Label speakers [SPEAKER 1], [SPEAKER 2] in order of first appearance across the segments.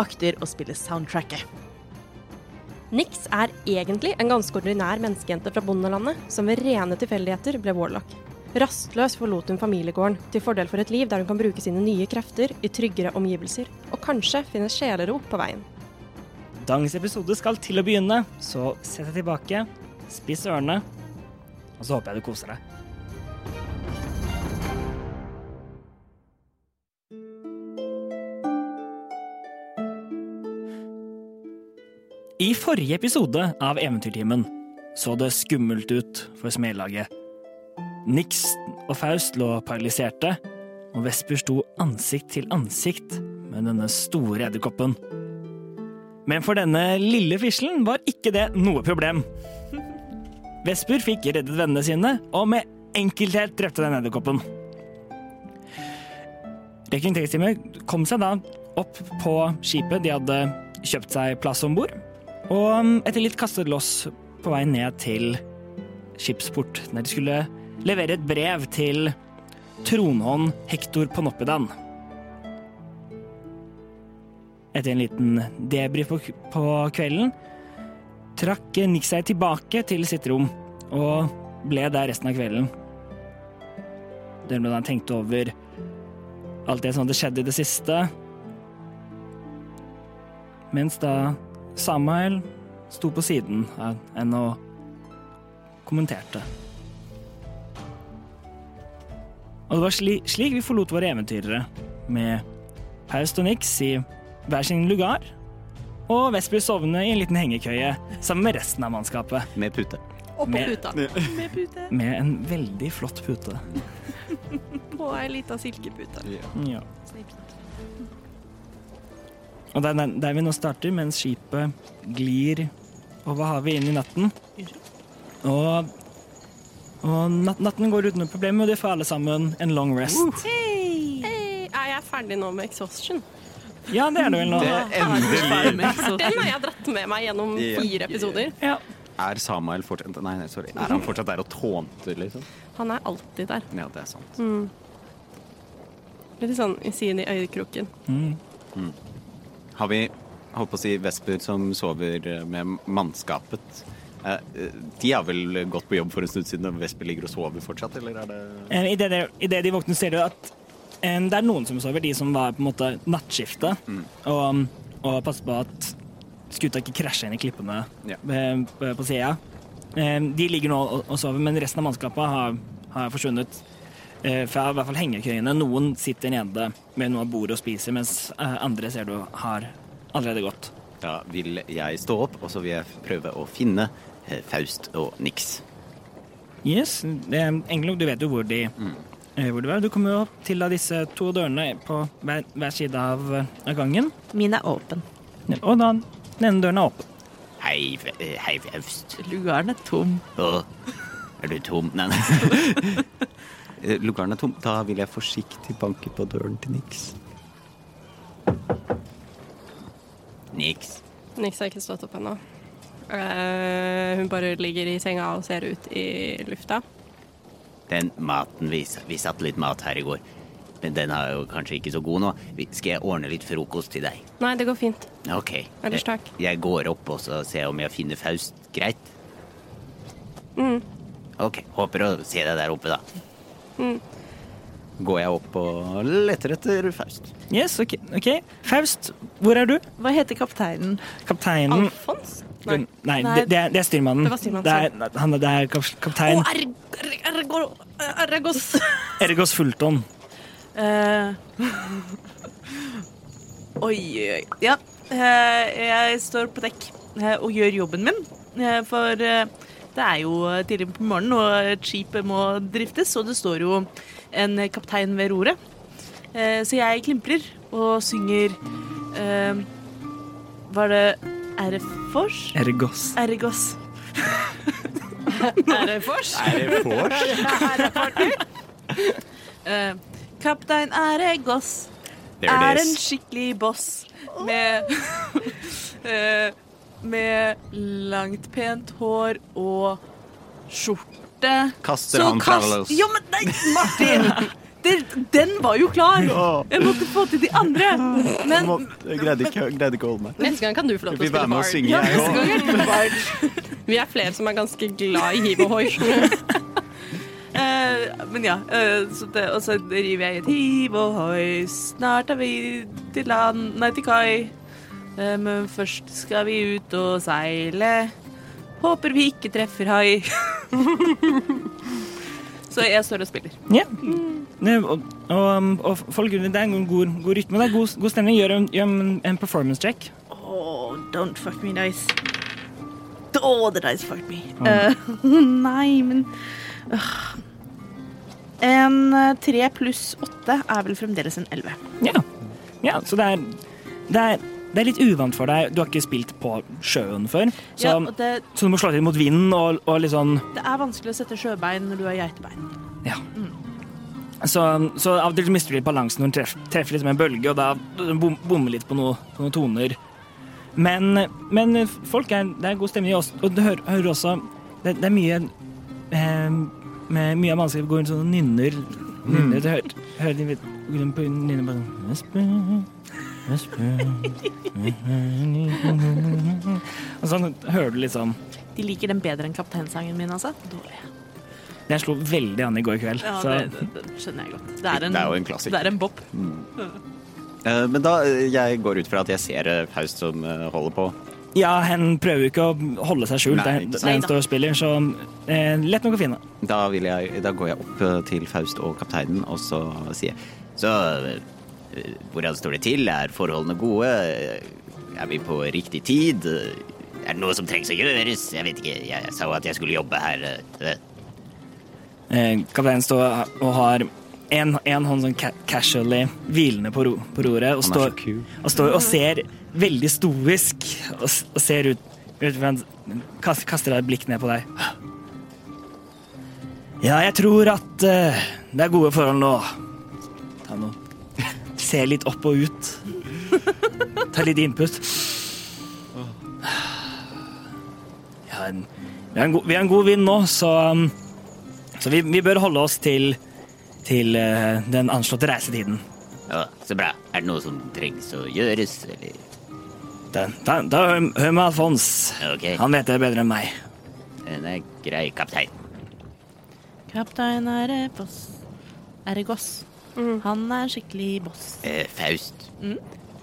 [SPEAKER 1] akter å spille soundtracket.
[SPEAKER 2] Nix er egentlig en ganske ordinær menneskejente fra bondelandet, som ved rene tilfeldigheter ble warlock. Rastløs forlot hun familiegården, til fordel for et liv der hun kan bruke sine nye krefter i tryggere omgivelser, og kanskje finne sjelero på veien.
[SPEAKER 3] Dagens episode skal til å begynne, så sett deg tilbake, spiss ørene, og så håper jeg du koser deg. I forrige episode av Eventyrtimen så det skummelt ut for smedlaget. Nix og Faust lå paralyserte, og Vesper sto ansikt til ansikt med denne store edderkoppen. Men for denne lille fislen var ikke det noe problem. Vesper fikk reddet vennene sine, og med enkelthet drepte den edderkoppen. Rekrutteringsteamet kom seg da opp på skipet de hadde kjøpt seg plass om bord, og um, etter litt kastet loss på vei ned til skipsport, der de skulle levere et brev til tronhånd Hektor Ponoppidan. Etter en liten debrief på, på kvelden trakk Nick seg tilbake til sitt rom og ble der resten av kvelden. Der ble han tenkt over alt det som hadde skjedd i det siste. Mens da Samuel sto på siden av henne og kommenterte. Og det var sli, slik vi forlot våre eventyrere, med Paust og Nix i hver sin lugar, og Vesper sovne i en liten hengekøye sammen med resten av mannskapet.
[SPEAKER 4] Med pute.
[SPEAKER 2] Og
[SPEAKER 3] Med-
[SPEAKER 2] puta.
[SPEAKER 5] Med pute.
[SPEAKER 3] Med en veldig flott pute.
[SPEAKER 5] På ei lita silkepute.
[SPEAKER 3] Ja. Og det er den- der vi nå starter, mens skipet glir over havet inn i natten. Og, og nat natten går uten noe problem, og de får alle sammen en long rest.
[SPEAKER 5] Hei, er jeg ferdig nå med exhaustion?
[SPEAKER 3] Ja, det er det vel nå.
[SPEAKER 4] endelig
[SPEAKER 5] Den har jeg dratt med meg gjennom
[SPEAKER 4] Ja.
[SPEAKER 5] fire episoder.
[SPEAKER 3] Ja.
[SPEAKER 4] Er Samael fortsatt Nei, nei, sorry. Er han fortsatt der og tånter, liksom?
[SPEAKER 5] Han er alltid der.
[SPEAKER 4] Ja, det er sant.
[SPEAKER 5] Litt sånn i siden i øyekroken.
[SPEAKER 4] Har vi holdt på å si vesper som sover med mannskapet? Eh, eh, De har vel gått på jobb for en stund siden, og vesper ligger og sover fortsatt, eller er det
[SPEAKER 3] Eh, I det, de- i det de våkner, ser du at eh, det er noen som sover, de som var på en måte nattskiftet, og, um, og passer på at skuta ikke krasjer inn i klippene
[SPEAKER 4] Ja.
[SPEAKER 3] eh, på- på sida. Eh, De ligger nå og- og sover, men resten av mannskapet har, har forsvunnet eh, fra i hvert fall hengekøyene. Noen sitter nede med noe av bordet og spiser, mens eh, andre ser du har allerede gått.
[SPEAKER 4] Da vil jeg stå opp, og så vil jeg prøve å finne eh, Faust og Nix.
[SPEAKER 3] Yes, det er egentlig, du vet jo hvor de, eh, hvor de var. Du kommer jo opp til da disse to dørene på hver, hver side av, eh, av gangen.
[SPEAKER 1] Min er åpen.
[SPEAKER 3] Og da den ene døren er åpen.
[SPEAKER 4] Hei, F- eh, hei Faust.
[SPEAKER 1] Lugaren er tom.
[SPEAKER 4] Åh, er du tom? Nei, nei. Eh, Lugaren er tom. Da vil jeg forsiktig banke på døren til Nix. Nix.
[SPEAKER 5] Nix har ikke stått opp ennå. Eh, hun bare ligger i senga og ser ut i lufta.
[SPEAKER 4] Den maten vi, s- vi satt litt mat her i går, men den er jo kanskje ikke så god nå. Vi- Skal jeg ordne litt frokost til deg?
[SPEAKER 5] Nei, det går fint.
[SPEAKER 4] Ok.
[SPEAKER 5] Ellers
[SPEAKER 4] Jeg-
[SPEAKER 5] takk.
[SPEAKER 4] Jeg går opp og så ser jeg om jeg finner Faust. Greit?
[SPEAKER 6] Mm. Mm.
[SPEAKER 4] Ok. Håper å se deg der oppe, da. går jeg opp og leter etter Faust.
[SPEAKER 3] Yes, ok. ok. Faust, hvor er du?
[SPEAKER 6] Hva heter kapteinen?
[SPEAKER 3] Kapteinen
[SPEAKER 7] Alfons?
[SPEAKER 3] Nei,
[SPEAKER 6] Nei.
[SPEAKER 3] det, det er, det er styrmannen.
[SPEAKER 7] Det var styrmannen,
[SPEAKER 3] Det er, han, det er kap- kaptein
[SPEAKER 7] Ergos.
[SPEAKER 3] Ergos Fulton.
[SPEAKER 6] Eh, oi, oi, oi. Ja, eh, jeg står på dekk eh, og gjør jobben min. eh, for eh, det er jo tidlig på morgenen, og skipet må driftes, og det står jo en kaptein ved roret. Eh, så jeg klimprer og synger eh, Var det Erfors?
[SPEAKER 3] Ergos.
[SPEAKER 6] Ergos. Erfors?
[SPEAKER 4] Er det vors?
[SPEAKER 6] Eh, Kaptein Ergos. er en skikkelig boss med eh, Med langt, pent hår og skjorte.
[SPEAKER 4] Kaster
[SPEAKER 6] Så
[SPEAKER 4] han
[SPEAKER 6] kast-
[SPEAKER 4] Carlos.
[SPEAKER 6] Jo, men nei, Martin! Det, den var jo klar!
[SPEAKER 4] Ja.
[SPEAKER 6] Jeg måtte få til de andre. Men
[SPEAKER 4] Jeg greide ikke, greide ikke å holde meg.
[SPEAKER 5] Neste gang kan du få lov til å
[SPEAKER 4] Vil være
[SPEAKER 5] spille
[SPEAKER 4] med og
[SPEAKER 5] bard.
[SPEAKER 4] synge, jeg
[SPEAKER 5] Neste
[SPEAKER 4] òg.
[SPEAKER 5] gang. Vi er flere som er ganske glad i hiv og hoi.
[SPEAKER 6] Eh, men ja, eh, så det, og så river jeg et hiv og hoi. Snart er vi til land, nei til kai. Eh, men først skal vi ut og seile. Håper vi ikke treffer hai. så jeg står og spiller.
[SPEAKER 3] Ja. Ne, og, og, um, og folk rundt deg, en god, god rytme, det er god, god stemning. Gjør en, gjør en, en performance check.
[SPEAKER 6] Oh, don't fuck me, dice. Oh, the dice fucked me. Eh, nei, men øh. En eh, tre pluss åtte er vel fremdeles en elleve.
[SPEAKER 3] Ja. ja så det er, det, er, det er litt uvant for deg. Du har ikke spilt på sjøen før. Så,
[SPEAKER 6] Ja, og det,
[SPEAKER 3] så du må slå til mot vinden og, og litt sånn
[SPEAKER 6] det er vanskelig å sette sjøbein når du har geitebein.
[SPEAKER 3] Ja. Så, så av og til mister du litt balansen når du treffer, treffer litt med en bølge, og da bom- bommer litt på, noe, på noen toner. Men, men folk er, det er god stemning, i oss, og du hører, hører også det, det er mye eh, med, Mye av mannskapet går rundt sånn og nynner. nynner Du hører, hører de litt- går rundt på nynner bare sånn «Vesper, vesper». Og sånn hører du litt sånn.
[SPEAKER 6] De liker den bedre enn kapteinsangen min, altså. Dårlig.
[SPEAKER 3] Den slo veldig an i går kveld.
[SPEAKER 6] Ja,
[SPEAKER 3] så.
[SPEAKER 6] det, det, det skjønner jeg godt. Det er, en,
[SPEAKER 4] Det er jo en klassiker.
[SPEAKER 6] Det er en bop.
[SPEAKER 4] Eh, Men da, eh, jeg går ut fra at jeg ser eh, Faust som eh, holder på.
[SPEAKER 3] Ja, hen prøver jo ikke å holde seg skjult.
[SPEAKER 4] Nei,
[SPEAKER 3] Nei,
[SPEAKER 4] ikke
[SPEAKER 3] det
[SPEAKER 4] sant.
[SPEAKER 3] er en stor spiller, så eh, lett nok å finne.
[SPEAKER 4] Da, vil jeg, da går jeg opp eh, til Faust og kapteinen, og så sier jeg Så eh, hvordan står det til? Er forholdene gode? Er vi på riktig tid? Er det noe som trengs å gjøres? Jeg vet ikke, jeg sa jo at jeg skulle jobbe her. eh, eh.
[SPEAKER 3] Eh, kapteinen står og har en, en hånd sånn ca casually hvilende på, ro på roret og
[SPEAKER 4] Han er
[SPEAKER 3] står,
[SPEAKER 4] så kul.
[SPEAKER 3] og står og ser veldig stoisk og, s- og ser ut, ut fra en, kast, Kaster et blikk ned på deg. Ja, jeg tror at eh, det er gode forhold nå. Ta nå. Se litt opp og ut. Ta litt innpust. Ja, en, vi, har en god, vi har en god vind nå, så um, så vi, vi bør holde oss til, til eh, den anslåtte reisetiden.
[SPEAKER 4] Ja, så bra. Er det noe som trengs å gjøres, eller?
[SPEAKER 3] Da, da, da hør hør med Alfons.
[SPEAKER 4] Ok,
[SPEAKER 3] Han vet det bedre enn meg.
[SPEAKER 4] den er grei, kaptein.
[SPEAKER 6] Kaptein er en boss. Er en goss. Han er en skikkelig boss.
[SPEAKER 4] Eh, Faust.
[SPEAKER 6] Mm.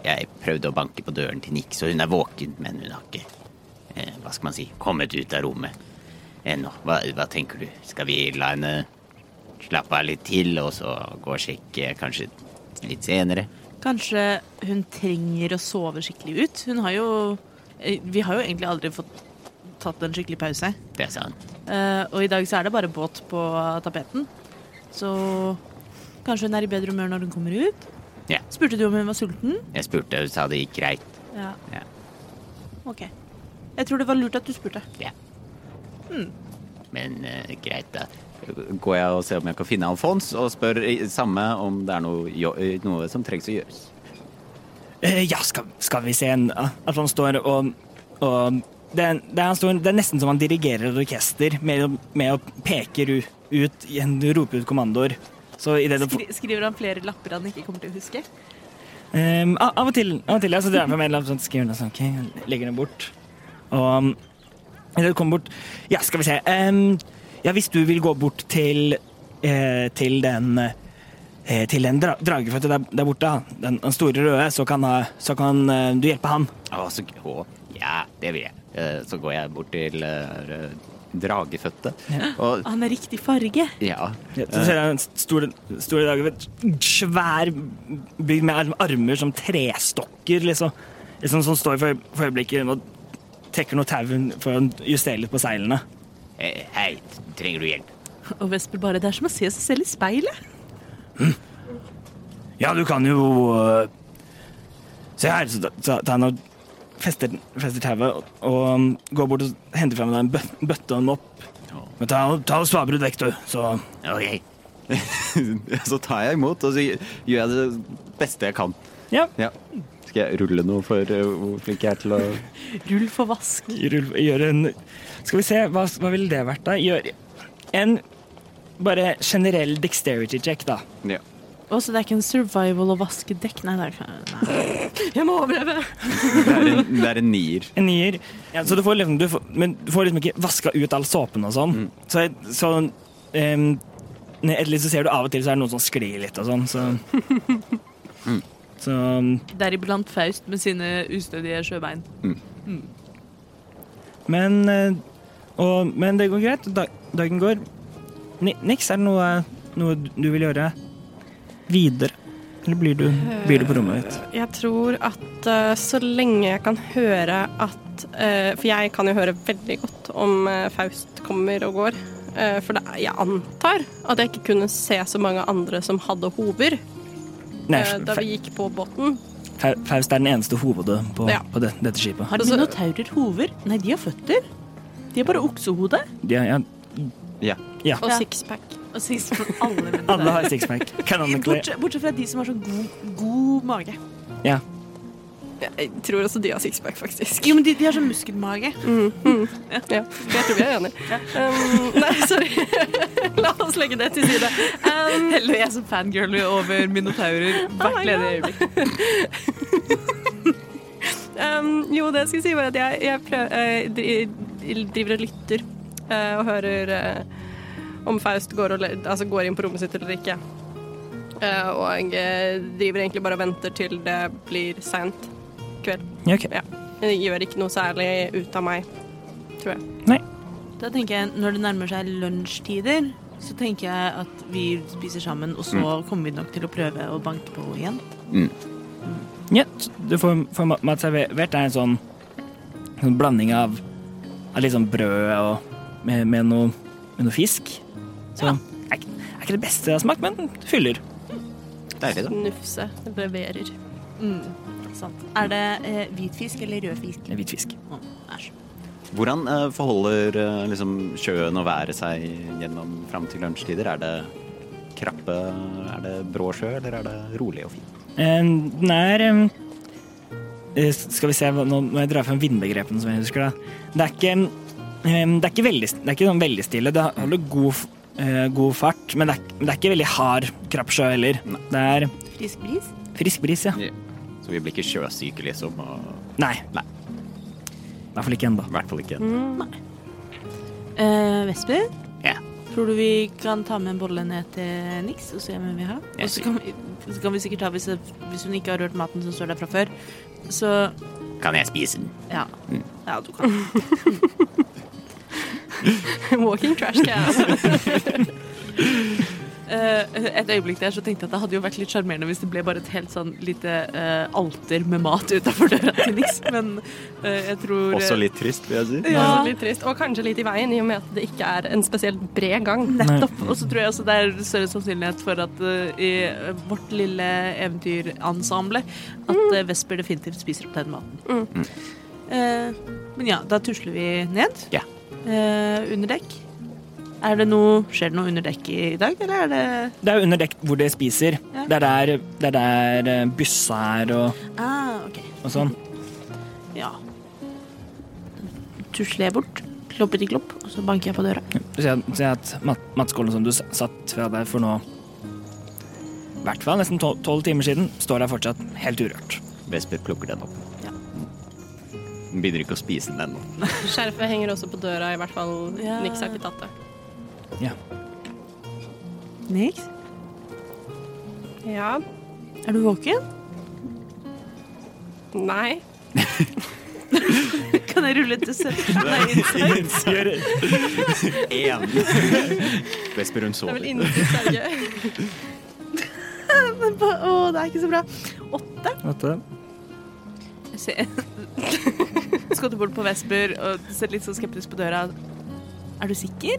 [SPEAKER 4] Jeg prøvde å banke på døren til Nix, og hun er våken, men hun har ikke eh, Hva skal man si kommet ut av rommet ennå. Hva, hva tenker du? Skal vi la henne slappe av litt til, og så gå og sjekke kanskje litt senere?
[SPEAKER 6] Kanskje hun trenger å sove skikkelig ut? Hun har jo eh, Vi har jo egentlig aldri fått tatt en skikkelig pause.
[SPEAKER 4] Det er sant.
[SPEAKER 6] Eh, og i dag så er det bare båt på tapeten. Så kanskje hun er i bedre humør når hun kommer ut?
[SPEAKER 4] Ja.
[SPEAKER 6] Spurte du om hun var sulten?
[SPEAKER 4] Jeg spurte, hun sa det gikk greit.
[SPEAKER 6] Ja.
[SPEAKER 4] Ja.
[SPEAKER 6] OK. Jeg tror det var lurt at du spurte.
[SPEAKER 4] ja. Men eh, greit, da. Går jeg og ser om jeg kan finne Alfons, og spør i- samme om det er noe, jo- noe som trengs å gjøres.
[SPEAKER 3] Eh, ja, skal, skal vi se en ja, Alfons står og, og det, er- det, er han står, det er nesten som han dirigerer et orkester med, å- med å peke ut, ut rope ut kommandoer. Så i det du
[SPEAKER 6] Skri skriver han flere lapper han ikke kommer til å huske?
[SPEAKER 3] Ehm, a- av og til, av og til ja, så drar jeg fra meg en lapp, sånn, skriver noe sånn, ok, jeg legger den bort. Og um, eller det kommer bort Ja, skal vi se. ehm, ja, hvis du vil gå bort til eh, til den eh, eh, til den dra dragefødte der, der borte, han. den, den store røde, så kan, eh, så kan eh, du hjelpe han.
[SPEAKER 4] Å, så, å, ja, det vil jeg. Eh, Så går jeg bort til eh, dragefødte. Og
[SPEAKER 1] Han er riktig farge.
[SPEAKER 4] ja.
[SPEAKER 3] Ja, Så ser jeg en stor, stor dragefødt, svær bygd med arm- armer som trestokker, liksom. liksom som står for, for øyeblikket og trekker noe tau for å justere litt på seilene.
[SPEAKER 4] Eh, Hei, trenger du hjelp?
[SPEAKER 6] Og Vesper bare Det er som å se seg selv i speilet.
[SPEAKER 3] Ja, du kan jo øh, Se her, så ta- ta- tar han og fester, fester tauet og, og um, går bort og henter frem en bø bøtte og en mopp. Men ta, ta og svabre ut vekk, du. Så
[SPEAKER 4] Ok. så tar jeg imot, og så gjør jeg det beste jeg kan.
[SPEAKER 3] ja,
[SPEAKER 4] Ja. Skal jeg rulle noe for eh, hvor flink jeg er til å
[SPEAKER 6] Rull for vask.
[SPEAKER 3] rull- gjør en Skal vi se, hva, hva ville det vært, da? Gjør en bare generell dexterity check, da.
[SPEAKER 4] Ja.
[SPEAKER 6] Å, så det er ikke en survival å vaske dekk? Nei, det er ikke nei.
[SPEAKER 5] Jeg må overleve!
[SPEAKER 4] Det er en, det er en nier.
[SPEAKER 3] En nier. Ja, så du får liksom, du får, men du får liksom ikke vaska ut all såpen og sånn. Så, så em, ned et litt så ser du av og til så er det noen som sklir litt og sånn, så Mm. Så
[SPEAKER 6] Deriblant Faust med sine ustødige sjøbein.
[SPEAKER 3] Men, eh, og, men det går greit. Da, dagen går. Ni- Niks, er det noe, noe du vil gjøre videre? Eller blir du, blir du på rommet ditt?
[SPEAKER 5] Jeg tror at eh, så lenge jeg kan høre at eh, For jeg kan jo høre veldig godt om eh, Faust kommer og går. Eh, for det, jeg antar at jeg ikke kunne se så mange andre som hadde hover
[SPEAKER 3] Nei,
[SPEAKER 5] eh, da vi gikk på båten.
[SPEAKER 3] Fa- Faust er den eneste hovedet på,
[SPEAKER 5] Ja.
[SPEAKER 3] på det, dette skipet.
[SPEAKER 6] Har
[SPEAKER 5] Altså-
[SPEAKER 6] minotaurer hover? Nei, de har føtter. De har bare oksehode.
[SPEAKER 3] Ja, ja.
[SPEAKER 4] Ja.
[SPEAKER 5] Og
[SPEAKER 6] Ja.
[SPEAKER 5] sixpack.
[SPEAKER 6] Og sist for alle
[SPEAKER 3] Alle
[SPEAKER 6] minotaurer.
[SPEAKER 3] har sixpack. Canonically.
[SPEAKER 6] Bortsett, bortsett fra de som har sånn god, god mage.
[SPEAKER 3] Ja.
[SPEAKER 5] Jeg tror også de har sixpack, faktisk.
[SPEAKER 6] Jo, men de, de har sånn muskelmage.
[SPEAKER 5] Ja, jeg tror vi er enige. Um, nei, sorry. La oss legge det til side. Um, Oh
[SPEAKER 6] Heller jeg som fangirl over minotaurer
[SPEAKER 5] Ah,
[SPEAKER 6] hvert ledige øyeblikk.
[SPEAKER 5] Um, jo, det jeg skal si var at jeg, jeg prøv, eh, dri- driver og lytter eh, og hører eh, om Faust går, og, le- altså går inn på rommet sitt eller ikke. Eh, og eh, driver egentlig bare og venter til det blir seint kveld.
[SPEAKER 3] ja ok.
[SPEAKER 5] Ja. Det gjør ikke noe særlig ut av meg, tror jeg.
[SPEAKER 6] Da tenker jeg, Når det nærmer seg lunsjtider, så tenker jeg at vi spiser sammen, og så kommer vi nok til å prøve å banke på igjen.
[SPEAKER 3] Ja, så du får, får ma- mat servert. Det er en sånn, sånn blanding av, av litt sånn brød og med, med, noe, med noe fisk. Så er, ikke- er ikke det beste jeg har smakt, men det fyller.
[SPEAKER 4] Deilig, da.
[SPEAKER 5] Nufse leverer.
[SPEAKER 6] Sant. Er det eh, hvitfisk eller rødfisk?
[SPEAKER 3] Det er Hvit fisk.
[SPEAKER 6] Å, Æsj.
[SPEAKER 4] Hvordan eh, forholder eh, liksom, sjøen og været seg gjennom fram til lunsjtider? Er det krappe, er det brå sjø, eller er det rolig og fint?
[SPEAKER 3] Eh, Den er eh, eh, Skal vi se, hva- nå må jeg dra frem vindbegrepene som jeg husker. da. Det er ikke, eh, det er ikke, veldig, det er ikke sånn veldig stille. Det holder god, f- eh, god fart, men det er, ikke- men det er ikke veldig hard krapp sjø heller. Det er
[SPEAKER 6] Frisk bris?
[SPEAKER 3] frisk bris, ja.
[SPEAKER 4] Så vi blir ikke sjøsyke, liksom. Og
[SPEAKER 3] Nei.
[SPEAKER 4] Nei.
[SPEAKER 3] I hvert fall ikke ennå.
[SPEAKER 4] i hvert fall ikke
[SPEAKER 6] Eh, Vesper?
[SPEAKER 4] Ja.
[SPEAKER 6] Tror du vi kan ta med en bolle ned til Nix og se hvem vi har? Og så kan, vi- så kan vi sikkert ta, hvis, hvis hun ikke har rørt maten som står der fra før, så
[SPEAKER 4] Kan jeg spise den?
[SPEAKER 6] ja. Ja, du kan.
[SPEAKER 5] Walking trash can.
[SPEAKER 6] Eh, et øyeblikk der så tenkte jeg at det hadde jo vært litt sjarmerende hvis det ble bare et helt sånn lite eh, alter med mat utafor døra til Nix, men eh, jeg tror
[SPEAKER 4] Også litt trist, vil jeg si.
[SPEAKER 6] Ja.
[SPEAKER 5] Litt trist, og kanskje litt i veien, i og med at det ikke er en spesielt bred gang.
[SPEAKER 6] Nettopp. Og så tror jeg også det er større sannsynlighet for at eh, i vårt lille eventyrensemble at eh, Vesper definitivt spiser opp den maten.
[SPEAKER 4] Mm.
[SPEAKER 6] Eh, men ja, da tusler vi ned.
[SPEAKER 4] Ja.
[SPEAKER 6] Eh, under dekk. Er det noe, skjer det noe under dekk i dag, eller er det
[SPEAKER 3] Det er jo under dekk hvor de spiser.
[SPEAKER 6] Ja.
[SPEAKER 3] Det er der, det er der eh, byssa er og,
[SPEAKER 6] Ah, ok.
[SPEAKER 3] og sånn.
[SPEAKER 6] Ja. Tusler jeg bort, klopper i klopp, og så banker jeg på døra.
[SPEAKER 3] Du ser, ser at mat, matskålen som du s- satt fra deg for nå i hvert fall nesten tolv tolv timer siden, står der fortsatt helt urørt.
[SPEAKER 4] Vesper plukker den opp.
[SPEAKER 6] Ja.
[SPEAKER 4] Hun
[SPEAKER 8] Mm.
[SPEAKER 4] begynner ikke å spise den ennå.
[SPEAKER 5] Skjerfet henger også på døra, i hvert fall.
[SPEAKER 6] Ja.
[SPEAKER 5] Niks har ikke tatt det.
[SPEAKER 3] Ja.
[SPEAKER 6] Niks?
[SPEAKER 5] Ja.
[SPEAKER 6] Er du våken?
[SPEAKER 5] Nei.
[SPEAKER 6] Kan jeg rulle til søvn? Nei, insight.
[SPEAKER 3] Gjør
[SPEAKER 4] Én. Vesper, hun
[SPEAKER 5] Det er vel
[SPEAKER 4] sover.
[SPEAKER 5] innsikt, er det ikke?
[SPEAKER 6] Men ba- Å, det er ikke så bra. Åtte?
[SPEAKER 3] dette.
[SPEAKER 6] Jeg ser- Skotter bort på Vesper og ser litt sånn skeptisk på døra. Er du sikker?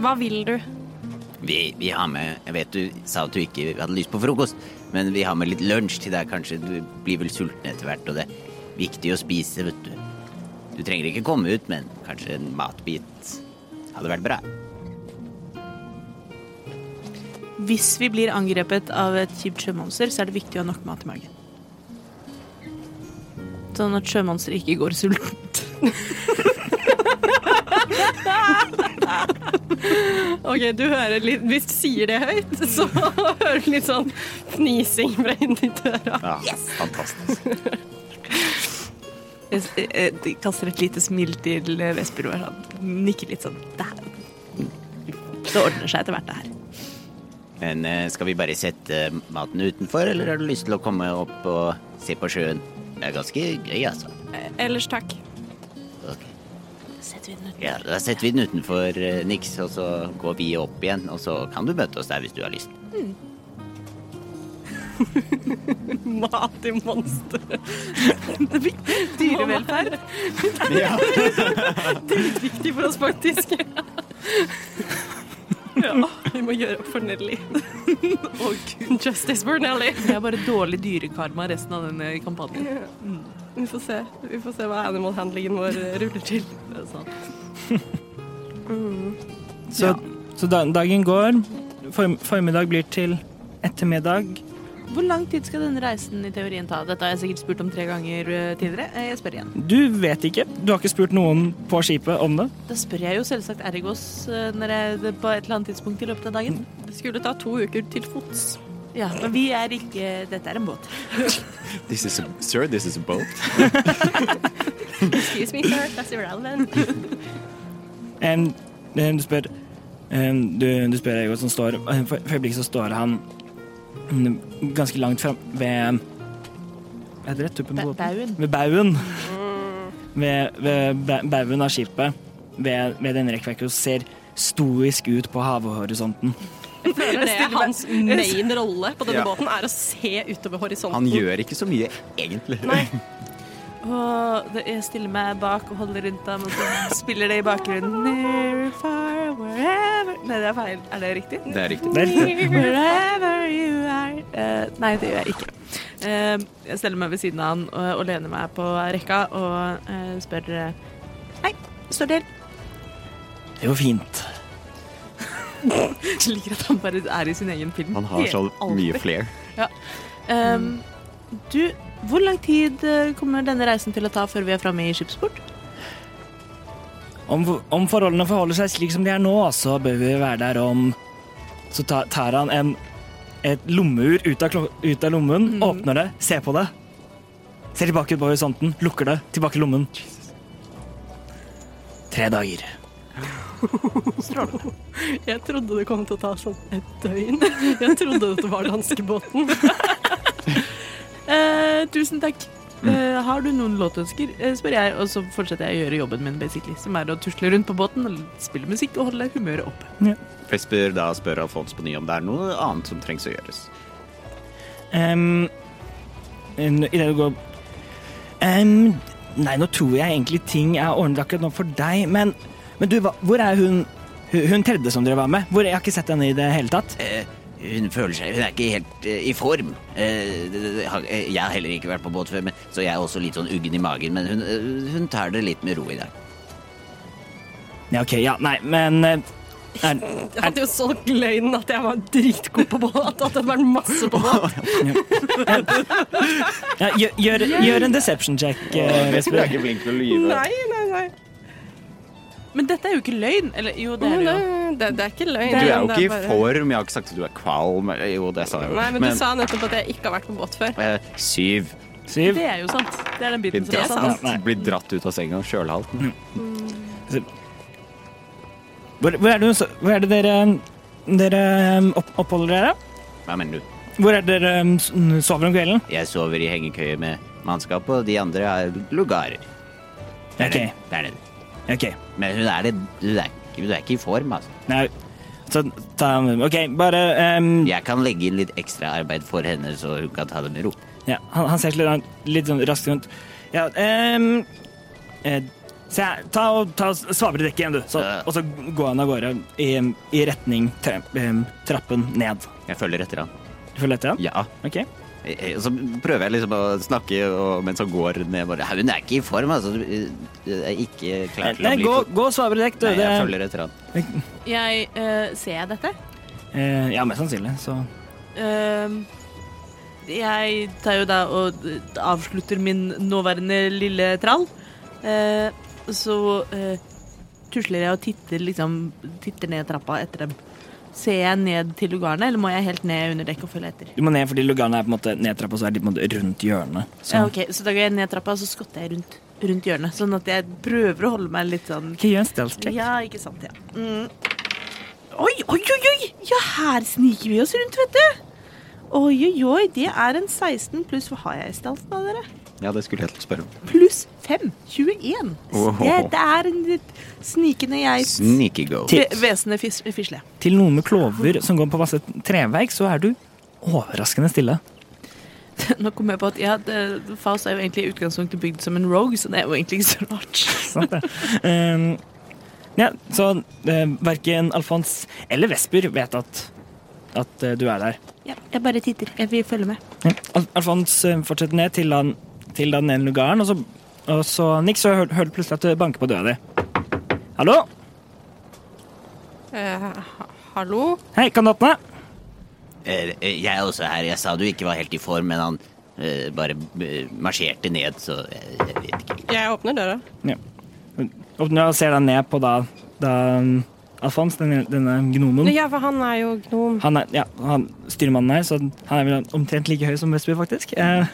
[SPEAKER 5] Hva vil du?
[SPEAKER 8] Vi, vi har med Jeg vet du sa at du ikke hadde lyst på frokost, men vi har med litt lunsj til deg, kanskje. Du blir vel sulten etter hvert, og det er viktig å spise, vet du. Du trenger ikke komme ut, men kanskje en matbit hadde vært bra.
[SPEAKER 6] Hvis vi blir angrepet av et kjipt sjømonster, så er det viktig å ha nok mat i magen. Sånn at sjømonsteret ikke går sultent.
[SPEAKER 5] Ok, du hører litt Hvis du sier det høyt, så hører du litt sånn fnising fra inni døra.
[SPEAKER 4] Ja, Fantastisk.
[SPEAKER 6] Jeg s- eh, de kaster et lite smil til eh, Vesper og er sånn- nikker litt sånn. Det, her. det ordner seg etter hvert, det her.
[SPEAKER 8] Men eh, skal vi bare sette maten utenfor, eller har du lyst til å komme opp og se på sjøen? Det er ganske gøy, altså.
[SPEAKER 5] Ellers takk.
[SPEAKER 8] Ok. Ja, da setter vi den utenfor, eh, Nix, og så går vi opp igjen, og så kan du møte oss der hvis du har lyst.
[SPEAKER 5] Mat til monster.
[SPEAKER 6] Dyrevelferd.
[SPEAKER 4] Ja.
[SPEAKER 5] Viktig for oss, faktisk. Ja, vi må gjøre opp for Nelly. Justice for Nelly.
[SPEAKER 6] Det er bare dårlig dyrekarma resten av denne kampanjen.
[SPEAKER 5] Vi får se, vi får se hva animal handlingen vår eh, ruller til.
[SPEAKER 6] Det er sant.
[SPEAKER 5] Sånn.
[SPEAKER 3] Så, så da- dagen går. Form, formiddag blir til ettermiddag.
[SPEAKER 6] Hvor lang tid skal denne reisen i teorien ta? Dette har jeg sikkert spurt om tre ganger eh, tidligere. Eh, Jeg spør igjen.
[SPEAKER 3] Du vet ikke. Du har ikke spurt noen på skipet om det.
[SPEAKER 6] Da spør jeg jo selvsagt Ergos eh, når jeg, på et eller annet tidspunkt i løpet av dagen.
[SPEAKER 5] Det skulle ta to uker til fots.
[SPEAKER 6] Ja, men vi er ikke Dette er en båt.
[SPEAKER 4] This is a, sir, this is a boat.
[SPEAKER 5] Excuse me, sir. That's irrelevant.
[SPEAKER 3] Em, em, du spør em, du, du spør Ego som står em, For for øyeblikket så står han mm, ganske langt fram ved Er det rett tuppen
[SPEAKER 1] Ba-
[SPEAKER 3] på båten?
[SPEAKER 1] Baugen.
[SPEAKER 3] Ved baugen. Ved, ved ba- baugen av skipet. Ved, ved den rekkverket og ser stoisk ut på havhorisonten.
[SPEAKER 5] føler det er hans main rolle på denne
[SPEAKER 4] Ja.
[SPEAKER 5] båten, er å se utover
[SPEAKER 4] Han
[SPEAKER 5] horisonten.
[SPEAKER 4] gjør ikke så mye, egentlig.
[SPEAKER 6] Og det- jeg stiller meg bak og holder rundt ham, og så spiller det i bakgrunnen. Near, far, wherever Nei, det er feil. Er det riktig?
[SPEAKER 4] Det er riktig.
[SPEAKER 3] Det er riktig.
[SPEAKER 6] Wherever you are Eh, Nei, det gjør jeg ikke. Eh, jeg stiller meg ved siden av han eh, og, og lener meg på rekka og eh, spør eh, Hei, står det
[SPEAKER 3] Det går fint.
[SPEAKER 6] Jeg liker at han bare er i sin egen film.
[SPEAKER 4] Han har så mye flair.
[SPEAKER 6] Ehm, du, hvor lang tid eh, kommer denne reisen til å ta før vi er framme i skipsport?
[SPEAKER 3] Om, om forholdene forholder seg slik som de er nå, så bør vi være der om Så ta, tar han en, et lommeur ut av, klo- ut av lommen, åpner det, ser på det. Ser tilbake ut på horisonten, lukker det, tilbake i lommen. Tre dager.
[SPEAKER 5] Jeg trodde det kom til å ta sånn et døgn. Jeg trodde det var danskebåten.
[SPEAKER 6] Eh, tusen takk. Eh, har du noen låtønsker, eh, spør jeg, og så fortsetter jeg å gjøre jobben min, basically, som er å tusle rundt på båten og spille musikk og holde humøret oppe.
[SPEAKER 4] Vesper da spør Alfons på ny om det er noe annet som trengs å gjøres.
[SPEAKER 3] Um, Idet du går Em, Nei, nå tror jeg egentlig ting er ordnet akkurat nå for deg, men, men du, hva, hvor er hun, hun Hun tredje som dere var med? Hvor, jeg har ikke sett henne i det hele tatt.
[SPEAKER 8] Eh, hun føler seg Hun er ikke helt eh, i form. Eh, det- det- det har- eh, jeg har heller ikke vært på båt før, men, så jeg er også litt sånn uggen i magen. Men hun, eh, hun tar det litt med ro i dag.
[SPEAKER 3] Ja, ok, ja, nei, men eh, er,
[SPEAKER 5] Jeg hadde jo solgt løgnen at jeg var dritgod på båt, at det var masse på båt.
[SPEAKER 3] Ja, gjør, gjør, gjør en deception check, eh,
[SPEAKER 4] Vesper
[SPEAKER 3] Vesper.
[SPEAKER 4] er ikke flink til å lyve.
[SPEAKER 5] Nei, nei, nei.
[SPEAKER 6] Men dette er jo ikke løgn. Eller jo, det er det jo.
[SPEAKER 5] det, det er ikke løgn.
[SPEAKER 4] Du er jo
[SPEAKER 5] Det
[SPEAKER 4] ikke i
[SPEAKER 5] bare-
[SPEAKER 4] form. Jeg har ikke sagt at du er kvalm. Jo, det sa jeg jo.
[SPEAKER 5] Nei, men, du sa nettopp at jeg ikke har vært på båt før.
[SPEAKER 4] eh, Syv.
[SPEAKER 3] Syv.
[SPEAKER 6] Det er jo sant. Det er den biten som
[SPEAKER 4] Blir
[SPEAKER 6] er sant.
[SPEAKER 3] Nei.
[SPEAKER 4] dratt, blir dratt ut av senga
[SPEAKER 8] Mm.
[SPEAKER 4] sjølhalten.
[SPEAKER 3] Hvor, hvor, er det, hun så- hvor er det dere Dere eh, opp oppholder dere.
[SPEAKER 8] Hva mener du?
[SPEAKER 3] Hvor er dere eh, s- sover om kvelden?
[SPEAKER 8] Jeg sover i hengekøye med mannskap, og de andre har lugarer. Der
[SPEAKER 3] Ok.
[SPEAKER 8] nede, Der nede.
[SPEAKER 3] Ok.
[SPEAKER 8] Men hun er, det, hun, er ikke, hun er ikke i form, altså.
[SPEAKER 3] Nei. Så ta OK, bare eh,
[SPEAKER 8] Jeg kan legge inn litt ekstra arbeid for henne, så hun kan ta det med ro.
[SPEAKER 3] Ja, han, han ser seg litt, litt sånn raskt rundt. Ja, ehm, eh, se her, ta og ta og svabre dekket igjen, du. Så,
[SPEAKER 8] Ja.
[SPEAKER 3] og så går han av gårde i, i retning tra, ehm, trappen ned.
[SPEAKER 8] Jeg følger etter han.
[SPEAKER 3] Du følger etter han?
[SPEAKER 8] Ja.
[SPEAKER 3] Ok.
[SPEAKER 8] Eh, eh, Så prøver jeg liksom å snakke og, mens hun går ned. Bare, «Nei, hun er ikke i form, altså. Du eh, du er ikke klar til å
[SPEAKER 3] Nei,
[SPEAKER 8] bli
[SPEAKER 3] gå,
[SPEAKER 8] fot-
[SPEAKER 3] gå og svabre dekk, du.
[SPEAKER 8] Nei, jeg
[SPEAKER 3] det,
[SPEAKER 8] følger etter han.
[SPEAKER 6] Jeg, eh, ser jeg dette?
[SPEAKER 3] Eh, ja, mest sannsynlig. Så
[SPEAKER 6] Ehm, jeg tar jo da og eh, avslutter min nåværende lille trall. Eh, så eh, tusler jeg og titter, liksom, titter ned trappa etter dem. Ser jeg ned til lugarene, eller må jeg helt ned under dekk og følge etter?
[SPEAKER 3] du må ned fordi lugarene er på en måte nedtrappa, så er de på en måte rundt hjørnet. Så.
[SPEAKER 6] Ja, ok, Så da går jeg ned trappa, og så skotter jeg rundt, rundt hjørnet. Sånn at jeg prøver å holde meg litt sånn
[SPEAKER 3] Ok, gjør en stealth check.
[SPEAKER 6] Ja, ikke sant, ja. Mm. Oi, oi, oi, oi! Ja, her sniker vi oss rundt, vet du. Oi, oi, oi, det er en 16 pluss Hva har jeg i stealth da, dere?
[SPEAKER 4] Ja, det skulle jeg til å spørre om.
[SPEAKER 6] Pluss 5. 21.
[SPEAKER 4] Ohoho.
[SPEAKER 6] Det, det er en litt snikende geit.
[SPEAKER 8] Sneaky go.
[SPEAKER 6] Ve Vesende fis- fisle.
[SPEAKER 3] Til noen med klover som går på masse treverk, så er du overraskende stille.
[SPEAKER 6] Nå kom jeg på at ja, det, Faust er jo egentlig i utgangspunktet bygd som en rogue, så det er jo egentlig ikke så rart.
[SPEAKER 3] Sant det. Ehm, ja, så eh, verken Alfons eller Vesper vet at, at eh, du er der.
[SPEAKER 6] Ja, jeg bare titter. Jeg vil følge med.
[SPEAKER 3] Ja. Al Alfons eh, fortsetter ned til han, til den ene lugaren, og så, og så Nick, så hører hører du plutselig at det banker på døra di. Hallo?
[SPEAKER 5] Eh, ha- hallo?
[SPEAKER 3] Hei, kan du åpne?
[SPEAKER 8] Eh, eh, Jeg er også her. Jeg sa du ikke var helt i form, men han eh, bare eh, marsjerte ned, så eh, jeg, jeg vet ikke.
[SPEAKER 5] Jeg åpner døra.
[SPEAKER 3] Ja. Åpner og ser deg ned på da, da mm, Alfons, denne, denne gnomen.
[SPEAKER 5] Ja, for han er jo gnom.
[SPEAKER 3] Han er, ja, han, styrmannen her, så han er vel omtrent like høy som Vesper, faktisk. Eh.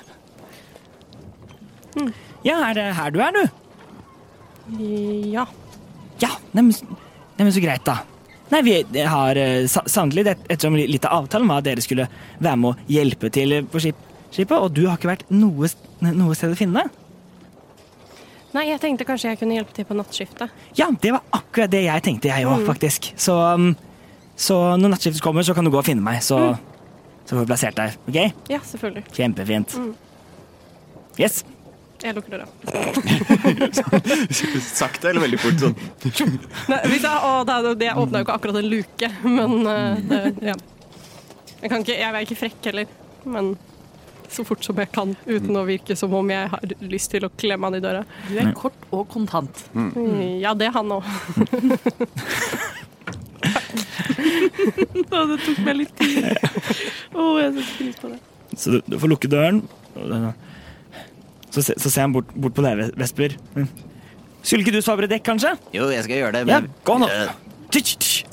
[SPEAKER 3] Ja, er det her du er, du?
[SPEAKER 5] Ja.
[SPEAKER 3] Ja, neimen s- neimen så greit, da. Nei, vi har eh, sa- sannelig, det- ettersom li- litt av avtalen var at dere skulle være med å hjelpe til eh, på skip, skipet, og du har ikke vært noe, s- noe sted å finne.
[SPEAKER 5] Nei, jeg tenkte kanskje jeg kunne hjelpe til på nattskiftet.
[SPEAKER 3] Ja, det var akkurat det jeg tenkte, jeg òg, faktisk. Så, um, så når nattskiftet kommer, så kan du gå og finne meg, så, så får vi plassert deg. OK?
[SPEAKER 5] Ja, selvfølgelig.
[SPEAKER 3] Kjempefint. Yes.
[SPEAKER 5] Jeg lukker døra.
[SPEAKER 4] Sakte eller veldig fort? Sånn.
[SPEAKER 5] Nei, hvis jeg, å, det, er- det, jeg åpna jo ikke akkurat en luke, men eh, det, ja. Jeg, kan ikke, jeg er ikke frekk heller, men så fort som jeg kan, uten å virke som om jeg har lyst til å klemme han i døra.
[SPEAKER 6] Du er kort og kontant.
[SPEAKER 4] Mm.
[SPEAKER 5] Ja, det er han òg.
[SPEAKER 6] Å, det tok meg litt tid. Å, jeg setter pris på det.
[SPEAKER 3] Så du, du får lukke døren. og det- Så, se- så ser han bort, bort på deg, Vesper. Mm. Skulle ikke du svabre dekk, kanskje?
[SPEAKER 8] Jo, jeg skal gjøre det,
[SPEAKER 3] Ja,
[SPEAKER 8] men
[SPEAKER 3] gå nå.
[SPEAKER 8] Eh,
[SPEAKER 3] Tysj, tysj.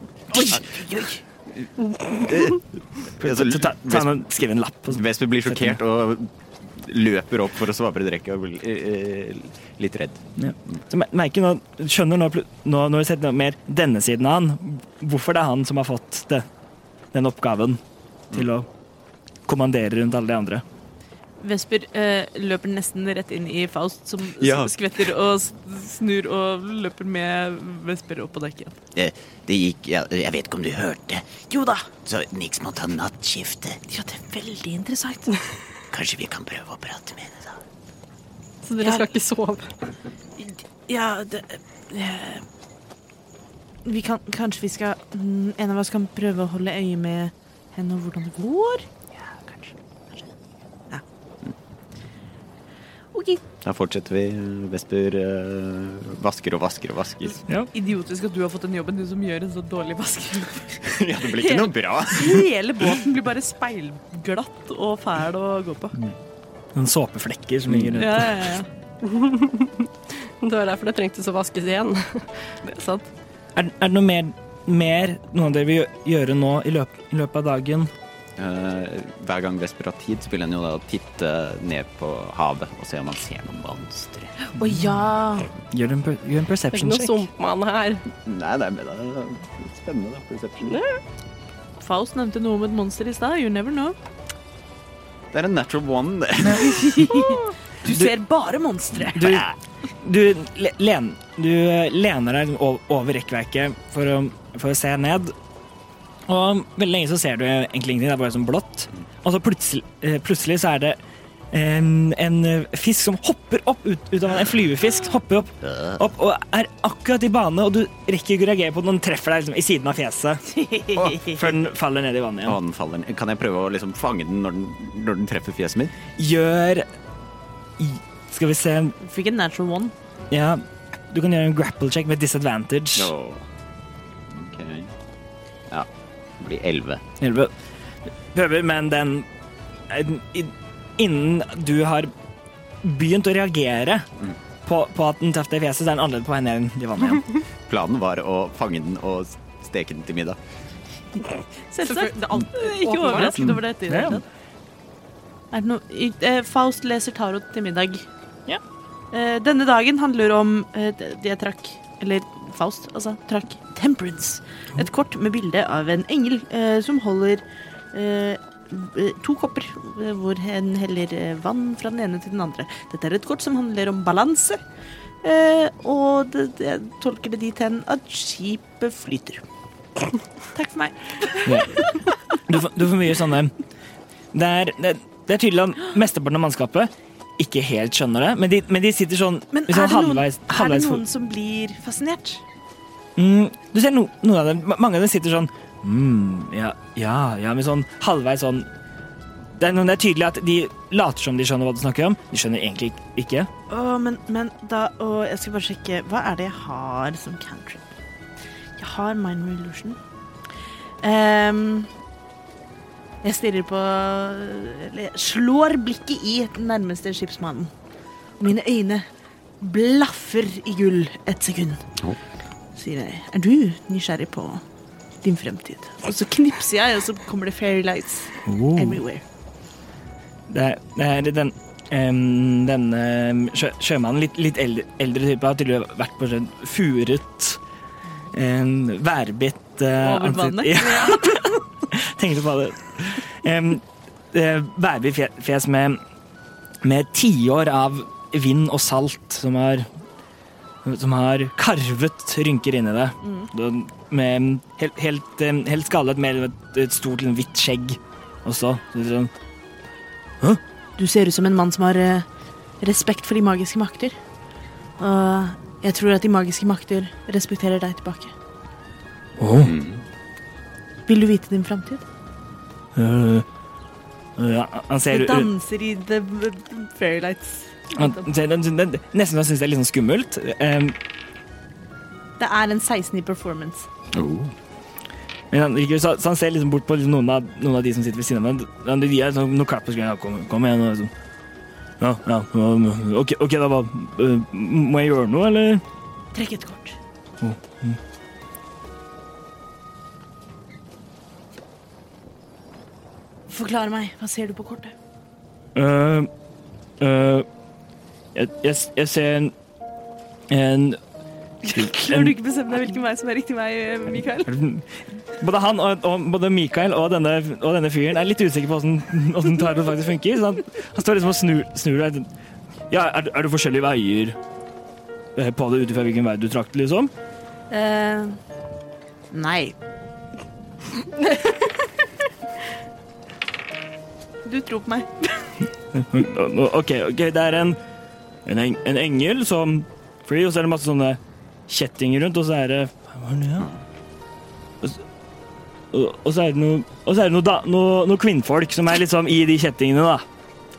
[SPEAKER 4] Altså,
[SPEAKER 3] Så ta- ta en- Skriv en lapp. og så-
[SPEAKER 4] Vesper blir sjokkert og løper opp for å svabre drekket og blir eh, litt redd.
[SPEAKER 3] Ja. Så mer- merker nå, skjønner nå, plu- nå når du setter mer denne siden av han, hvorfor det er han som har fått det, den oppgaven til å kommandere rundt alle de andre.
[SPEAKER 6] Vesper eh, løper nesten rett inn i Faust, som s-
[SPEAKER 4] Ja.
[SPEAKER 6] skvetter og s- snur og løper med Vesper opp på dekket.
[SPEAKER 8] det, Eh, det gikk ja, Jeg vet ikke om du hørte.
[SPEAKER 6] Jo da.
[SPEAKER 8] Så Nix må ta nattskiftet.
[SPEAKER 6] Ja, det er veldig interessant.
[SPEAKER 8] Kanskje vi kan prøve å prate med henne, da.
[SPEAKER 5] Så dere skal ikke sove.
[SPEAKER 6] Ja, det eh, Vi kan Kanskje vi skal mm, En av oss kan prøve å holde øye med henne og hvordan det går? Ja, kanskje. Ja. OK.
[SPEAKER 4] Da fortsetter vi. Vesper eh, vasker og vasker og vasker.
[SPEAKER 6] Idiotisk at du har fått den jobben, du som gjør en så dårlig vaskejobb.
[SPEAKER 4] Ja, det blir ikke noe bra.
[SPEAKER 6] Hele båten blir bare speilglatt og fæl å gå på.
[SPEAKER 3] Noen såpeflekker som ligger rundt.
[SPEAKER 6] Ja, ja, ja.
[SPEAKER 5] Det var derfor det trengtes å vaskes igjen.
[SPEAKER 6] Det er sant.
[SPEAKER 3] Er, er det noe mer, mer noen av dere vil gjø- gjøre nå i, løp, i løpet av dagen?
[SPEAKER 4] Eh, hver gang Vesper har tid, så vil han jo da titte ned på havet og se om han ser noen monstre.
[SPEAKER 6] Å ja!
[SPEAKER 3] Gjør en, per- gjør en
[SPEAKER 5] Det er
[SPEAKER 3] perception
[SPEAKER 5] ikke noe
[SPEAKER 3] check.
[SPEAKER 5] sumpmann her.
[SPEAKER 4] Nei, det er men det er spennende, da. Perception.
[SPEAKER 6] Faust nevnte noe om et monster i stad. You never know.
[SPEAKER 4] Det er en natural one, det.
[SPEAKER 6] Du ser bare monstre.
[SPEAKER 3] Du, du, le- len, du eh, lener deg o- over rekkverket for å, for å se ned. Og veldig lenge så ser du egentlig ingenting, det er bare sånn blått. Og så plutselig, eh, plutselig så er det en, en eh, fisk som hopper opp ut, ut av en fluefisk. Hopper opp, opp og er akkurat i bane, og du rekker ikke å reagere på den. Den treffer deg liksom i siden av fjeset
[SPEAKER 4] Å,
[SPEAKER 3] før den faller ned i vannet
[SPEAKER 4] Å,
[SPEAKER 3] igjen.
[SPEAKER 4] den faller ned. Kan jeg prøve å liksom fange den når den, når den treffer fjeset mitt?
[SPEAKER 3] Gjør i- Skal vi se
[SPEAKER 6] Fikk en natural one.
[SPEAKER 3] Ja, du kan gjøre en grapple check med disadvantage.
[SPEAKER 4] Ok. Ja. Det blir 11.
[SPEAKER 3] Hjelpe. Prøver, men den i- Innen du har begynt å reagere på, på at den traff deg i fjeset, så er den annerledes på vei ned i vannet igjen.
[SPEAKER 4] Planen var å fange den og steke den til middag.
[SPEAKER 6] Selvsagt.
[SPEAKER 5] Det er alt-
[SPEAKER 6] Ikke
[SPEAKER 5] åpenbart.
[SPEAKER 6] overrasket over dette i det
[SPEAKER 3] Ja.
[SPEAKER 6] hele tatt. Er det noe i- eh, Faust leser tarot til middag.
[SPEAKER 3] Ja.
[SPEAKER 6] Eh, denne dagen handler om eh, det det jeg trakk Eller Faust, altså. Trakk Temperance. Et kort med bilde av en engel eh, som holder eh, eh, to kopper, eh, hvor en heller eh, vann fra den ene til den andre. Dette er et kort som handler om balanse. Eh, og det, det, jeg tolker det dit hen at skipet flyter. Takk for meg.
[SPEAKER 3] Du, får- du får mye sånne Det er, det, det er tydelig at mesteparten av mannskapet ikke helt skjønner det, men de, men de sitter sånn,
[SPEAKER 6] Men
[SPEAKER 3] sånn
[SPEAKER 6] er det, noen,
[SPEAKER 3] halvveis,
[SPEAKER 6] er det
[SPEAKER 3] halvveis
[SPEAKER 6] noen som blir fascinert?
[SPEAKER 3] Mm, du ser no, noen av dem, ma- mange av dem sitter sånn mm, ja, ja, ja, men sånn halvveis sånn det er, noen- det er tydelig at de later som de skjønner hva du snakker om. De skjønner egentlig ik- ikke.
[SPEAKER 6] Å, men, men da å, Jeg skal bare sjekke. Hva er det jeg har som cantrip? Jeg har minor illusion. Ehm, jeg stirrer på Eller jeg slår blikket i den nærmeste skipsmannen. Mine øyne blaffer i gull et sekund.
[SPEAKER 4] Oh.
[SPEAKER 6] Sier jeg. Er du nysgjerrig på din fremtid? Og så knipser jeg, og så kommer det fairy lights everywhere.
[SPEAKER 3] Det er, det er den, em, denne sjø, sjømannen, litt, litt eldre, eldre type, har tydeligvis vært på sjøen. Furet. En værbitt eh,
[SPEAKER 6] Over
[SPEAKER 3] ansikt.
[SPEAKER 6] vannet?
[SPEAKER 3] Ja. Tenkte på det. Em, eh, værbitt fje- fjes med, med tiår av vind og salt som har som har karvet rynker inni det. Det- Med em, helt, helt, em, helt skallet med et, et stort liksom, hvitt skjegg også. Så det er sånn
[SPEAKER 6] Du ser ut som en mann som har eh, respekt for de magiske makter. Og jeg tror at de magiske makter respekterer deg tilbake.
[SPEAKER 3] Åh.
[SPEAKER 6] Vil du vite din framtid?
[SPEAKER 3] Øh, ja, eh, han ser
[SPEAKER 6] Du
[SPEAKER 3] ut
[SPEAKER 6] danser i the fairylights.
[SPEAKER 3] han ser- den- den- Nesten så han syns det er litt sånn skummelt. Ehm,
[SPEAKER 6] Det er en 16 i performance.
[SPEAKER 3] men han, virker- så, så han ser liksom bort på liksom noen, av, noen av de som sitter ved siden av ham. Han de gir sånn, noen klapp på skulderen. Ja, Kom, kom igjen. og Sånn. Ja, ja. ja, OK, ok, da hva øh, Må jeg gjøre noe, eller?
[SPEAKER 6] Trekk et kort. Forklar meg. Hva ser du på kortet?
[SPEAKER 3] Øh, øh, jeg, jeg, jeg ser en, en
[SPEAKER 5] Klarer du ikke bestemme deg hvilken vei som er riktig vei, Mikael?
[SPEAKER 3] Både han og, og både Mikael og denne, og denne fyren er litt usikker på hvordan, hvordan tarot faktisk funker. Så han, han står liksom og snur, snur deg. Ja, er, er det forskjellige veier eh, på det ut ifra hvilken vei du trakk, liksom?
[SPEAKER 6] Eh, nei. du tror på meg.
[SPEAKER 3] OK, ok, det er en, en, eng- en engel som flyr, og så er det masse sånne kjettinger rundt, og så er det Hva var det, ja? Og så- Og, og så er det noe, og så er det noe, da, noe, noe kvinnfolk som er liksom i de kjettingene, da.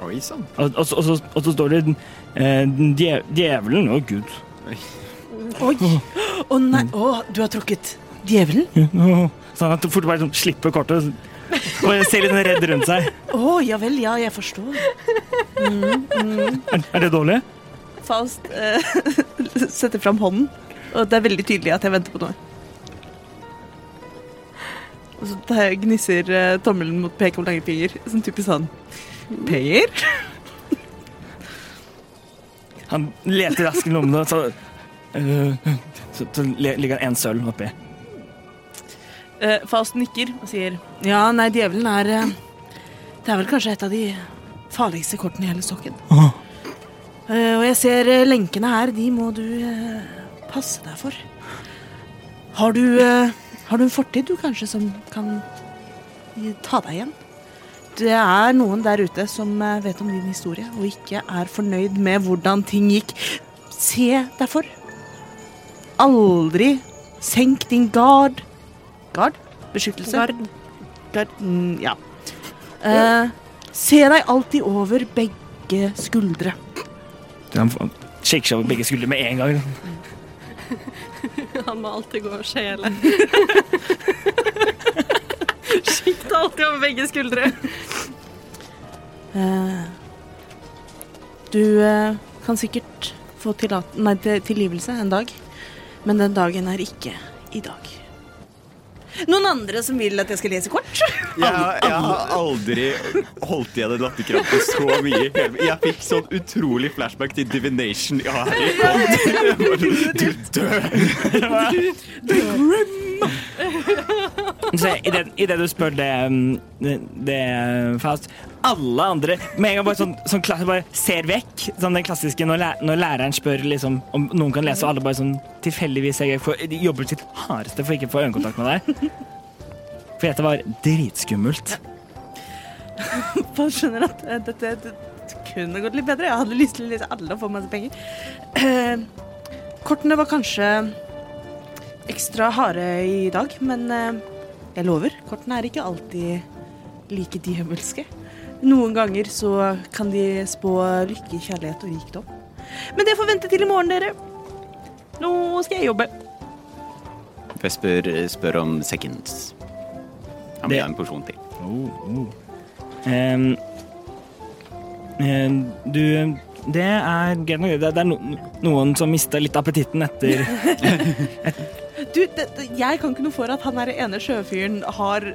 [SPEAKER 4] Oi sann.
[SPEAKER 3] Og, og, så- og, så, og så står det eh, dje, Djevelen Å, gud.
[SPEAKER 6] Oi! Å nei! Å, du har trukket djevelen?
[SPEAKER 3] Sånn at du fort bare sånn, slipper kortet og ser litt sånn redd rundt seg.
[SPEAKER 6] Å, ja vel, ja, jeg forstår.
[SPEAKER 3] Er, er det dårlig?
[SPEAKER 6] Faust eh, setter fram hånden, og det er veldig tydelig at jeg venter på noe. Og så tar jeg- gnisser eh, tommelen mot peke og langfinger, sånn typisk sånn. Penger?
[SPEAKER 3] Han leter raskt i lommene, så, eh, så, så le- ligger det en sølv oppi.
[SPEAKER 6] Eh, Eh, Faust nikker og sier Ja, nei, djevelen er eh, Det er vel kanskje et av de farligste kortene i hele stokken.
[SPEAKER 3] Åh.
[SPEAKER 6] Eh, og jeg ser eh, lenkene her, de må du eh, passe deg for. Har du, eh, har du en fortid du kanskje som kan gi- ta deg igjen? Det er noen der ute som eh, vet om din historie og ikke er fornøyd med hvordan ting gikk. Se derfor. Aldri senk din gard. Gard? Beskyttelse?
[SPEAKER 5] Gard.
[SPEAKER 6] Gard. Mm, ja. Eh, se deg alltid over begge skuldre.
[SPEAKER 3] Shake seg over begge skuldre med en gang.
[SPEAKER 5] Han må alltid gå og skjele. Sjikt alltid over begge skuldre.
[SPEAKER 6] Eh, du eh, kan sikkert få tillat- nei, til- tilgivelse en dag, men den dagen er ikke i dag. Noen andre som vil at jeg skal lese kort?
[SPEAKER 9] Jeg, jeg har aldri holdt igjen en latterkrampe så mye. i hele- Jeg fikk sånn utrolig flashback til divination. Ja, Harry, kom til- Du dør!
[SPEAKER 3] Så i det, i det du spør det, um, det, det Faust Alle andre med en gang bare sånn, sånn klasse, bare ser vekk. Sånn den klassiske når, læ- når læreren spør liksom, om noen kan lese, og alle bare sånn tilfeldigvis ser vekk. for De jobber sitt hardeste for ikke å få øyekontakt med deg. For dette var dritskummelt.
[SPEAKER 6] Jeg skjønner at eh, dette, dette kunne gått litt bedre. Jeg hadde lyst til å lese alle og få masse penger. Eh, kortene var kanskje ekstra harde i dag, men eh, jeg lover, kortene er ikke alltid like djevelske. Noen ganger så kan de spå lykke, kjærlighet og rikdom. Men det får vente til i morgen, dere. Nå skal jeg jobbe.
[SPEAKER 4] Vesper eh, spør om seconds. Han
[SPEAKER 3] Det-
[SPEAKER 4] vil ha en porsjon til.
[SPEAKER 3] Um, um, du Det er greit nok. Det, det er no, noen som mista litt appetitten etter
[SPEAKER 6] Du, det, det, jeg kan ikke noe for at han her ene sjøfyren har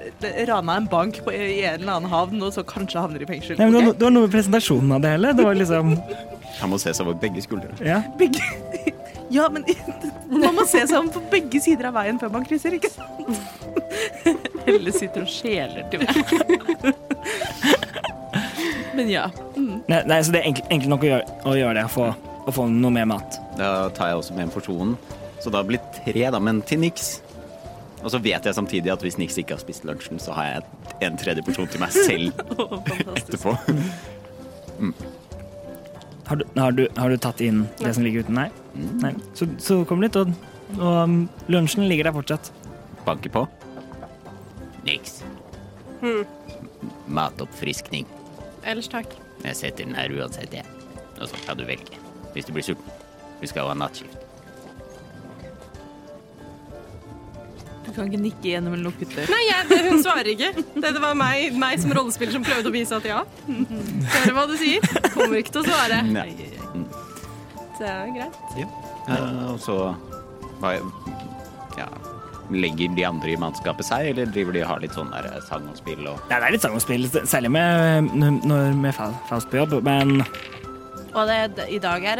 [SPEAKER 6] rana en bank på, i en eller annen havn, og så kanskje havner i fengsel.
[SPEAKER 3] Nei, men det, var
[SPEAKER 6] ok?
[SPEAKER 3] no- det var noe med presentasjonen av det hele. Det var liksom
[SPEAKER 4] Han må ses over begge skuldre.
[SPEAKER 3] Ja.
[SPEAKER 6] Begge Ja, men man må se seg om på begge sider av veien før man krysser, ikke sant?
[SPEAKER 5] Helle sitter og skjeler til meg.
[SPEAKER 6] Men ja.
[SPEAKER 3] Nei, nei, så det er enkelt, enkelt nok å gjøre, å gjøre det. Å få, å få noe mer mat.
[SPEAKER 4] Da tar jeg også med en porsjon. Så da blir tre, da, men til niks. Og så vet jeg samtidig at hvis Nix ikke har spist lunsjen, så har jeg en tredje porsjon til meg selv etterpå.
[SPEAKER 3] Har du, har du, har du tatt inn det som ligger uten? Nei. nei. Så, så kom litt, og, og um, lunsjen ligger der fortsatt.
[SPEAKER 4] Banker på.
[SPEAKER 8] Niks. Matoppfriskning.
[SPEAKER 5] Ellers takk.
[SPEAKER 8] Jeg setter den her uansett, jeg. Og så kan du velge. Hvis du blir sulten. Vi skal jo ha nattskift.
[SPEAKER 6] Du kan ikke nikke gjennom en lukket dør.
[SPEAKER 5] Nei, jeg, det, hun svarer ikke. Det, det var meg, meg som rollespiller som prøvde å vise at ja. Hører hva du sier. Kommer ikke til å svare.
[SPEAKER 4] Nei.
[SPEAKER 5] Det er greit.
[SPEAKER 4] Eh, og så hva, ja, Legger de andre i mannskapet seg, eller driver de og har litt sånn der sang og spill og
[SPEAKER 3] Nei, det er litt sang å spille, særlig med, når, med Fa- Faust på jobb, men
[SPEAKER 6] Og det, i dag er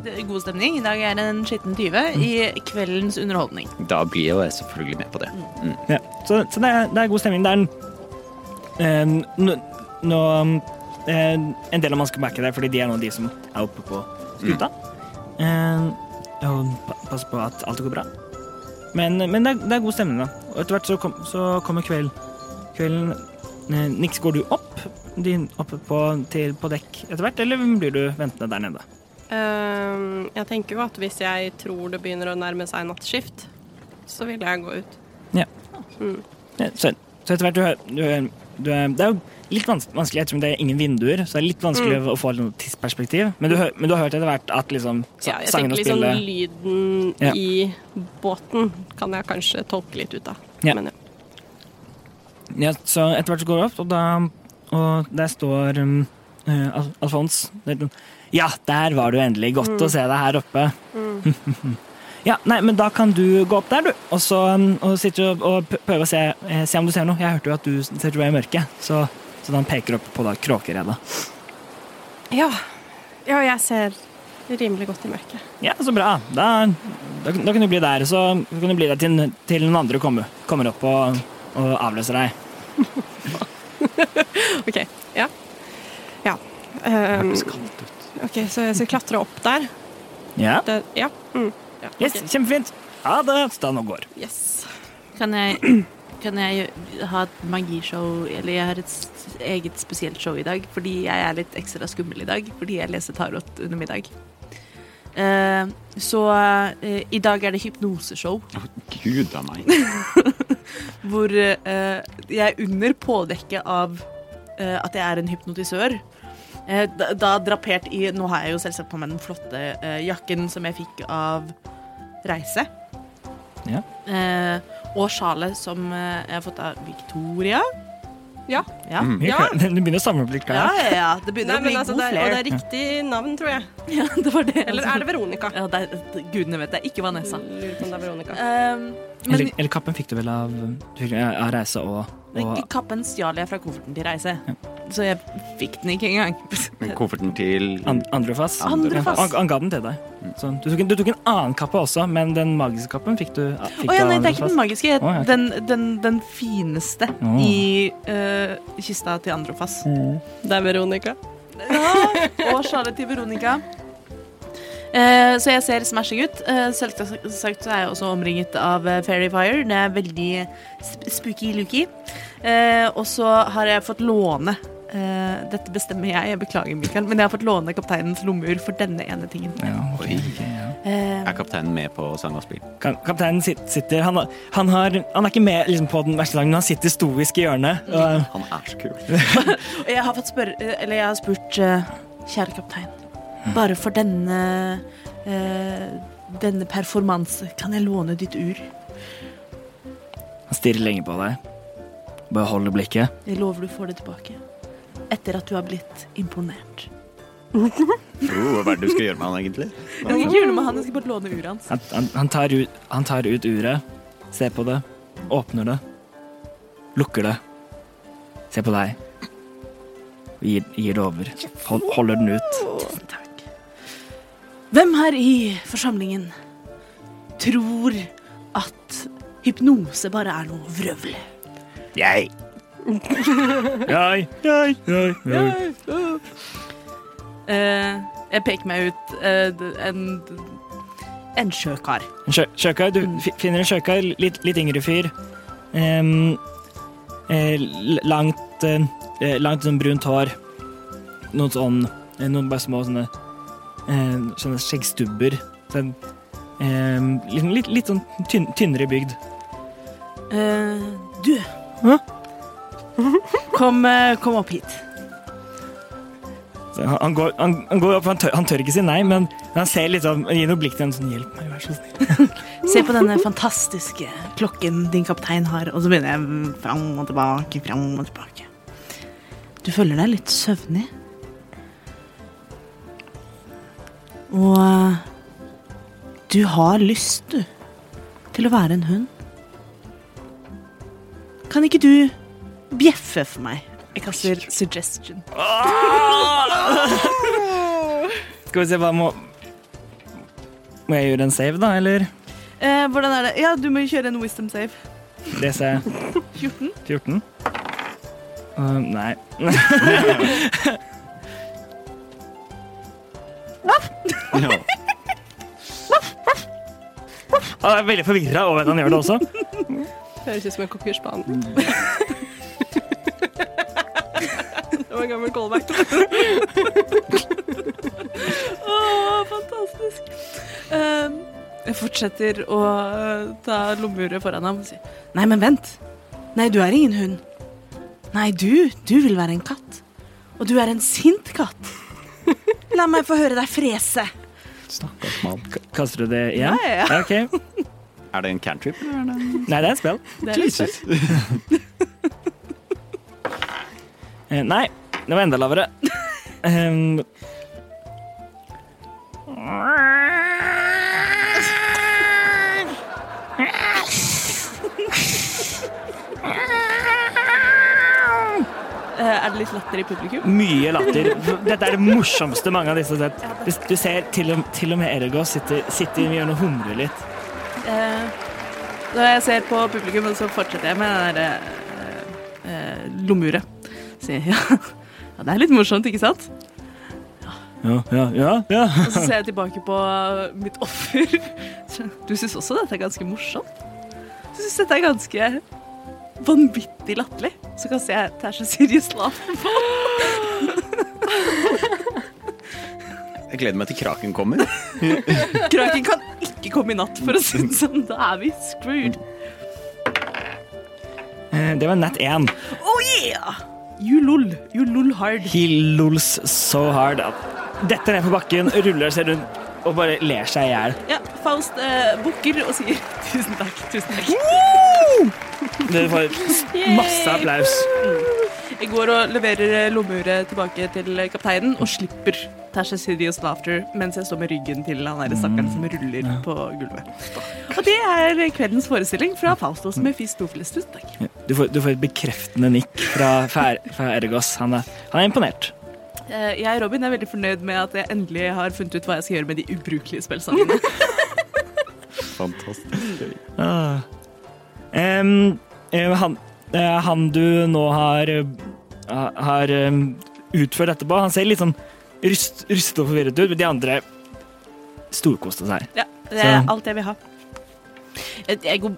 [SPEAKER 6] det god stemning. I dag er det en skitten tyve i kveldens underholdning.
[SPEAKER 4] Da blir jo jeg selvfølgelig med på det. Mm.
[SPEAKER 3] ja. Så, så det, er, det er god stemning. Det er en eh, nå- nå, eh, En del av man skal merke det, fordi de er nå de som er oppe på skuta. Eh, og pa- passe på at alt går bra. Men, men det, er, det er god stemning, da. Og etter hvert så, kom, så kommer kveld. kvelden. Eh, Niks, går du opp? Din, oppe på, til, på dekk etter hvert, eller blir du ventende der nede?
[SPEAKER 5] Ehm, jeg tenker jo at hvis jeg tror det begynner å nærme seg nattskift, så vil jeg gå ut.
[SPEAKER 3] Ja, Så, så etter hvert du, hø- du, hø- du hø- Det er jo litt vans vanskelig ettersom det er ingen vinduer, så det er litt vanskelig
[SPEAKER 5] Mm.
[SPEAKER 3] å få noe tidsperspektiv. Men du, hø- men du har hørt etter hvert at liksom sa-
[SPEAKER 5] Ja, jeg
[SPEAKER 3] sangene
[SPEAKER 5] tenker
[SPEAKER 3] og
[SPEAKER 5] liksom
[SPEAKER 3] spillet
[SPEAKER 5] lyden
[SPEAKER 3] Ja.
[SPEAKER 5] i båten kan jeg kanskje tolke litt ut av.
[SPEAKER 3] Ja.
[SPEAKER 5] Men ja.
[SPEAKER 3] ja, Så etter hvert så går det opp, og, da, og der står um, eh, Al Alfons Det er- sånn, Ja, der var du endelig.
[SPEAKER 5] Mm.
[SPEAKER 3] Godt å se deg her oppe. ja, nei, men da kan du gå opp der, du. Og så um, og sitter du og- og p- prøver å se, eh, se om du ser noe. Jeg hørte jo at du ser du er i mørket, så, så han peker opp på da Kråkeredet.
[SPEAKER 5] Ja. ja, jeg ser rimelig godt i mørket.
[SPEAKER 3] Ja, så bra. Da, da, da kan du bli der, så kan du bli der til, til noen andre kommer, kommer opp og, og avløser deg.
[SPEAKER 5] OK. Ja. Ja. Ehm, OK, så jeg skal klatre opp der.
[SPEAKER 3] Ja,
[SPEAKER 5] Det, ja. Mm. ja.
[SPEAKER 3] yes,
[SPEAKER 5] ok.
[SPEAKER 3] kjempefint. Ha det. Stan og går.
[SPEAKER 5] yes.
[SPEAKER 6] Kan jeg, kan jeg ha et magishow, eller jeg har et s- eget spesielt show i dag, fordi jeg er litt ekstra skummel i dag, fordi jeg leser tarot under middag. Eh, så eh, i dag er det hypnoseshow,
[SPEAKER 9] Gud a meg.
[SPEAKER 6] hvor eh, jeg under pådekket av eh, at jeg er en hypnotisør, eh, da, da drapert i Nå har jeg jo selvsagt på meg den flotte eh, jakken som jeg fikk av Reise.
[SPEAKER 3] Ja.
[SPEAKER 6] Eh, og sjalet som eh, jeg har fått av Victoria.
[SPEAKER 5] Ja.
[SPEAKER 6] Ja,
[SPEAKER 3] Mm.
[SPEAKER 5] Ja.
[SPEAKER 3] Du begynner å samle opp litt
[SPEAKER 6] ja,
[SPEAKER 3] klær.
[SPEAKER 6] ja, ja. Det
[SPEAKER 5] Nei,
[SPEAKER 6] begynner
[SPEAKER 5] men
[SPEAKER 6] å bli
[SPEAKER 5] altså,
[SPEAKER 6] god
[SPEAKER 5] det er, og
[SPEAKER 6] flair.
[SPEAKER 5] det er riktig navn, tror jeg.
[SPEAKER 6] ja, det var det.
[SPEAKER 5] Eller er det Mm. Veronica? Altså.
[SPEAKER 6] ja, det er, det- Gudene vet det er ikke Vanessa.
[SPEAKER 5] Lurer på om det er Veronica.
[SPEAKER 6] Um, men
[SPEAKER 3] Eller, eller kappen fikk du vel av, du fikk, av reise og, og
[SPEAKER 6] kappen stjal jeg fra kofferten til Reise, så jeg fikk den ikke engang.
[SPEAKER 9] Men kofferten til
[SPEAKER 3] an, Andrefas?
[SPEAKER 9] Andrefoss.
[SPEAKER 3] Ja, han, han ga den til deg. Så, du, tok en, du tok en annen kappe også, men den magiske kappen fikk du ja, fikk
[SPEAKER 6] Å ja,
[SPEAKER 3] du av
[SPEAKER 6] nei, det er ikke
[SPEAKER 3] Andrefoss.
[SPEAKER 6] den magiske.
[SPEAKER 3] Å, ja, ok.
[SPEAKER 6] Den, den, den fineste
[SPEAKER 3] Å. Mm.
[SPEAKER 6] i eh, kista til Androfas.
[SPEAKER 5] Det er Veronica.
[SPEAKER 6] Ja, og Charlotte til Veronica. Eh, så jeg ser smashing ut. Eh, selvsagt sagt så er jeg også omringet av eh, Fairy Fire. Det er veldig sp spooky looky. Eh, og så har jeg fått låne eh, Dette bestemmer jeg, jeg beklager, Mikael, men jeg har fått låne kapteinens lommeur for denne ene tingen.
[SPEAKER 3] Ja, ok,
[SPEAKER 8] Oi.
[SPEAKER 3] ok, ja.
[SPEAKER 6] Eh,
[SPEAKER 8] Er kapteinen med på sang og spill?
[SPEAKER 3] Kap- Kapteinen sit- sitter han, har- han, har, han er ikke med liksom, på den verste dagen, men han sitter stoisk i hjørnet. Og,
[SPEAKER 8] Han er så kul.
[SPEAKER 6] og jeg har fått spørre eh, Eller jeg har spurt eh, Kjære kaptein, bare for denne eh, Denne performance, kan jeg låne ditt ur?
[SPEAKER 3] Han stirrer lenge på deg. Bare holder blikket.
[SPEAKER 6] Jeg lover du får det tilbake. Etter at du har blitt imponert.
[SPEAKER 8] Oh, hva er det du skal gjøre med han, egentlig?
[SPEAKER 6] Jeg skal ikke gjøre noe med han, jeg skal bare låne uret hans.
[SPEAKER 3] Han, han, han, tar ut, han tar ut uret, ser på det, åpner det, lukker det, ser på deg og gir, gir det over. Hold, holder den ut.
[SPEAKER 6] Tusen takk. Hvem her i forsamlingen tror at hypnose bare er noe vrøvl?
[SPEAKER 8] Jeg.
[SPEAKER 3] Jai, jai, jai, jai.
[SPEAKER 6] Eh, jeg peker meg ut eh, en, en sjøkar.
[SPEAKER 3] En sjø- Sjøkar, du fi- finner en sjøkar, litt, litt yngre fyr. Em, eh, l- langt eh, eh, langt sånn brunt hår. Noen sånn eh, Noen bare små sånne eh, Sånne skjeggstubber. Sånn, em, litt, litt, litt sånn tynn, tynnere bygd.
[SPEAKER 6] Eh, du.
[SPEAKER 3] Hæ?
[SPEAKER 6] Kom, eh, kom opp hit.
[SPEAKER 3] Så han, han, går, han, han går opp, han tør, han tør ikke si nei, men han ser litt sånn Gir noe blikk til en sånn Hjelp meg, vær så snill.
[SPEAKER 6] Se på denne fantastiske klokken din kaptein har. Og så begynner jeg fram og tilbake, fram og tilbake. Du føler deg litt søvnig. Og eh, du har lyst, du, til å være en hund. Kan ikke du bjeffe for meg? Jeg kaster suggestion.
[SPEAKER 3] Skal vi se hva må Må jeg gjøre en save, da, eller?
[SPEAKER 6] Eh, hvordan er det? Ja, du må jo kjøre en wisdom save.
[SPEAKER 3] DC
[SPEAKER 6] 14.
[SPEAKER 3] 14? Uh, nei.
[SPEAKER 9] ja.
[SPEAKER 3] Han Ah, er veldig forvirra over at han gjør det også.
[SPEAKER 5] Høres ut som en kokkerspan.
[SPEAKER 3] Mm.
[SPEAKER 5] det var en gammel callback.
[SPEAKER 6] Åh, fantastisk. Ehm, jeg fortsetter å eh, ta lommeuret foran ham og si Nei, men vent. Nei, du er ingen hund. Nei, du, du vil være en katt. Og du er en sint katt. La meg få høre deg frese.
[SPEAKER 9] Stakkars mann.
[SPEAKER 3] K- Kaster du det igjen?
[SPEAKER 6] Ja, ja, ja.
[SPEAKER 3] Ok.
[SPEAKER 9] Er det en cantrip?
[SPEAKER 3] Nei, det er et spill.
[SPEAKER 9] Jesus.
[SPEAKER 3] Eh, nei, det var enda lavere. Um,
[SPEAKER 6] Eh, Er det litt latter i publikum?
[SPEAKER 3] Mye latter. Dette er det morsomste mange av disse har sett. Du- Du ser til og, til og med Ergos sitter, sitter i hjørnet og humrer litt.
[SPEAKER 6] Eh, Når jeg ser på publikum, så fortsetter jeg med det der eh, eh, lommeuret. Sier ja. ja, det er litt morsomt, ikke sant?
[SPEAKER 3] Ja, ja, ja. ja.
[SPEAKER 6] Og så ser jeg tilbake på mitt offer. Du syns også dette er ganske morsomt? Du syns dette er ganske vanvittig latterlig? Så kan jeg se at det er så serious laugh.
[SPEAKER 4] Jeg gleder meg til kraken kommer.
[SPEAKER 6] Kraken kan ikke komme i natt, for å si det sånn. Da er vi screwed.
[SPEAKER 3] Eh, Det var nett én.
[SPEAKER 6] Oh yeah! You lol. You lol hard.
[SPEAKER 3] He lols so hard. Detter ned på bakken, ruller seg rundt og bare ler seg i hjel.
[SPEAKER 6] Ja, Faust eh, bukker og sier tusen takk, tusen takk.
[SPEAKER 3] Dere får masse applaus.
[SPEAKER 6] Jeg går og leverer eh, lommeuret tilbake til eh, kapteinen og slipper Tasha Serious Laughter mens jeg står med ryggen til han der stakkaren som ruller på gulvet. Og det er kveldens forestilling fra Faustos Mephistopheles. Tusen takk.
[SPEAKER 3] Du får, du får et bekreftende nikk fra, Fer- fra Ergos. Han er, han er imponert.
[SPEAKER 6] Eh, Jeg Robin, er veldig fornøyd med at jeg endelig har funnet ut hva jeg skal gjøre med de ubrukelige spillsangene.
[SPEAKER 9] Fantastisk gøy.
[SPEAKER 3] Ah. Em, eh, han, eh, han du nå har, eh, har em, utført etterpå, han ser litt sånn ryst, rystet og forvirret ut, men de andre storkoste seg.
[SPEAKER 6] Ja, det er
[SPEAKER 3] Så-
[SPEAKER 6] alt jeg vil ha. Jeg, jeg går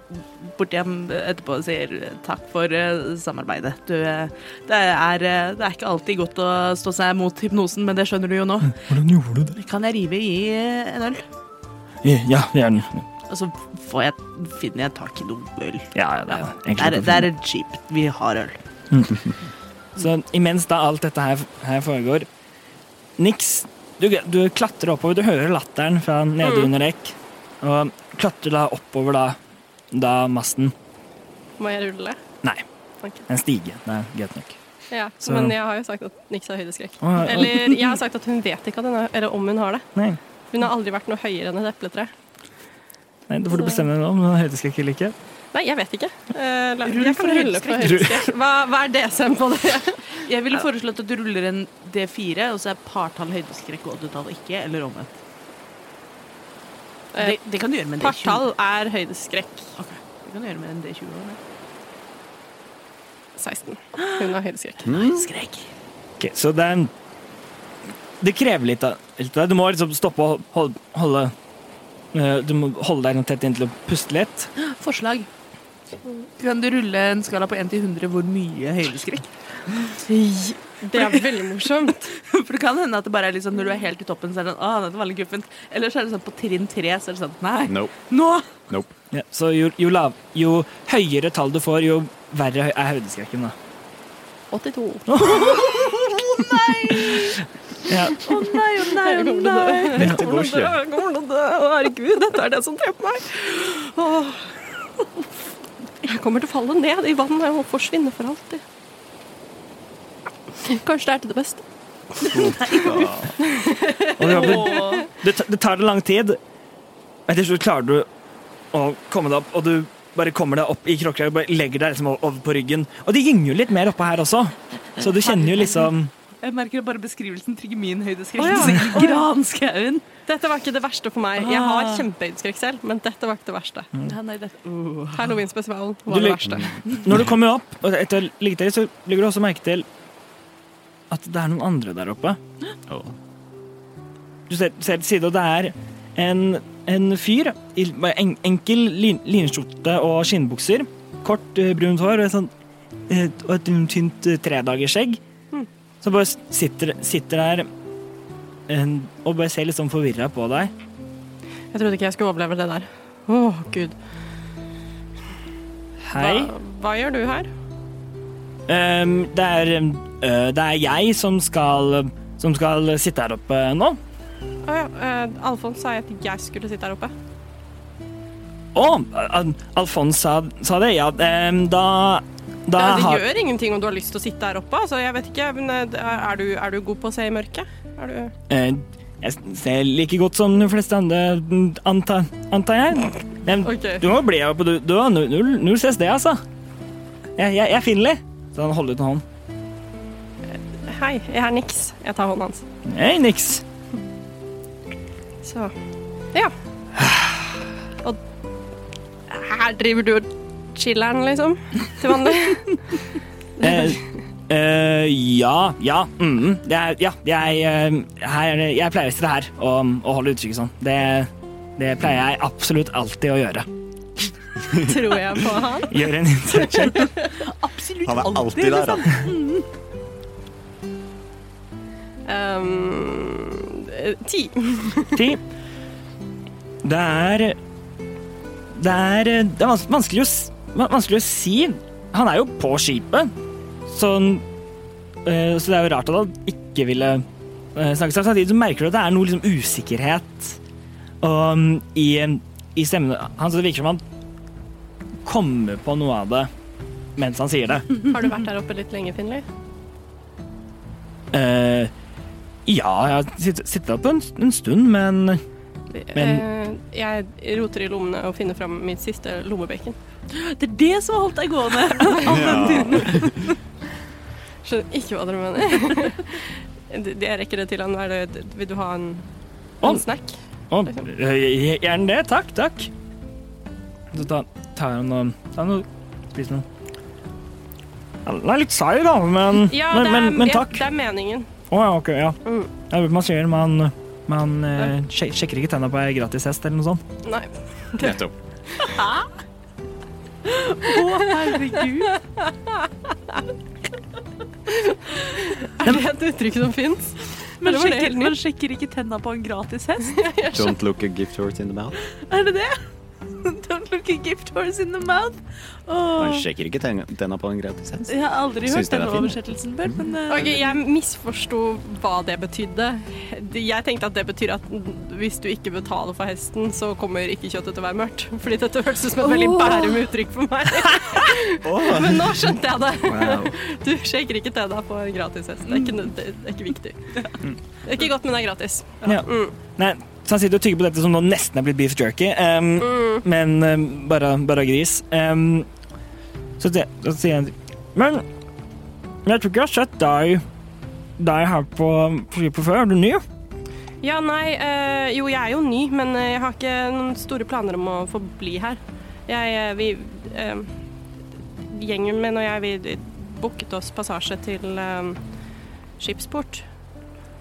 [SPEAKER 6] bort hjem etterpå og sier takk for eh, samarbeidet. Du, eh, det, er, eh, det er ikke alltid godt å stå seg mot hypnosen, men det skjønner du jo nå.
[SPEAKER 3] Hvordan gjorde du det?
[SPEAKER 6] Kan jeg rive i eh, en øl?
[SPEAKER 3] Ja, gjerne.
[SPEAKER 6] Og så får jeg, finner jeg tak i noe øl.
[SPEAKER 3] Ja, ja, det er egentlig
[SPEAKER 6] Det er,
[SPEAKER 3] ikke
[SPEAKER 6] det er cheap. Vi har øl.
[SPEAKER 3] Så imens da alt dette her, her foregår Niks du, du klatrer oppover, du hører latteren fra nede under dekk. Og klatrer da oppover da, da masten.
[SPEAKER 5] Må jeg rulle?
[SPEAKER 3] Nei,
[SPEAKER 5] Ok.
[SPEAKER 3] en stige. Det er greit nok.
[SPEAKER 5] Ja,
[SPEAKER 3] Så-
[SPEAKER 5] men jeg har jo sagt at Nix har høydeskrekk.
[SPEAKER 3] Å, ja.
[SPEAKER 5] Eller jeg har sagt at hun vet ikke at hun har, eller om hun har det.
[SPEAKER 3] Nei,
[SPEAKER 5] Hun har aldri vært noe høyere enn et epletre.
[SPEAKER 3] nei Da får du bestemme deg om du har høydeskrekk eller ikke.
[SPEAKER 5] Nei, jeg vet ikke. Eh, la-
[SPEAKER 6] Rull
[SPEAKER 5] jeg
[SPEAKER 6] for
[SPEAKER 5] kan rulle for høydeskrekk. Hva, hva er DSM på det?
[SPEAKER 6] Jeg ville foreslått at du ruller en D4, og så er partall høydeskrekk og oddetall ikke, eller omvendt.
[SPEAKER 5] Eh,
[SPEAKER 6] Det, det kan du gjøre med en D20.
[SPEAKER 5] Partall Eh, er høydeskrekk.
[SPEAKER 6] Det kan du gjøre med en D20 også, ja.
[SPEAKER 5] 16. Hun har høydeskrekk.
[SPEAKER 3] Mm.
[SPEAKER 6] Skrekk.
[SPEAKER 3] Ok, så det er Det krever litt av litt av deg. Du må liksom stoppe og hold- holde eh, Du må holde deg tett inntil og puste litt.
[SPEAKER 6] Forslag. Kan du rulle en skala på 1 til 100 hvor mye høydeskrekk?
[SPEAKER 5] Det er veldig morsomt.
[SPEAKER 6] For det kan hende at det bare er liksom når du er helt i toppen, så er det sånn Å, dette var litt guffent. Eller så er det sånn på trinn 3, så er det sånn Nei,
[SPEAKER 9] Nope.
[SPEAKER 6] nå!
[SPEAKER 9] Nope.
[SPEAKER 3] Ja, så jo, jo, lav, jo høyere tall du får, jo verre hø- er høydeskrekken, da.
[SPEAKER 5] 82.
[SPEAKER 3] Ja,
[SPEAKER 6] Å nei, å nei, å nei.
[SPEAKER 9] Dette går
[SPEAKER 5] Hvordan
[SPEAKER 9] ikke.
[SPEAKER 5] dø? Hvordan dø? Å, Herregud, dette er det som dreper meg. Åh. Jeg kommer til å falle ned i vann og forsvinne for alltid. Kanskje det er til det beste.
[SPEAKER 3] og Robin, det, ta- det tar det lang tid. Men til slutt klarer du å komme deg opp, og du bare kommer deg opp i kråkelaget og bare legger deg liksom over på ryggen. Og det gynger jo litt mer oppå her også, så du kjenner jo liksom
[SPEAKER 6] Jeg merker at bare beskrivelsen trigger min høydeskrekk.
[SPEAKER 5] Å, ja.
[SPEAKER 6] Så i Sånn Granskauen.
[SPEAKER 5] Dette var ikke det verste for meg. Jeg har kjempehøydeskrekk selv, men dette var ikke det verste.
[SPEAKER 6] Ja, nei, det Åh.
[SPEAKER 5] Halloween-spesialen
[SPEAKER 3] Du
[SPEAKER 5] var det
[SPEAKER 3] lik-
[SPEAKER 5] verste.
[SPEAKER 3] Når du kommer opp, og etter å ha ligget der, så legger du også merke til at det er noen andre der oppe. Du ser, ser til side, og det er en, en fyr i med en, enkel lin, linskjorte og skinnbukser. Kort, eh, brunt hår og et, sånt, eh, og et tynt eh, tredagersskjegg.
[SPEAKER 5] Hmm.
[SPEAKER 3] Som bare s- sitter, sitter der en, og bare ser litt sånn forvirra på deg.
[SPEAKER 5] Jeg trodde ikke jeg skulle overleve det der. Åh, gud. Hva,
[SPEAKER 3] Hei.
[SPEAKER 5] hva gjør du her?
[SPEAKER 3] Ehm, det, er, ehm, øh, det er jeg som skal, som skal sitte her oppe nå.
[SPEAKER 5] Å ja, eh, Alfons sa at jeg skulle sitte her oppe.
[SPEAKER 3] Å, Al- Alfons sa, sa det, ja. ehm, da da
[SPEAKER 5] Ja, det
[SPEAKER 3] har
[SPEAKER 5] gjør ingenting om du har lyst til å sitte her oppe. Altså, jeg vet ikke, men eh, er du, er du god på å se i mørket? Er du...
[SPEAKER 3] Eh, Jeg ser like godt som de fleste andre, antar, antar jeg. Men
[SPEAKER 5] Ok.
[SPEAKER 3] du må bli her oppe, du. Du har null, null CSD, altså. Jeg, jeg, jeg finner det. Så han holder ut en hånd.
[SPEAKER 5] hei, jeg er Nix. Jeg tar hånden hans.
[SPEAKER 3] Hei, Nix.
[SPEAKER 5] Så ja. Og her driver du og chiller'n, liksom? Til vanlig?
[SPEAKER 3] Eh, eh, ja, ja, mm, det er, ja jeg, eh, her, er det- jeg pleier å sitte her og, og holde utkikk sånn. Det, det pleier jeg absolutt alltid å gjøre.
[SPEAKER 5] Tror jeg på han.
[SPEAKER 3] Gjøre en innsats.
[SPEAKER 6] Absolutt liksom.
[SPEAKER 9] Han er alltid der,
[SPEAKER 5] liksom.
[SPEAKER 9] han.
[SPEAKER 5] Ehm, eh, ti.
[SPEAKER 3] Ti. Det er Det er, det er vans- vanskelig, å, s- va- vanskelig å si. Han er jo på skipet, sånn, eh, så det er jo rart at han ikke ville eh, snakke sammen. Samtidig så merker du at det er noe liksom usikkerhet og, mm, i, i stemmen hans. så Det virker som han kommer på noe av det mens han sier det.
[SPEAKER 5] Har du vært der oppe litt lenge, Finley?
[SPEAKER 3] Eh, ja, jeg har sitt- sittet oppe en, en stund, men Men-
[SPEAKER 5] Eh, jeg roter i lommene og finner fram mitt siste lommebekken.
[SPEAKER 6] Det er det som har holdt deg gående.
[SPEAKER 5] Skjønner ikke hva dere mener. Det- det- Jeg rekker det til han. Er det, vil du ha en,
[SPEAKER 3] Å,
[SPEAKER 5] en snack?
[SPEAKER 3] Å, eh, gjerne det. Takk, takk. Så ta- tar han og tar han og spiser noe. Den er litt seig, da, men,
[SPEAKER 5] Ja,
[SPEAKER 3] men,
[SPEAKER 5] det, er,
[SPEAKER 3] men, men
[SPEAKER 5] ja,
[SPEAKER 3] takk.
[SPEAKER 5] det er meningen.
[SPEAKER 3] Å ja, OK. Ja.
[SPEAKER 5] Mm.
[SPEAKER 3] Jeg vet man sier man, man eh, sjek- sjekker ikke tenna på ei gratis hest eller noe sånt.
[SPEAKER 5] Nei.
[SPEAKER 9] Nettopp.
[SPEAKER 5] Er det et uttrykk som fins?
[SPEAKER 6] Man
[SPEAKER 5] Eller var det
[SPEAKER 6] sjekker,
[SPEAKER 5] helt nytt?
[SPEAKER 6] man sjekker ikke tenna på en gratis hest.
[SPEAKER 9] Don't look a gift horse in the mouth.
[SPEAKER 6] Er det det? Don't look a gift horse in the mouth. Åh.
[SPEAKER 9] Man sjekker ikke ten- tenna på en gratis hest.
[SPEAKER 6] Jeg har aldri
[SPEAKER 9] Syns
[SPEAKER 6] hørt
[SPEAKER 9] den er
[SPEAKER 6] denne
[SPEAKER 9] fin.
[SPEAKER 6] oversettelsen før, men eh,
[SPEAKER 5] Ok, Jeg misforsto hva det betydde. Det- Jeg tenkte at det betyr at hvis du ikke betaler for hesten, så kommer ikke kjøttet til å være mørkt. Fordi dette hørtes ut som et veldig bærum uttrykk for meg. Men nå skjønte jeg det.
[SPEAKER 9] Wow.
[SPEAKER 5] Du shaker ikke til deg på en gratis hest. Det er ikke, nød- det er ikke viktig. Det er ikke godt, men det er gratis. Mm,
[SPEAKER 3] Ja. Nei, så han sitter og tygger på dette som nå nesten er blitt beef jerky, ehm,
[SPEAKER 5] mm.
[SPEAKER 3] men ehm, bare, bare gris. Ehm, så, det, så sier han Men jeg tror ikke jeg har sett deg, deg her på, på skipet før. Er du ny?
[SPEAKER 5] Ja, nei eh, Jo, jeg er jo ny, men eh, jeg har ikke noen store planer om å få bli her. Jeg eh, Vi eh, Gjengen min og jeg, vi booket oss passasje til eh, Skipsport.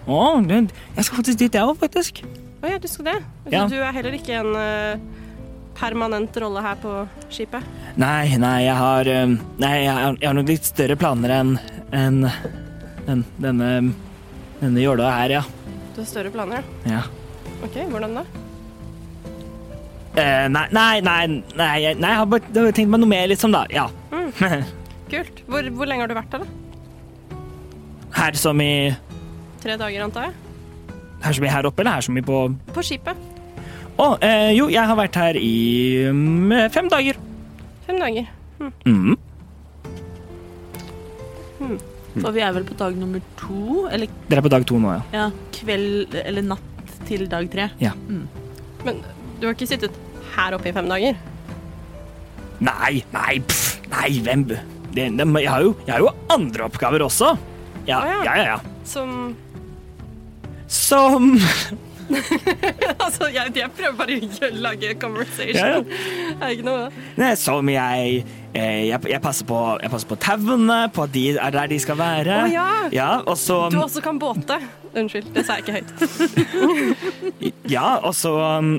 [SPEAKER 3] Å, det, jeg skal faktisk dit, jeg òg, faktisk.
[SPEAKER 5] Å ja, du skal det? Så
[SPEAKER 3] Ja.
[SPEAKER 5] du er heller ikke en eh, permanent rolle her på skipet?
[SPEAKER 3] Nei, nei, jeg har eh, Nei, jeg har, jeg har nok litt større planer enn enn enn denne denne jåla her, ja.
[SPEAKER 5] Du har større planer, ja.
[SPEAKER 3] ja.
[SPEAKER 5] OK, hvordan da?
[SPEAKER 3] Eh, nei, nei, nei, nei, jeg- nei, jeg har bare jeg har tenkt meg noe mer, liksom, da. Ja.
[SPEAKER 5] Kult. Hvor, hvor lenge har du vært her, da?
[SPEAKER 3] Her som i
[SPEAKER 5] Tre dager, antar jeg?
[SPEAKER 3] Her som i her oppe, eller her som i på Å,
[SPEAKER 5] På skipet.
[SPEAKER 3] eh, jo, jeg har vært her i mm, fem dager.
[SPEAKER 5] Fem dager.
[SPEAKER 3] Mm.
[SPEAKER 6] for vi er vel på dag nummer to, eller
[SPEAKER 3] Dere er på dag to nå, ja.
[SPEAKER 6] ja, kveld eller natt til dag tre.
[SPEAKER 5] Men du har ikke sittet her oppe i fem dager?
[SPEAKER 3] Nei, nei, pff, nei, hvem det, det, jeg, har jo, jeg har jo andre oppgaver også. Ja,
[SPEAKER 5] Å, ja.
[SPEAKER 3] ja, ja. mm, ja.
[SPEAKER 5] Som
[SPEAKER 3] Som
[SPEAKER 5] Altså, jeg, jeg prøver bare å gjø- lage conversation.
[SPEAKER 3] Ja, ja.
[SPEAKER 5] Det er ikke noe
[SPEAKER 3] Nei, Som jeg eh, jeg, jeg, passer på, jeg passer på tauene, på at de er der de skal være.
[SPEAKER 5] Å, ja.
[SPEAKER 3] og så
[SPEAKER 5] Du også kan båte. Unnskyld, det sa jeg ikke høyt.
[SPEAKER 3] Ja, og så um,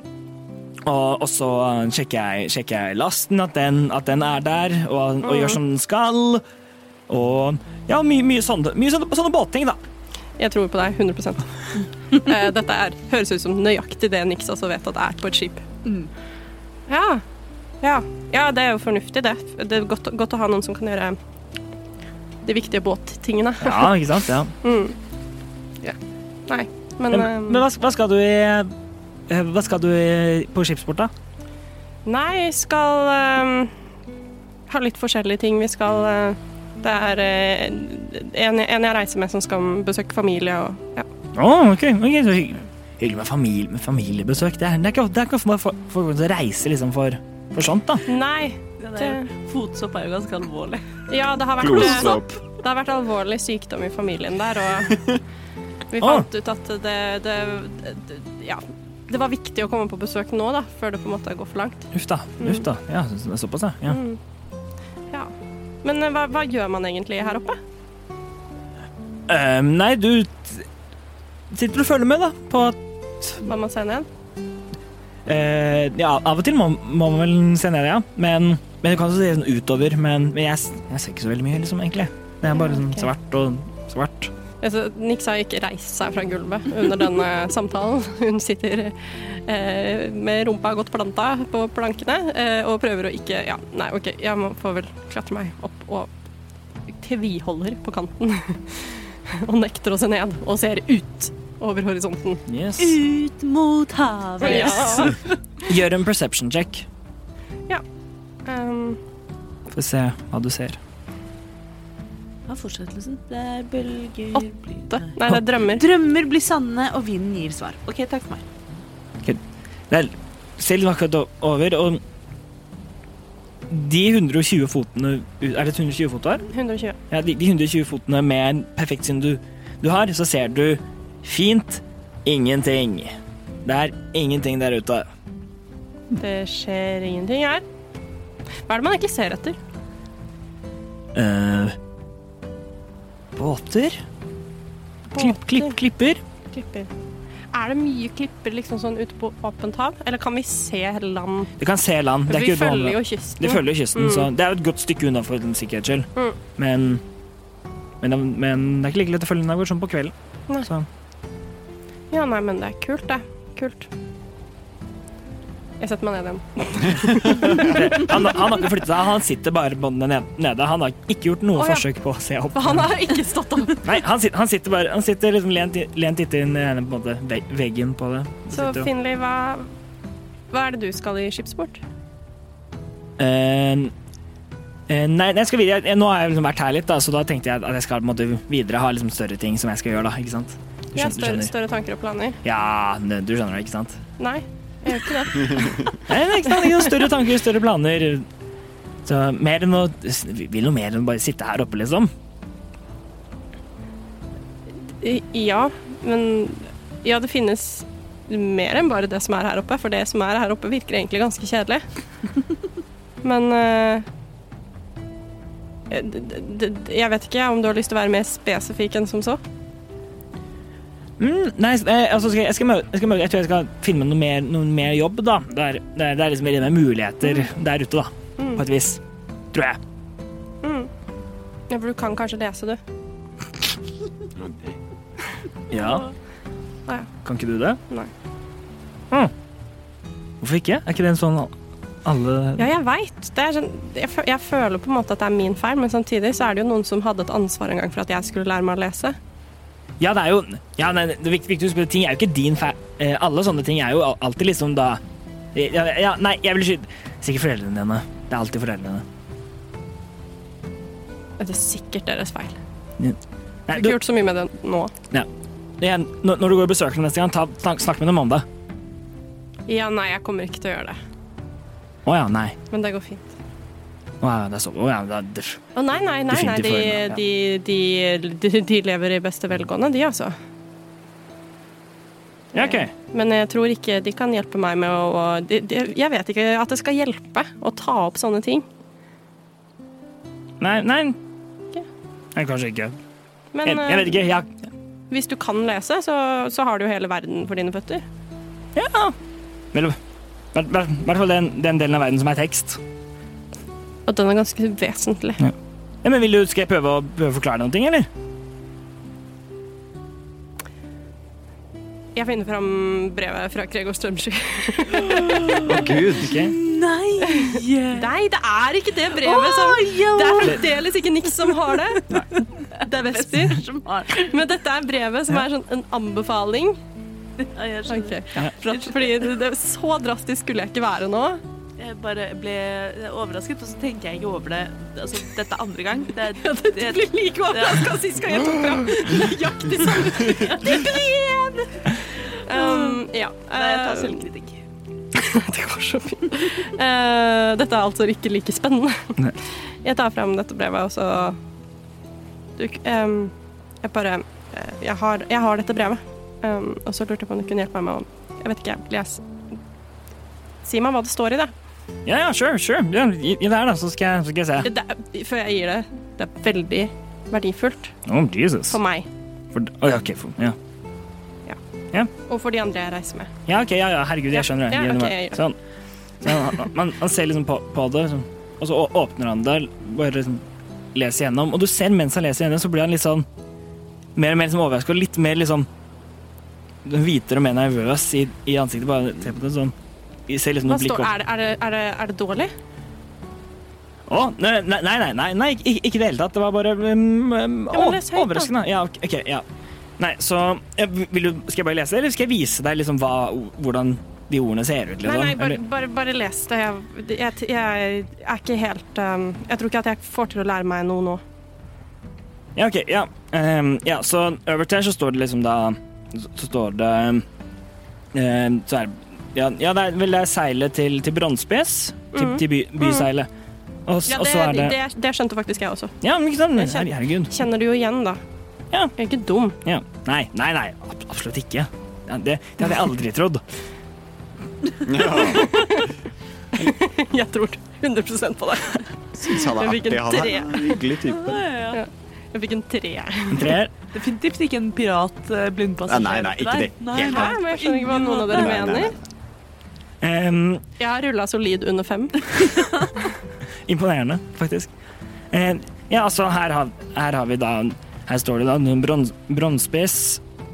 [SPEAKER 3] og, og så um, sjekker jeg, sjekker jeg lasten, at den, at den er der, og,
[SPEAKER 5] Mm.
[SPEAKER 3] og gjør som den skal. Og ja, mye, mye, sånne, mye sånne, sånne båtting, da.
[SPEAKER 5] Jeg tror på deg 100 Eh, Dette er, høres ut som nøyaktig det Nix også vet at det er på et skip. Ja. ja. Ja, det er jo fornuftig, det. Det er godt, godt å ha noen som kan gjøre de viktige båttingene.
[SPEAKER 3] Ja, ikke sant? Ja.
[SPEAKER 5] Nei, men,
[SPEAKER 3] Men,
[SPEAKER 5] eh,
[SPEAKER 3] men hva, hva skal du i eh, Hva skal du i, på skipsport, da?
[SPEAKER 5] Nei, jeg skal ehm, ha litt forskjellige ting. Vi skal eh, Det er eh, en, en jeg reiser med som skal besøke familie og ja.
[SPEAKER 3] Å, OK. ok, så hyggelig. Hyggelig med, familie, med familiebesøk. Det er, det er ikke, det er ikke for, for, for, å reise liksom for, for sånt, da.
[SPEAKER 5] Nei.
[SPEAKER 6] Ja, det
[SPEAKER 5] Det,
[SPEAKER 6] er, fotsopp er jo ganske alvorlig.
[SPEAKER 5] ja, det har vært eh,
[SPEAKER 9] Klosopp.
[SPEAKER 5] Det har vært alvorlig sykdom i familien der, og vi fant ut at det, det, det Ja. Det var viktig å komme på besøk nå, da, før det på en måte går for langt. Mm.
[SPEAKER 3] Uff da. Uff da. Ja, det er såpass, ja. ja.
[SPEAKER 5] Ja. Men eh, hva, hva gjør man egentlig her oppe?
[SPEAKER 3] Eh, nei, du t- sitter og følger med, da, på at
[SPEAKER 5] Hva man seg ned?
[SPEAKER 3] Eh, ja, av og til må, må man vel se ned, ja. Men, men du kan også se sånn utover. Men, men jeg, s- jeg ser ikke så veldig mye, liksom, egentlig. Det er bare sånn
[SPEAKER 5] ok.
[SPEAKER 3] svart og svart.
[SPEAKER 5] Altså, Nix har ikke reist seg fra gulvet under denne samtalen. Hun sitter eh, med rumpa godt planta på plankene eh, og prøver å ikke Ja, nei, OK, jeg må, får vel klatre meg opp og tviholder på kanten. og nekter å se ned og ser ut over horisonten.
[SPEAKER 3] Yes.
[SPEAKER 6] Ut mot
[SPEAKER 3] Altså,
[SPEAKER 6] havet.
[SPEAKER 5] Ja.
[SPEAKER 3] Gjør en perception check.
[SPEAKER 5] Um,
[SPEAKER 3] Få se hva du ser.
[SPEAKER 6] Hva er fortsettelsen? Det er bølger
[SPEAKER 5] det, nei, det er drømmer.
[SPEAKER 6] Drømmer blir sanne, og vinden gir svar. OK, takk for meg.
[SPEAKER 3] Det er selv akkurat o- over, og de 120 fotene Er det 120 fot du har?
[SPEAKER 5] 120.
[SPEAKER 3] Ja, de, de 120 fotene med en perfekt syn du, du har, så ser du fint ingenting. Det er ingenting der ute.
[SPEAKER 5] Det skjer ingenting her. Hva er det man egentlig ser etter?
[SPEAKER 3] Eh, båter? Klipp, klipp, klipper?
[SPEAKER 5] Klipper. Er det mye klipper liksom sånn ute på åpent hav, eller kan vi se land?
[SPEAKER 3] Du kan se land. Det er
[SPEAKER 5] Vi
[SPEAKER 3] ikke
[SPEAKER 5] følger jo
[SPEAKER 3] uvanlig.
[SPEAKER 5] kysten.
[SPEAKER 3] Det følger jo kysten, så det er jo et godt stykke unna for en sikkerhets skyld.
[SPEAKER 5] Mm.
[SPEAKER 3] Men, men, det- men det er ikke like lett å følge naboer som på kvelden.
[SPEAKER 5] Nei.
[SPEAKER 3] Så
[SPEAKER 5] Ja, nei, men det er kult, det. Kult. Jeg setter meg ned igjen.
[SPEAKER 3] han, han har ikke flyttet seg, han sitter bare båndene ned- nede. Han har ikke gjort noe
[SPEAKER 5] Å, ja.
[SPEAKER 3] forsøk på å se opp.
[SPEAKER 5] For han har ikke stått opp.
[SPEAKER 3] Nei, han sitter, han sitter bare Han sitter liksom lent, i- lent inntil den ene, på en måte, veg- veggen på det. Han
[SPEAKER 5] Så
[SPEAKER 3] sitter jo-
[SPEAKER 5] Finli, hva, hva er det du skal i skipsport?
[SPEAKER 3] Eh, eh, nei, nei, jeg skal videre. Jeg, nå har jeg liksom vært her litt, da, så da tenkte jeg at jeg skal på en måte videre ha liksom større ting som jeg skal gjøre, da. Ikke sant? Du
[SPEAKER 5] Jeg har
[SPEAKER 3] skjønner- du
[SPEAKER 5] større,
[SPEAKER 3] skjønner.
[SPEAKER 5] større tanker og planer.
[SPEAKER 3] Ja, ne- du skjønner det, ikke sant?
[SPEAKER 5] Nei, jeg gjør ikke det.
[SPEAKER 3] Nei, det er ikke sant. Ikke sant? Større tanker, større planer. Så mer enn å vi Vil noe mer enn bare sitte her oppe, liksom.
[SPEAKER 5] I- Ja, men Ja, det finnes mer enn bare det som er her oppe, for det som er her oppe, virker egentlig ganske kjedelig. Men eh, d- d- d- Jeg vet ikke om du har lyst til å være mer spesifikk enn som så.
[SPEAKER 3] Mm, nei, s- eh, altså skal jeg, jeg, skal møte, jeg, skal møte, jeg tror jeg skal finne meg noe mer, noe mer jobb, da. Det er, det er, det er liksom mer muligheter der ute, da.
[SPEAKER 5] Mm.
[SPEAKER 3] På et vis. Tror jeg.
[SPEAKER 5] Ja, for du kan kanskje lese, du.
[SPEAKER 3] Ja.
[SPEAKER 5] Å, ja.
[SPEAKER 3] Kan ikke du det?
[SPEAKER 5] Nei.
[SPEAKER 3] Hm. Hvorfor ikke? Er ikke det en sånn al- alle
[SPEAKER 5] Ja, jeg veit. Sånn, jeg, fø- jeg føler på en måte at det er min feil, men samtidig så er det jo noen som hadde et ansvar en gang for at jeg skulle lære meg å lese.
[SPEAKER 3] Ja, det er jo ja, nei, Det viktige viktig, viktig, ting er jo ikke din feil. Eh, alle sånne ting er jo al- alltid liksom da ja, ja, Nei, jeg vil skyte Sikkert foreldrene dine. Det er alltid foreldrene.
[SPEAKER 5] Det er sikkert deres feil. Jeg
[SPEAKER 3] Nei,
[SPEAKER 5] har
[SPEAKER 3] du,
[SPEAKER 5] ikke gjort så mye med det nå.
[SPEAKER 3] igjen, når, når du går og besøker dem neste gang, ta, snak, snakk med dem om det.
[SPEAKER 5] Ja, nei, jeg kommer ikke til å gjøre det.
[SPEAKER 3] Å ja, nei.
[SPEAKER 5] Men det går fint.
[SPEAKER 3] Å ja, det er så, å, ja, det er, det-
[SPEAKER 5] Å nei, nei, nei. nei
[SPEAKER 3] Definitivt
[SPEAKER 5] de,
[SPEAKER 3] foreldre, ja.
[SPEAKER 5] de, de, de, de lever i beste velgående, de altså.
[SPEAKER 3] ja, OK.
[SPEAKER 5] Men jeg tror ikke de kan hjelpe meg med å å- de, de, Jeg vet ikke at det skal hjelpe å ta opp sånne ting.
[SPEAKER 3] Nei, nei.
[SPEAKER 5] Ok.
[SPEAKER 3] nei kanskje ikke.
[SPEAKER 5] Men
[SPEAKER 3] Jeg, jeg vet ikke. Jeg,
[SPEAKER 5] eh, hvis du kan lese, så, så har du jo hele verden for dine føtter.
[SPEAKER 3] Vel, I hvert fall den, den delen av verden som er tekst.
[SPEAKER 5] Og den er ganske vesentlig.
[SPEAKER 3] Ja, men vil du, Skal jeg prøve å, prøve å forklare noe, eller?
[SPEAKER 5] Jeg finner fram brevet fra Gregor Strømsky.
[SPEAKER 9] Gud.
[SPEAKER 3] Ok.
[SPEAKER 6] Nei!
[SPEAKER 5] Nei, det er ikke det brevet
[SPEAKER 6] sånn,
[SPEAKER 5] som Det er fremdeles ikke Nix som har det. Det er Vesper.
[SPEAKER 6] Som har-
[SPEAKER 5] Men dette er brevet som er sånn en anbefaling.
[SPEAKER 6] Ja, jeg skjønner.
[SPEAKER 5] Ok. Fordi det, det, så drastisk skulle jeg ikke være nå.
[SPEAKER 6] Jeg bare ble overrasket, og så tenker jeg ikke over det. Altså, dette er andre gang. Det, er- det,
[SPEAKER 5] Blir like overraska sist gang jeg tok fram nøyaktig samme brev! Um, ja.
[SPEAKER 6] Nei, jeg tar
[SPEAKER 5] eh,
[SPEAKER 6] selvkritikk.
[SPEAKER 5] Det går så fint. Eh, dette er altså ikke like spennende. Jeg tar fram dette brevet, og så Du, k- ehm, jeg bare eh, jeg, har, jeg har dette brevet. Ehm, og så lurte jeg på om du kunne hjelpe meg med å Jeg vet ikke, jeg les. Si meg hva det står i det.
[SPEAKER 3] Ja, ja, sure, sure. Ja, gi, gi det her, da, så skal jeg, så skal jeg se.
[SPEAKER 5] det er- før jeg gir det. Det er veldig verdifullt
[SPEAKER 3] Oh, Jesus.
[SPEAKER 5] for meg
[SPEAKER 3] For, oh, ja, ok, for, ja.
[SPEAKER 5] og for de andre jeg reiser med.
[SPEAKER 3] ja, ok, ja, ja, herregud,
[SPEAKER 5] Ja,
[SPEAKER 3] jeg skjønner det.
[SPEAKER 5] ja,
[SPEAKER 3] Gi det
[SPEAKER 5] ok,
[SPEAKER 3] meg.
[SPEAKER 5] jeg gjør det.
[SPEAKER 3] sånn. Så han, han- man, han ser liksom på, på det, liksom. og så å- åpner han det, bare liksom leser gjennom. Og du ser mens han leser gjennom, så blir han litt sånn mer og mer liksom overrasket, og litt mer liksom hvitere og mer nervøs i, i ansiktet. Bare se på det sånn. Vi ser liksom
[SPEAKER 5] Hva
[SPEAKER 3] noen blikk
[SPEAKER 5] står,
[SPEAKER 3] opp.
[SPEAKER 5] er, det, er, det, er, det, er det dårlig?
[SPEAKER 3] Å, nei, nei, nei, nei, nei ikke, ikke i det hele tatt. Det var bare um, um,
[SPEAKER 5] Ja, men
[SPEAKER 3] å-
[SPEAKER 5] les høyt, da.
[SPEAKER 3] overraskende. Ja, ok, ok, ja. Nei, så eh, vil du, Skal jeg bare lese det, eller skal jeg vise deg liksom hva, hvordan de ordene ser ut?
[SPEAKER 5] Nei,
[SPEAKER 3] Liksom?
[SPEAKER 5] nei, bare,
[SPEAKER 3] Eller-
[SPEAKER 5] bare, bare les det. Jeg, jeg, jeg er ikke helt um, Jeg tror ikke at jeg får til å lære meg noe nå.
[SPEAKER 3] Ja, ok, ja. Ehm, ja, så øverst her så står det liksom da Så, så står det ehm, Så er Ja, ja det er vel det er seilet til, til Bronsbes. Til, til by, byseilet. Og, s-
[SPEAKER 5] Mm. Ja,
[SPEAKER 3] og
[SPEAKER 5] det,
[SPEAKER 3] så er det,
[SPEAKER 5] det, det skjønte faktisk jeg også.
[SPEAKER 3] Ja, men ikke sant?
[SPEAKER 5] Jeg kjenner-
[SPEAKER 3] Her- Herregud.
[SPEAKER 5] Kjenner du jo igjen, da?
[SPEAKER 3] Ja.
[SPEAKER 5] Jeg er ikke dum.
[SPEAKER 3] Ja. Nei, nei, nei, ab- absolutt ikke. Ja, det, det hadde jeg aldri trodd.
[SPEAKER 5] Jeg tror 100 på det.
[SPEAKER 9] Syns han er
[SPEAKER 5] Jeg fikk en
[SPEAKER 9] artig. Han er
[SPEAKER 5] tre.
[SPEAKER 9] en hyggelig type.
[SPEAKER 5] Jeg fikk en treer.
[SPEAKER 3] En treer.
[SPEAKER 6] Definitivt ikke en pirat eh, blindpassasjer.
[SPEAKER 9] Nei, nei, nei, ikke det.
[SPEAKER 6] Nei,
[SPEAKER 9] Helt
[SPEAKER 6] nei,
[SPEAKER 5] Hæ? Men Jeg skjønner ikke hva noen av dere
[SPEAKER 9] Nei, nei,
[SPEAKER 5] mener.
[SPEAKER 3] Ehm,
[SPEAKER 5] Jeg har rulla solid under fem.
[SPEAKER 3] imponerende, faktisk. Eh, ja, altså, her har, her har vi da Her står det da en brons, bronsespiss,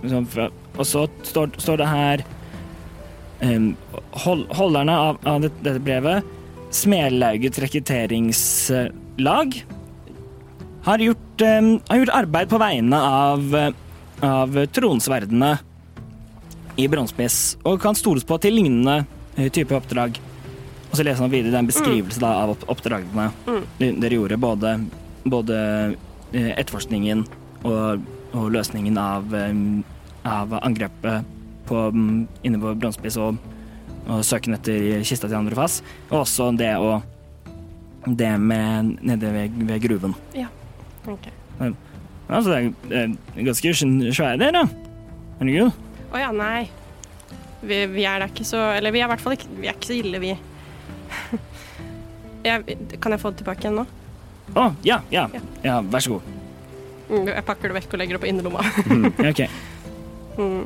[SPEAKER 3] liksom, fra- og så står, står det her ehm, hold, Holderne av, av det, dette brevet, Smelaugets rekrutteringslag, har gjort, ehm, har gjort arbeid på vegne av, eh, av tronsverdene i bronsespiss, og kan stoles på til lignende eh, type oppdrag. Og så leser han videre. Det er
[SPEAKER 5] Mm.
[SPEAKER 3] en beskrivelse da, av opp- oppdragene de- dere gjorde. Både, både eh, etterforskningen og, og løsningen av, eh, av angrepet på, mm, inne på Brønnspiss og, og søken etter kista til andre fast. Og også det å Det med nede ved, ved gruven.
[SPEAKER 5] Ok.
[SPEAKER 3] Ja, så det er eh, ganske skjøn- svære der, da. Herregud.
[SPEAKER 5] Å ja, nei. Vi, vi er da ikke så Eller vi er i hvert fall ikke, vi er ikke så ille, vi. Jeg, kan jeg få det tilbake igjen nå?
[SPEAKER 3] Å, ja, ja. Ja, vær så god.
[SPEAKER 5] Mm, Jeg pakker det vekk og legger det på innerlomma.
[SPEAKER 3] Ja, OK.
[SPEAKER 5] Mm.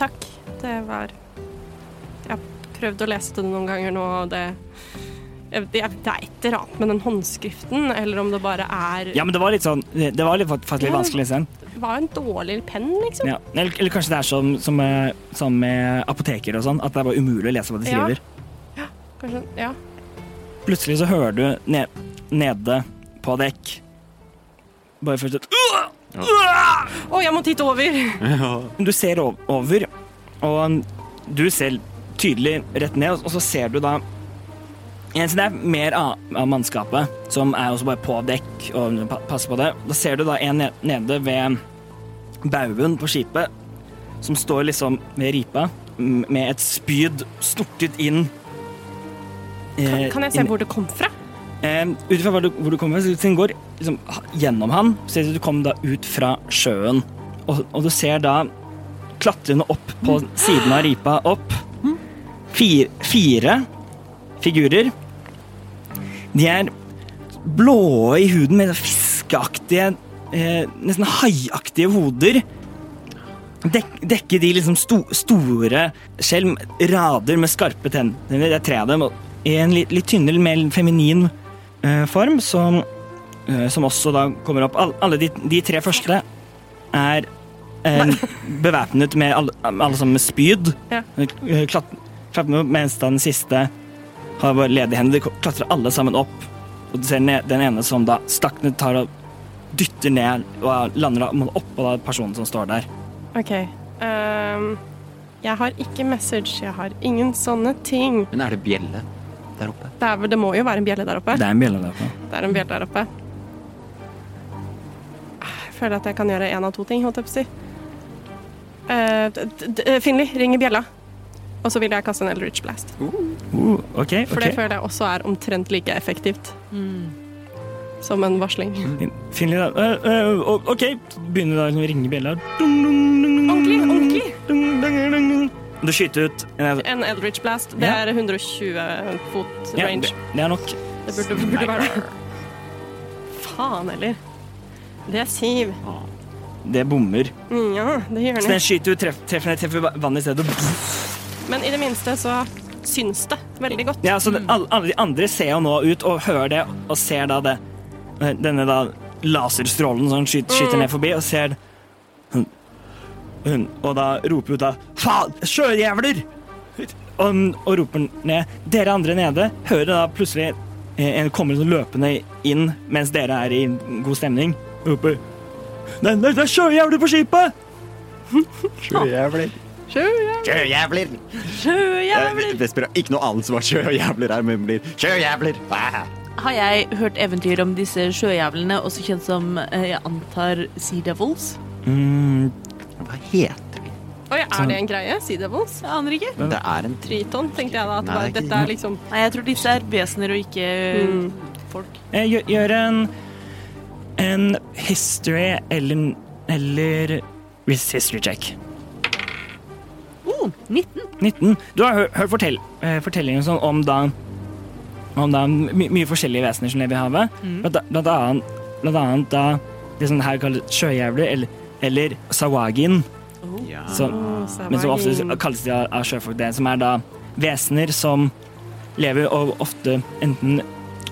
[SPEAKER 5] Takk. Det var Jeg har prøvd å lese det noen ganger nå, og det jeg, jeg, Det er et eller annet med den håndskriften, eller om det bare er
[SPEAKER 3] Ja, men det var litt sånn Det det var litt, faktisk litt
[SPEAKER 5] Ja.
[SPEAKER 3] vanskelig, liksom.
[SPEAKER 5] Var en dårlig penn, liksom.
[SPEAKER 3] Ja. Eller, eller kanskje det er som, som, med, som med apoteker og sånn, at det er bare umulig å lese hva de
[SPEAKER 5] Ja.
[SPEAKER 3] skriver.
[SPEAKER 5] Kanskje, ja.
[SPEAKER 3] Plutselig så hører du ne nede på dekk bare først et
[SPEAKER 5] Å, jeg må titte over!
[SPEAKER 4] Eh,
[SPEAKER 3] Du ser ov- over, og du ser tydelig rett ned, og- og så ser du da en som det er mer av, av mannskapet, som er også bare på dekk og pa- passer på det. Da ser du da en ne- nede ved baugen på skipet, som står liksom ved ripa, m- med et spyd snortet inn.
[SPEAKER 5] Kan,
[SPEAKER 3] eh,
[SPEAKER 5] kan jeg se
[SPEAKER 3] inn-
[SPEAKER 5] hvor det kom fra?
[SPEAKER 3] Eh, ut fra hvor du, hvor du kommer fra, så den går liksom, ha- gjennom han, ser du at du kommer da ut fra sjøen. Og, og du ser da klatrende opp på siden av ripa, opp fire, fire figurer. De er blå i huden med sånn fiskeaktige, eh, nesten haiaktige hoder. Dek, dekker de liksom sto, store skjelm, rader med skarpe tenner. Det er tre av dem. og I en litt, litt tynnere, mer feminin eh, form, som, eh, som også da kommer opp. All, alle de, de tre første er eh, bevæpnet med alle, alle sammen med spyd.
[SPEAKER 5] Ja.
[SPEAKER 3] Eh, Klatt, klatt med, mens da den siste har bare ledige hender. De ko- klatrer alle sammen opp. Og du ser den, den ene som da stakk ned, tar og dytter ned og lander da oppå da personen som står der.
[SPEAKER 5] OK. ehm, jeg har ikke message, jeg har ingen sånne ting.
[SPEAKER 4] Men er det bjelle der oppe?
[SPEAKER 5] Det, er, vel- det må jo være en bjelle der oppe.
[SPEAKER 3] Det er en bjelle der oppe.
[SPEAKER 5] Det er en bjelle der oppe. Ah, Jeg føler at jeg kan gjøre én av to ting, holdt jeg på å si. Eh, d- d- eh, Finli, ring i bjella. Og så vil jeg kaste en Eldridge Blast.
[SPEAKER 3] Uh, ok,
[SPEAKER 5] For
[SPEAKER 3] ok.
[SPEAKER 5] det føler jeg også er omtrent like effektivt. som en varsling.
[SPEAKER 3] Mm. Finlig, da. Eh, eh, o- OK, begynner da liksom å ringe bjella.
[SPEAKER 5] Ordentlig, ordentlig.
[SPEAKER 3] ordentlig. Du skyter ut en
[SPEAKER 5] En Eldridge Blast. Det
[SPEAKER 3] Ja.
[SPEAKER 5] er 120 fot
[SPEAKER 3] ja,
[SPEAKER 5] range.
[SPEAKER 3] det, det er nok.
[SPEAKER 5] Det burde, burde være det. Faen heller. Det er syv.
[SPEAKER 3] Det bommer.
[SPEAKER 5] Mm, Ja, det gjør
[SPEAKER 3] Så
[SPEAKER 5] den.
[SPEAKER 3] den skyter ut, treff, treffer, treffer vannet i stedet.
[SPEAKER 5] Men i det minste så syns det veldig godt.
[SPEAKER 3] Ja, så det, alle, alle de andre ser jo nå ut og hører det, og ser da det Denne da laserstrålen som skyter, skyter ned forbi, og ser hun, hun, Og da roper hun da Faen! Sjøjævler! Og, og roper ned. Dere andre nede hører da plutselig eh, en kommer sånn løpende inn mens dere er i god stemning, og roper Nei, nei, det er sjøjævler på skipet!
[SPEAKER 9] Sjøjævler.
[SPEAKER 4] Sjøjævler!
[SPEAKER 9] Eh, Vesper har ikke noe anelse hva sjøjævler er, men blir
[SPEAKER 4] Sjøjævler! Ah!
[SPEAKER 6] Har jeg hørt eventyr om disse sjøjævlene, også kjent som eh, jeg antar Sea Devils?
[SPEAKER 3] Mm,
[SPEAKER 4] Hva heter de?
[SPEAKER 5] Oi, er det en greie? Sea Devils?
[SPEAKER 6] Jeg aner ikke. Mm.
[SPEAKER 4] Det er en
[SPEAKER 5] Triton, tenkte jeg da. At
[SPEAKER 4] Nei,
[SPEAKER 5] det var,
[SPEAKER 4] det er ikke-
[SPEAKER 5] dette er liksom
[SPEAKER 6] Nei, jeg tror disse er vesener og ikke eh,
[SPEAKER 5] Mm.
[SPEAKER 6] folk.
[SPEAKER 3] Eh, gjø- Gjør en en history eller eller res- history check.
[SPEAKER 6] Oh, 19.
[SPEAKER 3] 19. Du har hø- hørt fortell, eh, fortellingen sånn om da om da my, mye forskjellige vesener som lever i havet. Blant, blant annet blant annet da det som her kalles sjøjævler eller eller sawagin,
[SPEAKER 4] ja.
[SPEAKER 3] som,
[SPEAKER 5] Ah.
[SPEAKER 3] men som ofte kalles de av, av sjøfolk. Det som er da vesener som lever og ofte enten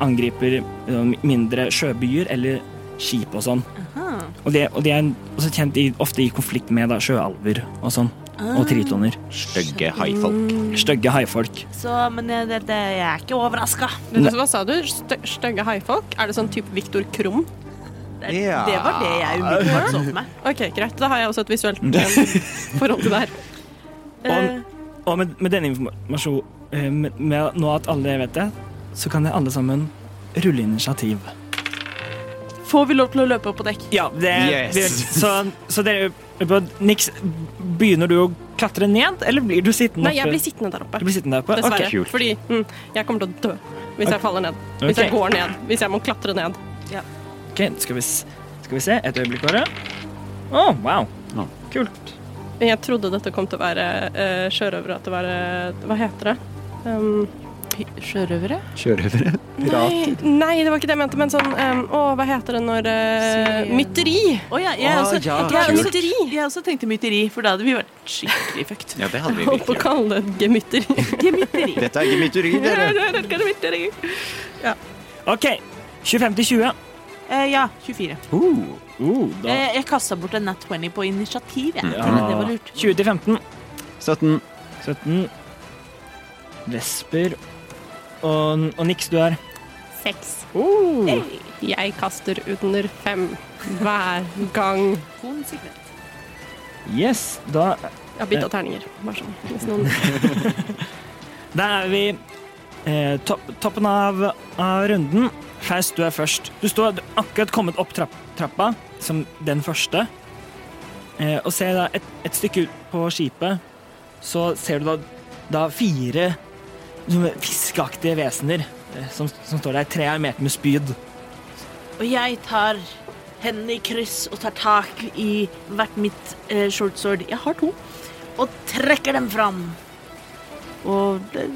[SPEAKER 3] angriper eh, mindre sjøbyer eller skip og sånn.
[SPEAKER 6] Ah.
[SPEAKER 3] Og de, og de er også kjent i, ofte i konflikt med da, sjøalver og sånn.
[SPEAKER 5] Ah.
[SPEAKER 3] Og tritoner.
[SPEAKER 4] stygge haifolk.
[SPEAKER 3] Stygge haifolk.
[SPEAKER 6] Så, men jeg, det, det, jeg er ikke overraska.
[SPEAKER 5] Men det- Hva sa du? Stø- Stygge haifolk? Er det sånn type Viktor Krum?
[SPEAKER 6] Det, det var det jeg umiddelbart så for meg.
[SPEAKER 5] OK, greit. Da har jeg også et visuelt eh, forhold til det her. Eh,
[SPEAKER 3] Og med, med denne informasjonen, eh, med, med nå at alle vet det, så kan dere alle sammen rulle initiativ.
[SPEAKER 6] Får vi lov til å løpe opp på dekk?
[SPEAKER 3] Ja, det,
[SPEAKER 4] Yes.
[SPEAKER 3] det Så, så dere Nix, begynner du å klatre ned, eller blir du sittende
[SPEAKER 5] Nei, jeg blir sittende der oppe.
[SPEAKER 3] Du blir sittende der oppe?
[SPEAKER 5] Dessverre.
[SPEAKER 3] Ok.
[SPEAKER 4] kult.
[SPEAKER 5] Fordi mm, jeg kommer til å dø hvis jeg faller ned. Hvis
[SPEAKER 3] Ok.
[SPEAKER 5] jeg går ned. Hvis jeg må klatre ned.
[SPEAKER 3] Ok, skal, vi, s- skal vi se. Et øyeblikk bare. Å, wow.
[SPEAKER 4] Å.
[SPEAKER 3] Kult.
[SPEAKER 5] Men Jeg trodde dette kom til å være uh, sjørøvere, at det var eh, Hva heter det? Um,
[SPEAKER 6] Sjørøvere?
[SPEAKER 4] Sjørøvere.
[SPEAKER 5] nei, nei, det var ikke det jeg mente, men sånn um, Å, hva heter det når eh,
[SPEAKER 6] Smed.
[SPEAKER 5] Mytteri!
[SPEAKER 6] Å ja, jeg,
[SPEAKER 4] Å,
[SPEAKER 6] også,
[SPEAKER 4] ja,
[SPEAKER 6] jeg, også,
[SPEAKER 5] kult.
[SPEAKER 6] jeg også tenkte mytteri, for da hadde vi vært skikkelig fucked.
[SPEAKER 4] Ja, det hadde vi
[SPEAKER 5] Holdt på å
[SPEAKER 4] virkelig.
[SPEAKER 5] kalle det gemytteri.
[SPEAKER 6] Gemytteri.
[SPEAKER 4] Dette er ikke mytteri, dere.
[SPEAKER 5] Gemytteri.
[SPEAKER 3] OK. 25 til 20.
[SPEAKER 6] Eh, ja, 24.
[SPEAKER 4] Uh,
[SPEAKER 3] Uh, da.
[SPEAKER 6] Eh, jeg kasta bort en nat 20 på initiativ, jeg.
[SPEAKER 3] Ja.
[SPEAKER 6] Det var lurt.
[SPEAKER 3] 20 til 15.
[SPEAKER 4] 17.
[SPEAKER 3] 17. Vesper og, og Nix, du er
[SPEAKER 5] Seks.
[SPEAKER 3] oh.
[SPEAKER 5] Jeg kaster under fem hver gang.
[SPEAKER 6] Konsekvent.
[SPEAKER 3] Yes, da,
[SPEAKER 5] Jeg har bytta terninger. Bare sånn. Hvis noen
[SPEAKER 3] da er vi eh, topp, toppen av, av runden. Faust, du er først. Du står du har akkurat kommet opp trapp, trappa som den første. Eh, og ser da et, et stykke ut på skipet, så ser du da, da fire sånne fiskeaktige vesener eh, som, som står der. Tre er armert med spyd.
[SPEAKER 6] Og jeg tar hendene i kryss og tar tak i hvert mitt eh, shortsword. Jeg har to. Og trekker dem fram. Og eh,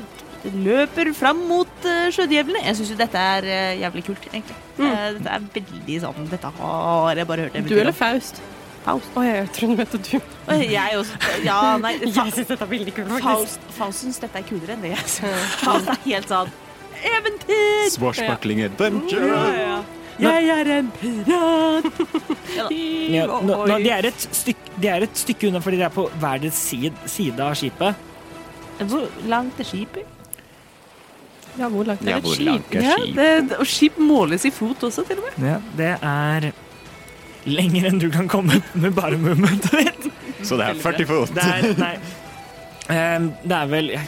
[SPEAKER 6] løper fram mot eh, sjødjevlene. Jeg syns jo dette er eh, jævlig kult, egentlig. Eh, dette er veldig sånn Dette har jeg bare hørt
[SPEAKER 5] Mm. Du eller Faust?
[SPEAKER 6] Faust?
[SPEAKER 5] Å, jeg tror hun vet at du
[SPEAKER 6] Og Eh, jeg også. Ja, nei.
[SPEAKER 5] Jeg syns dette er veldig kult, faktisk.
[SPEAKER 6] Faust, Faust syns dette er kulere enn det jeg syns. Faust er helt sånn Eventyr!
[SPEAKER 9] Swashbuckling adventure.
[SPEAKER 6] Jeg er en pirat!
[SPEAKER 3] Ja, nå, nå, de, er et stykk, de er et stykke unna fordi de er på hver deres side, side av skipet.
[SPEAKER 6] Hvor langt er skipet?
[SPEAKER 5] Ja, hvor langt
[SPEAKER 4] Ja,
[SPEAKER 5] er det?
[SPEAKER 4] hvor langt er
[SPEAKER 6] Ja,
[SPEAKER 4] skip?
[SPEAKER 6] det, og skip måles i fot også, til og med.
[SPEAKER 3] det er lenger enn du kan komme med bare movementet ditt.
[SPEAKER 9] Så det er 40 fot.
[SPEAKER 3] Det er, nei. Ehm, det er vel Hva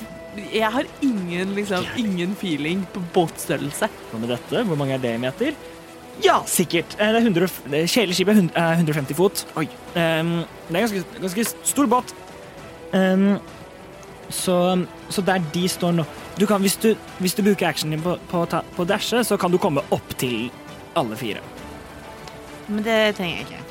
[SPEAKER 6] Jeg har ingen, liksom, ingen feeling på båtstørrelse.
[SPEAKER 3] med dette? Hvor mange er det i meter? Ja, sikkert. Eh, Det er 100, og- eh, Kjeleskipet er hund- er 150 fot.
[SPEAKER 4] Oi.
[SPEAKER 3] Ehm, det er ganske, ganske stor båt. Ehm, så, så der de står nå du kan, hvis, du, hvis du bruker actionen din på, på, å ta- på å dashe, så kan du komme opp til alle fire.
[SPEAKER 6] Men det trenger jeg ikke.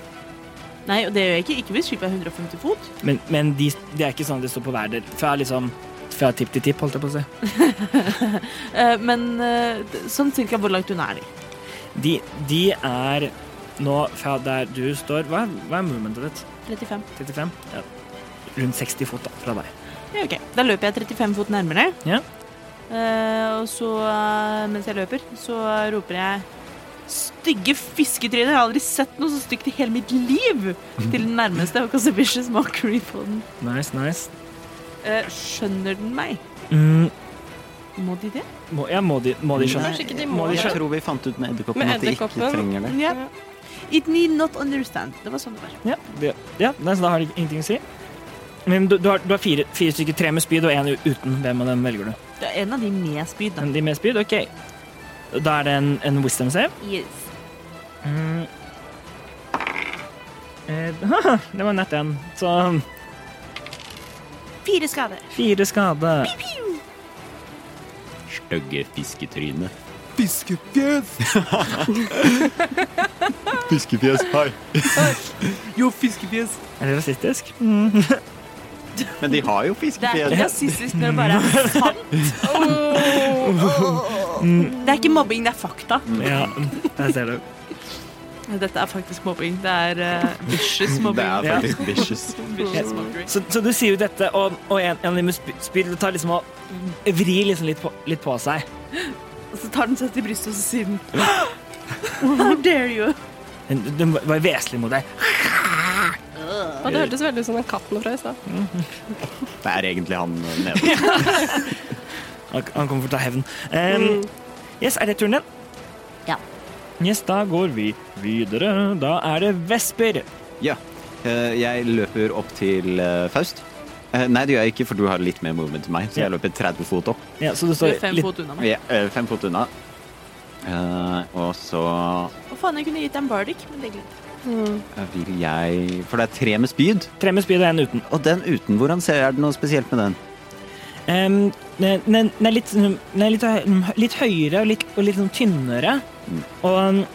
[SPEAKER 6] Nei, og det gjør jeg ikke. Ikke hvis skipet er 150 fot.
[SPEAKER 3] Men, men de, det er ikke sånn at de står på hver del. Fra, liksom, fra tipp til tipp, holdt jeg på å si.
[SPEAKER 6] Eh, men eh, d- sånn cirka hvor langt unna er de.
[SPEAKER 3] De, de er nå fra der du står Hva, er- hva er movementet ditt?
[SPEAKER 6] 35.
[SPEAKER 3] 35? Ja. Rundt 60 fot da, fra deg.
[SPEAKER 6] Ja, ok. Da løper jeg 35 fot nærmere.
[SPEAKER 3] Ja.
[SPEAKER 6] Eh, og så, eh, mens jeg løper, så roper jeg Stygge fisketryner! Jeg har aldri sett noe så stygt i hele mitt liv! Til den nærmeste og kaster vicious mockery på den.
[SPEAKER 3] Nice, nice.
[SPEAKER 6] Eh, skjønner den meg?
[SPEAKER 3] Mm,
[SPEAKER 6] Må de det?
[SPEAKER 3] må, ja, må de, må de skjønne?
[SPEAKER 5] Kanskje ikke de
[SPEAKER 3] Må
[SPEAKER 5] må
[SPEAKER 3] vi
[SPEAKER 5] det.
[SPEAKER 3] skjønne?
[SPEAKER 4] Jeg tror vi fant ut med edderkoppen
[SPEAKER 5] Med
[SPEAKER 4] at de ikke
[SPEAKER 5] edderkoppen.
[SPEAKER 4] trenger det.
[SPEAKER 6] Ja. It need not understand. Det var sånn det var.
[SPEAKER 3] Ja, det, ja nei, så da har de ingenting å si. Men du, du har, du har fire, fire stykker, tre med spyd og én uten. Hvem av dem velger du?
[SPEAKER 6] Det er en av de med spyd, da.
[SPEAKER 3] Men de med spyd, OK. Da er det en, en wisdom save.
[SPEAKER 6] Yes.
[SPEAKER 3] Mm. Eh, haha, det var nett en. Så um,
[SPEAKER 6] Fire skader.
[SPEAKER 3] fire skade.
[SPEAKER 4] Stygge fisketryne.
[SPEAKER 9] Fiskefjes! fiskefjes, hei. Jo, fiskefjes.
[SPEAKER 3] Er det rasistisk?
[SPEAKER 4] Men de har jo
[SPEAKER 6] Det er
[SPEAKER 4] fiskefjes. Mm.
[SPEAKER 6] ikke rasistisk når det bare er sant. Det er ikke mobbing, det er fakta.
[SPEAKER 3] Mm, Ja, der ser du.
[SPEAKER 6] Dette er faktisk mobbing. Det er uh, vicious
[SPEAKER 4] Mm, Det
[SPEAKER 6] mobbing.
[SPEAKER 4] er faktisk vicious.
[SPEAKER 6] Vicious mockery.
[SPEAKER 3] Så, så du sier jo dette, og, og en, en av de med sp- spyd tar liksom og vrir liksom litt, på, litt på seg.
[SPEAKER 6] Og så tar den seg til brystet og så sier den How dare you?
[SPEAKER 3] Den, den var vesentlig mot deg.
[SPEAKER 5] Og det hørtes veldig ut som den katten fra i stad.
[SPEAKER 4] Det er egentlig han nede.
[SPEAKER 3] Han, han kommer for å ta hevn.
[SPEAKER 6] Mm.
[SPEAKER 3] Em, Yes, er det turen din?
[SPEAKER 1] Ja.
[SPEAKER 3] Yes, da går vi videre. Da er det vesper.
[SPEAKER 4] Ja. Eh, Jeg løper opp til eh, Faust. Eh, Nei, det gjør jeg ikke, for du har litt mer movement enn meg. Så jeg
[SPEAKER 3] Ja.
[SPEAKER 4] løper 30 fot opp.
[SPEAKER 3] Ja, så du
[SPEAKER 6] Du er
[SPEAKER 3] står
[SPEAKER 6] fem
[SPEAKER 3] litt
[SPEAKER 6] fot unna meg.
[SPEAKER 4] Ja, eh, Fem fot unna. Eh, Og så
[SPEAKER 6] Å faen, jeg kunne gitt deg en bardic, men det glemte jeg.
[SPEAKER 4] eh, vil jeg For det er tre med spyd.
[SPEAKER 3] tre med spyd og én uten.
[SPEAKER 4] Og den uten, hvordan ser jeg er det noe spesielt med den?
[SPEAKER 3] Em, Den den- den er litt, den er litt, hø- litt høyere og litt, og litt sånn tynnere.
[SPEAKER 6] Mm.
[SPEAKER 3] Og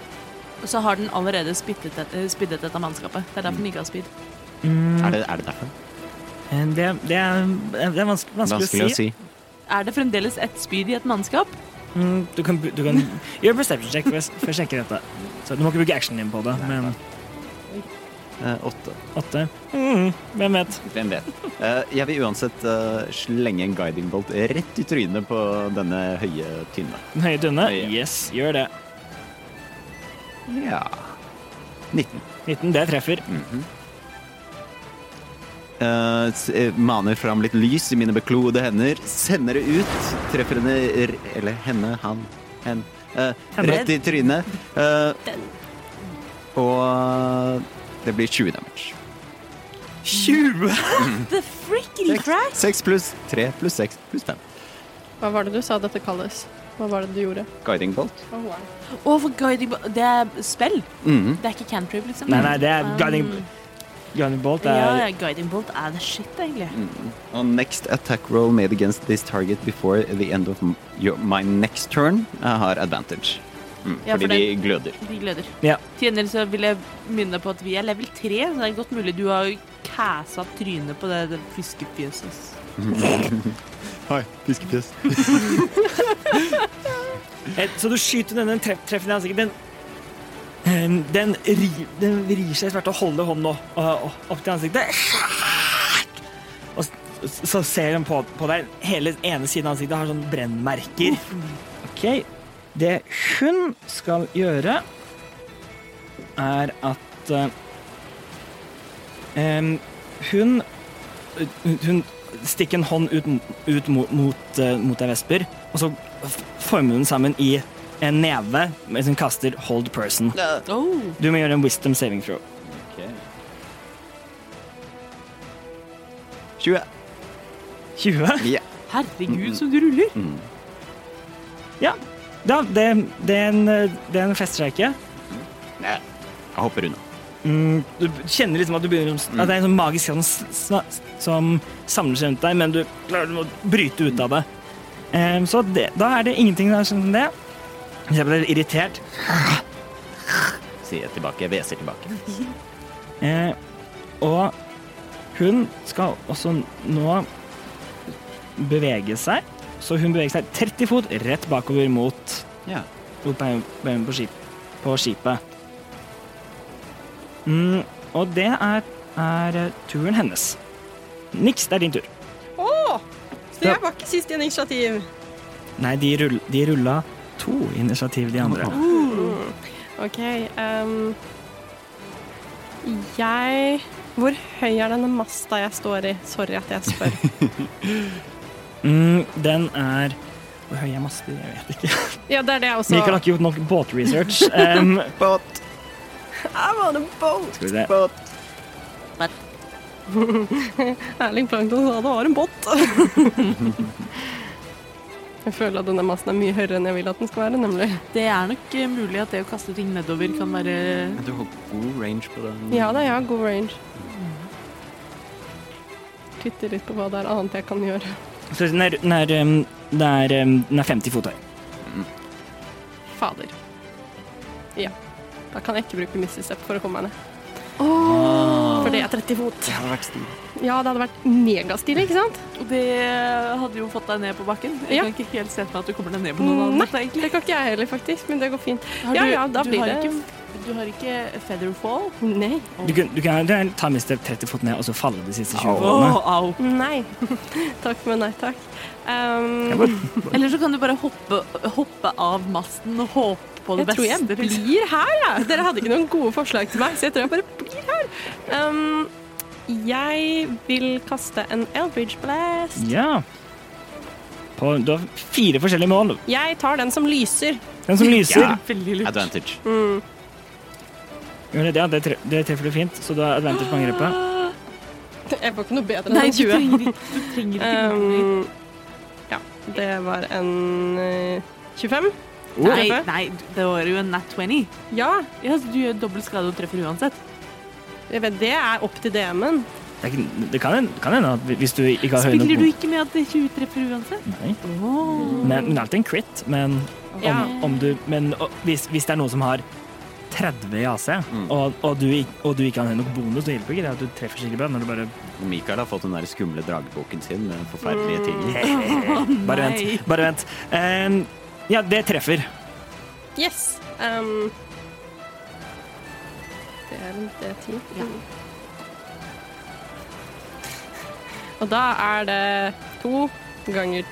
[SPEAKER 6] Og så har den allerede spyttet et- eh, spyddet dette mannskapet. Det er derfor den ikke har spyd.
[SPEAKER 4] Er det, er det derfor?
[SPEAKER 3] em, eh, det, det er, det er vanskelig, vanskelig,
[SPEAKER 4] Vanskelig å si.
[SPEAKER 6] Er det fremdeles ett spyd i et mannskap?
[SPEAKER 3] Mm, du kan, du kan gjøre en perception check for, for å sjekke dette. Så du må ikke bruke actionen din på det, men
[SPEAKER 4] Eh, Åtte.
[SPEAKER 3] åtte. Mm, hvem vet?
[SPEAKER 4] Hvem vet. Eh, jeg vil uansett eh, slenge en guiding bolt rett i trynet på denne høye, tynne.
[SPEAKER 3] Den høye tunne?
[SPEAKER 4] Høye.
[SPEAKER 3] Yes, gjør det.
[SPEAKER 4] Ja 19.
[SPEAKER 3] 19, det treffer.
[SPEAKER 4] Eh, s- eh, maner fram litt lys i mine beklodde hender, sender det ut, treffer henne r- Eller henne, han, hen. eh,
[SPEAKER 3] Henne.
[SPEAKER 4] rett i trynet. eh, og eh, det blir 20 damage.
[SPEAKER 3] 20!
[SPEAKER 6] The freaking crap!
[SPEAKER 4] 6 pluss 3 pluss 6 pluss 5.
[SPEAKER 5] Hva var det du sa dette kalles? Hva var det du gjorde?
[SPEAKER 4] Guiding bolt.
[SPEAKER 5] Oh, wow.
[SPEAKER 6] Å, for guiding bo- Det er spill.
[SPEAKER 4] Mhm.
[SPEAKER 6] Det er ikke cantrip, liksom.
[SPEAKER 3] Nei, nei, det er guiding,
[SPEAKER 6] Um,
[SPEAKER 3] guiding bolt. Det
[SPEAKER 6] ja,
[SPEAKER 3] er
[SPEAKER 6] ja, guiding bolt er the shit, egentlig.
[SPEAKER 4] On next attack roll made against this target before the end of m- your, my next turn jeg har advantage. Mm,
[SPEAKER 6] Ja,
[SPEAKER 4] fordi
[SPEAKER 6] for den-
[SPEAKER 4] de gløder.
[SPEAKER 6] De gløder.
[SPEAKER 3] Ja.
[SPEAKER 6] Til gjengjeld så vil jeg minne på at vi er level 3, så det er godt mulig du har kæsa trynet på det, det fiskefjøset.
[SPEAKER 9] Hei, fiskefjes.
[SPEAKER 3] Eh, Så du skyter denne, den treff, treffer den i ansiktet. Den, em, den, ri, den vrir seg svært og holder hånden opp, opp til ansiktet. Og s- s- så ser den på, på deg. Hele ene siden av ansiktet har sånn brennmerker. OK. Det hun skal gjøre, er at eh, em, Hun Hun stikker en hånd ut, ut mot, mot, eh, mot deg, Vesper, og så f- former hun sammen i en neve mens hun kaster hold person.
[SPEAKER 6] Oh.
[SPEAKER 3] Du må gjøre en wisdom saving throw.
[SPEAKER 4] 20.
[SPEAKER 3] 20?
[SPEAKER 4] Ja.
[SPEAKER 6] Herregud,
[SPEAKER 3] Mm.
[SPEAKER 6] som du ruller!
[SPEAKER 4] mm.
[SPEAKER 3] Ja. Da, det, det, er en, eh, det er en festreike.
[SPEAKER 4] Nei, Jeg hopper unna.
[SPEAKER 3] Mm, du kjenner liksom at du begynner som- At det er en sånn magisk kraft som, s- sna- som samler seg rundt deg, men du klarer å bryte ut av det. Ehm, Em, så det, da er det ingenting der som det. Du ser på deg irritert.
[SPEAKER 8] sier jeg tilbake. Jeg hveser tilbake.
[SPEAKER 3] Eh, og hun skal også nå bevege seg. Så hun beveger seg 30 fot rett bakover mot,
[SPEAKER 4] Ja.
[SPEAKER 3] mot bein- bein på, skip, på skipet. Mm, og det er, er eh, turen hennes. Niks, det er din tur.
[SPEAKER 5] Å! Så jeg var ikke sist i en initiativ.
[SPEAKER 3] Nei, de, rull, de rulla to initiativ, de andre.
[SPEAKER 5] OK ehm, Jeg Hvor høy er denne masta jeg står i? Sorry at jeg spør.
[SPEAKER 3] Mm, den er Hvor høy er master? Jeg vet ikke.
[SPEAKER 5] Ja, det er det jeg også
[SPEAKER 3] Mikael har ikke gjort nok båtresearch. Um,
[SPEAKER 5] I'm on a boat!
[SPEAKER 3] skal vi se.
[SPEAKER 5] Erling Plankton sa det var en båt. jeg føler at denne masten er mye høyere enn jeg vil at den skal være, nemlig.
[SPEAKER 6] Det er nok eh, mulig at det å kaste ting nedover kan være
[SPEAKER 4] Du har god range på den.
[SPEAKER 5] Ja da, jeg har god range. Titter litt på hva det er annet jeg kan gjøre.
[SPEAKER 3] Så den er, den, er, um, den, er, um, den er 50 fot høy.
[SPEAKER 5] Fader. Ja. Da kan jeg ikke bruke Mississep for å komme meg ned.
[SPEAKER 3] Ah.
[SPEAKER 5] For det er 30 fot.
[SPEAKER 4] Det hadde vært stil.
[SPEAKER 5] Ja, det hadde vært megastilig, ikke sant?
[SPEAKER 6] Og det eh, hadde jo fått deg ned på bakken. Jeg
[SPEAKER 5] Ja.
[SPEAKER 6] kan ikke helt se for meg at du kommer deg ned på noen
[SPEAKER 5] Nei,
[SPEAKER 6] andre. egentlig.
[SPEAKER 5] det kan ikke jeg heller, faktisk, men det går fint.
[SPEAKER 6] Har
[SPEAKER 5] Ja,
[SPEAKER 6] du-
[SPEAKER 5] ja, da
[SPEAKER 6] du
[SPEAKER 5] blir
[SPEAKER 6] har
[SPEAKER 5] det-
[SPEAKER 6] Ikke, du har ikke featherfall?
[SPEAKER 5] Nei.
[SPEAKER 3] Du kan, du kan, du kan ta mistet 30 fot ned og så falle de siste 20
[SPEAKER 6] Åh,
[SPEAKER 3] fotene.
[SPEAKER 6] au.
[SPEAKER 5] Nei. takk, men nei takk. Um,
[SPEAKER 3] Jeg bare-
[SPEAKER 6] Eller så kan du bare hoppe, hoppe av masten og håpe på det
[SPEAKER 5] Jeg tror
[SPEAKER 6] beste.
[SPEAKER 5] jeg
[SPEAKER 6] liksom.
[SPEAKER 5] blir her, jeg. Dere hadde ikke noen gode forslag til meg, så jeg tror jeg bare blir her. Um, jeg vil kaste en Eldridge Blast.
[SPEAKER 3] Ja. På, du har fire forskjellige mål.
[SPEAKER 5] Jeg tar den som lyser.
[SPEAKER 3] Den som lyser,
[SPEAKER 6] Veldig lurt.
[SPEAKER 4] Advantage.
[SPEAKER 3] gjør det, ja, det, tre, det treffer du fint, så du har advantage på angrepet.
[SPEAKER 5] Jeg får ikke noe bedre
[SPEAKER 6] Nei, du
[SPEAKER 5] enn 20.
[SPEAKER 6] trenger ikke, du trenger ikke noe.
[SPEAKER 5] Um, ja, det var en eh, 25.
[SPEAKER 6] Nei,
[SPEAKER 5] treffer.
[SPEAKER 6] nei, det var jo en nat 20.
[SPEAKER 5] Ja,
[SPEAKER 6] Ja, så du gjør dobbelt skade og treffer uansett.
[SPEAKER 5] jeg vet, det er opp til DM-en.
[SPEAKER 3] Det, er ikke, det kan hende- kan hende at hvis du ikke har høy nok
[SPEAKER 6] Spiller du
[SPEAKER 3] mot-
[SPEAKER 6] ikke med at det 20 treffer uansett?
[SPEAKER 3] Nei. Men, men det er alltid en crit, men
[SPEAKER 5] Ja.
[SPEAKER 3] om, om du, men å, hvis, hvis det er noen som har 30 i AC,
[SPEAKER 6] Mm.
[SPEAKER 3] og, og, du, ikk- og du ikke har nok bonus, det hjelper ikke det at du treffer skikkelig bra. Når du bare
[SPEAKER 5] Mm.
[SPEAKER 4] Mikael har fått den der skumle drageboken sin med den forferdelige
[SPEAKER 5] Mm.
[SPEAKER 4] tingen.
[SPEAKER 3] Bare vent. Bare vent. Ehm, ja, det treffer.
[SPEAKER 5] Yes. Um, det er en D10. Og da er det to ganger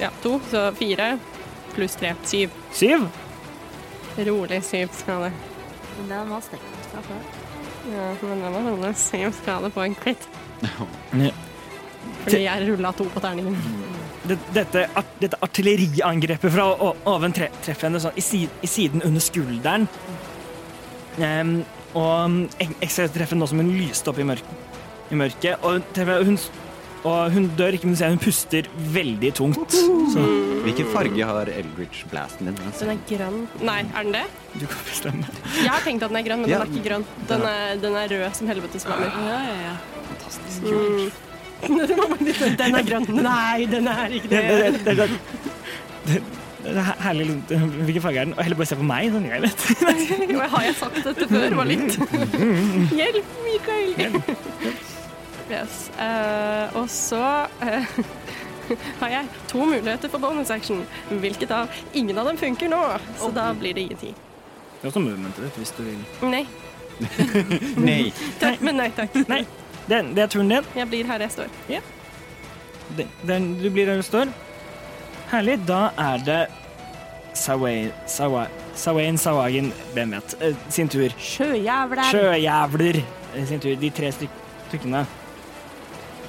[SPEAKER 5] Ja, to, så fire pluss tre. Syv.
[SPEAKER 3] Syv.
[SPEAKER 5] Rolig syv skade.
[SPEAKER 1] Men den var stekt fra før.
[SPEAKER 5] Ja, men det var rolig syv skade på en klitt.
[SPEAKER 3] Ja.
[SPEAKER 5] Fordi jeg rulla to på terningen.
[SPEAKER 3] Det- Dette, art- dette artilleriangrepet fra o- oven tre, treffer henne sånn i, si- i siden under skulderen. Ehm, og ek- ekstra treffer nå som hun lyste opp i, mørk, i mørket. Og hun, treffer, hun, s- og hun dør ikke, men du ser hun puster veldig tungt. Så
[SPEAKER 4] Hvilken farge har Eldridge Blasten din?
[SPEAKER 5] Den er grønn. Nei, er den det?
[SPEAKER 3] du kan bestemme.
[SPEAKER 5] Jeg har tenkt at den er grønn, men
[SPEAKER 4] Ja,
[SPEAKER 5] den er ikke grønn. Den er, den er rød som Mm. helvetes mammer.
[SPEAKER 6] Ja, ja, ja.
[SPEAKER 4] Fantastisk kult.
[SPEAKER 5] Den er grønn. Nei, den er ikke
[SPEAKER 3] Det, det, det, det, det, det er herlig. Hvilken farge er den? Og heller bare se på meg, sånn jeg vet.
[SPEAKER 5] Jo, Har jeg sagt dette før? Var litt Hjelp, Mikael! Yes. eh, og så eh, har jeg to muligheter for bonus action, hvilket av ingen av dem funker nå. Så da blir det ingenting.
[SPEAKER 3] Du har også movementet ditt hvis du vil.
[SPEAKER 5] Nei
[SPEAKER 4] Nei.
[SPEAKER 5] takk, men nei takk.
[SPEAKER 3] Nei, det, det er turen din.
[SPEAKER 5] Jeg blir her jeg står.
[SPEAKER 3] Det, den, du blir der du står. Herlig. Da er det Sawain Sawa- Sawain Sawagen, hvem vet, eh, sin tur.
[SPEAKER 1] Sjøjævler!
[SPEAKER 3] Sjøjævler eh, sin tur. De tre styk stykkene.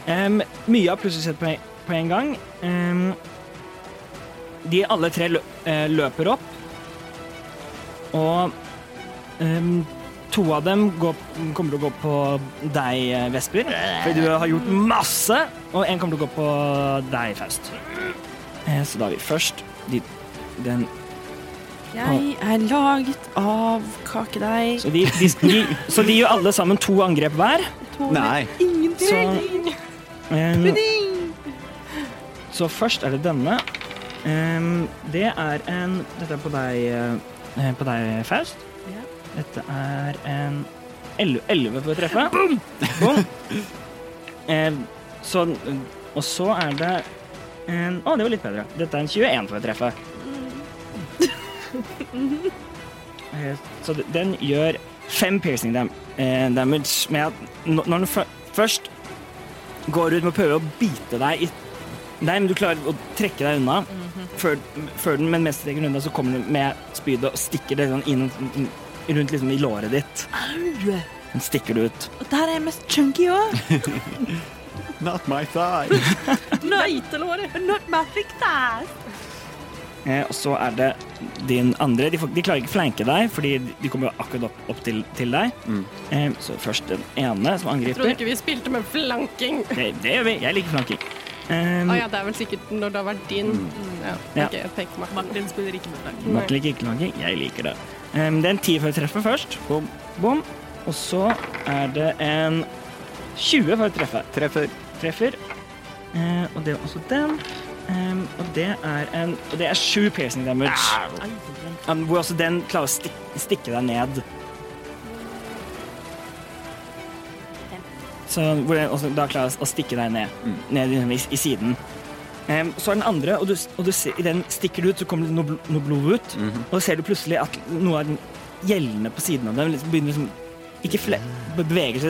[SPEAKER 3] Em, mye har plutselig skjedd på, en- på en gang. Em, de alle tre lø eh, løper opp. Og em, to av dem går, kommer til å gå på deg, eh, Vesper, fordi du har gjort masse. Og en kommer til å gå på deg, Faust. Eh, så da har vi først de, den
[SPEAKER 6] Jeg er laget av kakedeig.
[SPEAKER 3] Så de, de, de, så de gjør alle sammen to angrep hver.
[SPEAKER 5] Mm.
[SPEAKER 4] Nei.
[SPEAKER 3] Så, Em, så først er det denne. Em, det er en Dette er på deg, eh, på deg Faust. Dette er en 11, 11 for å treffe. Boom! Eh, sånn. Og så er det en Å, det var litt bedre. Dette er en 21 for å treffe. Eh, så d- den gjør fem piercing dam eh, damage med at n- når den fø- først går ut med å prøve å bite deg i Nei, men du klarer å trekke deg unna før, før den, men mens du trekker den unna, så kommer den med spydet og stikker det sånn inn, inn, rundt liksom i låret ditt. Den stikker det ut.
[SPEAKER 6] Og der er jeg mest chunky òg.
[SPEAKER 9] Not my thigh.
[SPEAKER 6] Not magic there.
[SPEAKER 3] Eh, og så er det din andre. De, får, de klarer ikke flanke deg, fordi de kommer jo akkurat opp, opp til, til deg. Eh, så først den ene som
[SPEAKER 5] Trodde
[SPEAKER 3] angriper.
[SPEAKER 5] ikke vi spilte med flanking. Å
[SPEAKER 3] Det, det gjør vi. Jeg liker flanking. Eh,
[SPEAKER 5] Ah, ja, det er vel sikkert når det har vært din. Ja,
[SPEAKER 3] Ja.
[SPEAKER 5] ok, jeg tenker meg.
[SPEAKER 6] Martin spiller ikke med lag.
[SPEAKER 3] Martin liker ikke flanking. Jeg liker det. Eh, det er en 10 for å treffe først. Bom. Bom. Og så er det en 20 for å treffe.
[SPEAKER 4] Treffer.
[SPEAKER 3] Treffer. Eh, og det er også den. Eh, og det er en Og det er sju piercing damage.
[SPEAKER 4] Ah.
[SPEAKER 3] Um, hvor også den klarer å stik stikke deg ned. Så hvor den også da klarer å stikke deg ned, ned i, i siden. Em, så er den andre, og, du, og du ser, i den stikker du ut, så kommer det noe, bl noe blod ut.
[SPEAKER 4] Mhm.
[SPEAKER 3] Og så ser du plutselig at noe av den gjeldende på siden av dem liksom begynner liksom Ikke fle bevegelse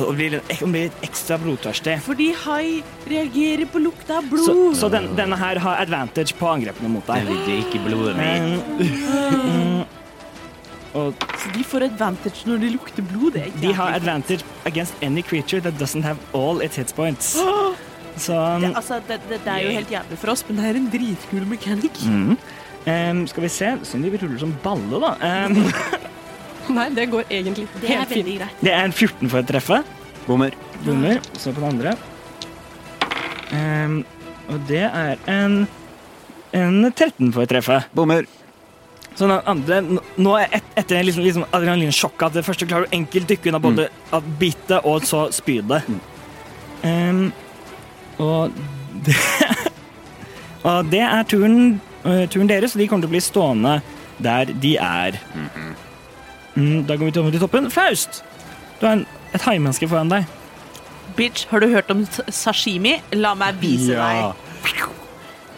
[SPEAKER 3] Og blir, litt- og blir ekstra blodtørstig.
[SPEAKER 6] Fordi hai reagerer på lukta av blod.
[SPEAKER 3] Så, så den, denne her har advantage på angrepene mot
[SPEAKER 4] Det
[SPEAKER 3] deg.
[SPEAKER 4] ligger ikke i blodet mitt.
[SPEAKER 3] Men, og
[SPEAKER 6] Så de får advantage når de lukter blod. Det er
[SPEAKER 3] De
[SPEAKER 6] jævlig.
[SPEAKER 3] har advantage against any creature that doesn't have all its hit points. Så
[SPEAKER 6] det, altså, det, det, det er jo helt jævlig for oss, men det er en dritkul mechanic.
[SPEAKER 3] mm. Em, Skal vi se. Synd vi ruller som balle, da. Em,
[SPEAKER 5] Nei, det går egentlig helt fint.
[SPEAKER 6] greit.
[SPEAKER 3] det er en 14 for å treffe.
[SPEAKER 4] Bommer.
[SPEAKER 3] Bommer. Så på den andre. Em, og det er en en 13 for å treffe.
[SPEAKER 4] Bommer.
[SPEAKER 3] Så den andre, nå er et, etter liksom, liksom adrenalinsjokket at det første klarer du enkelt dykke unna både at bitet og så spydet. Em, og det Og det er turen, eh, turen deres, og de kommer til å bli stående der de er. Mm, da går vi til til toppen. Faust! Du har en, et haimenneske foran deg. Mm.
[SPEAKER 6] Bitch, har du hørt om s- sashimi? La meg vise
[SPEAKER 9] Ja.
[SPEAKER 6] deg.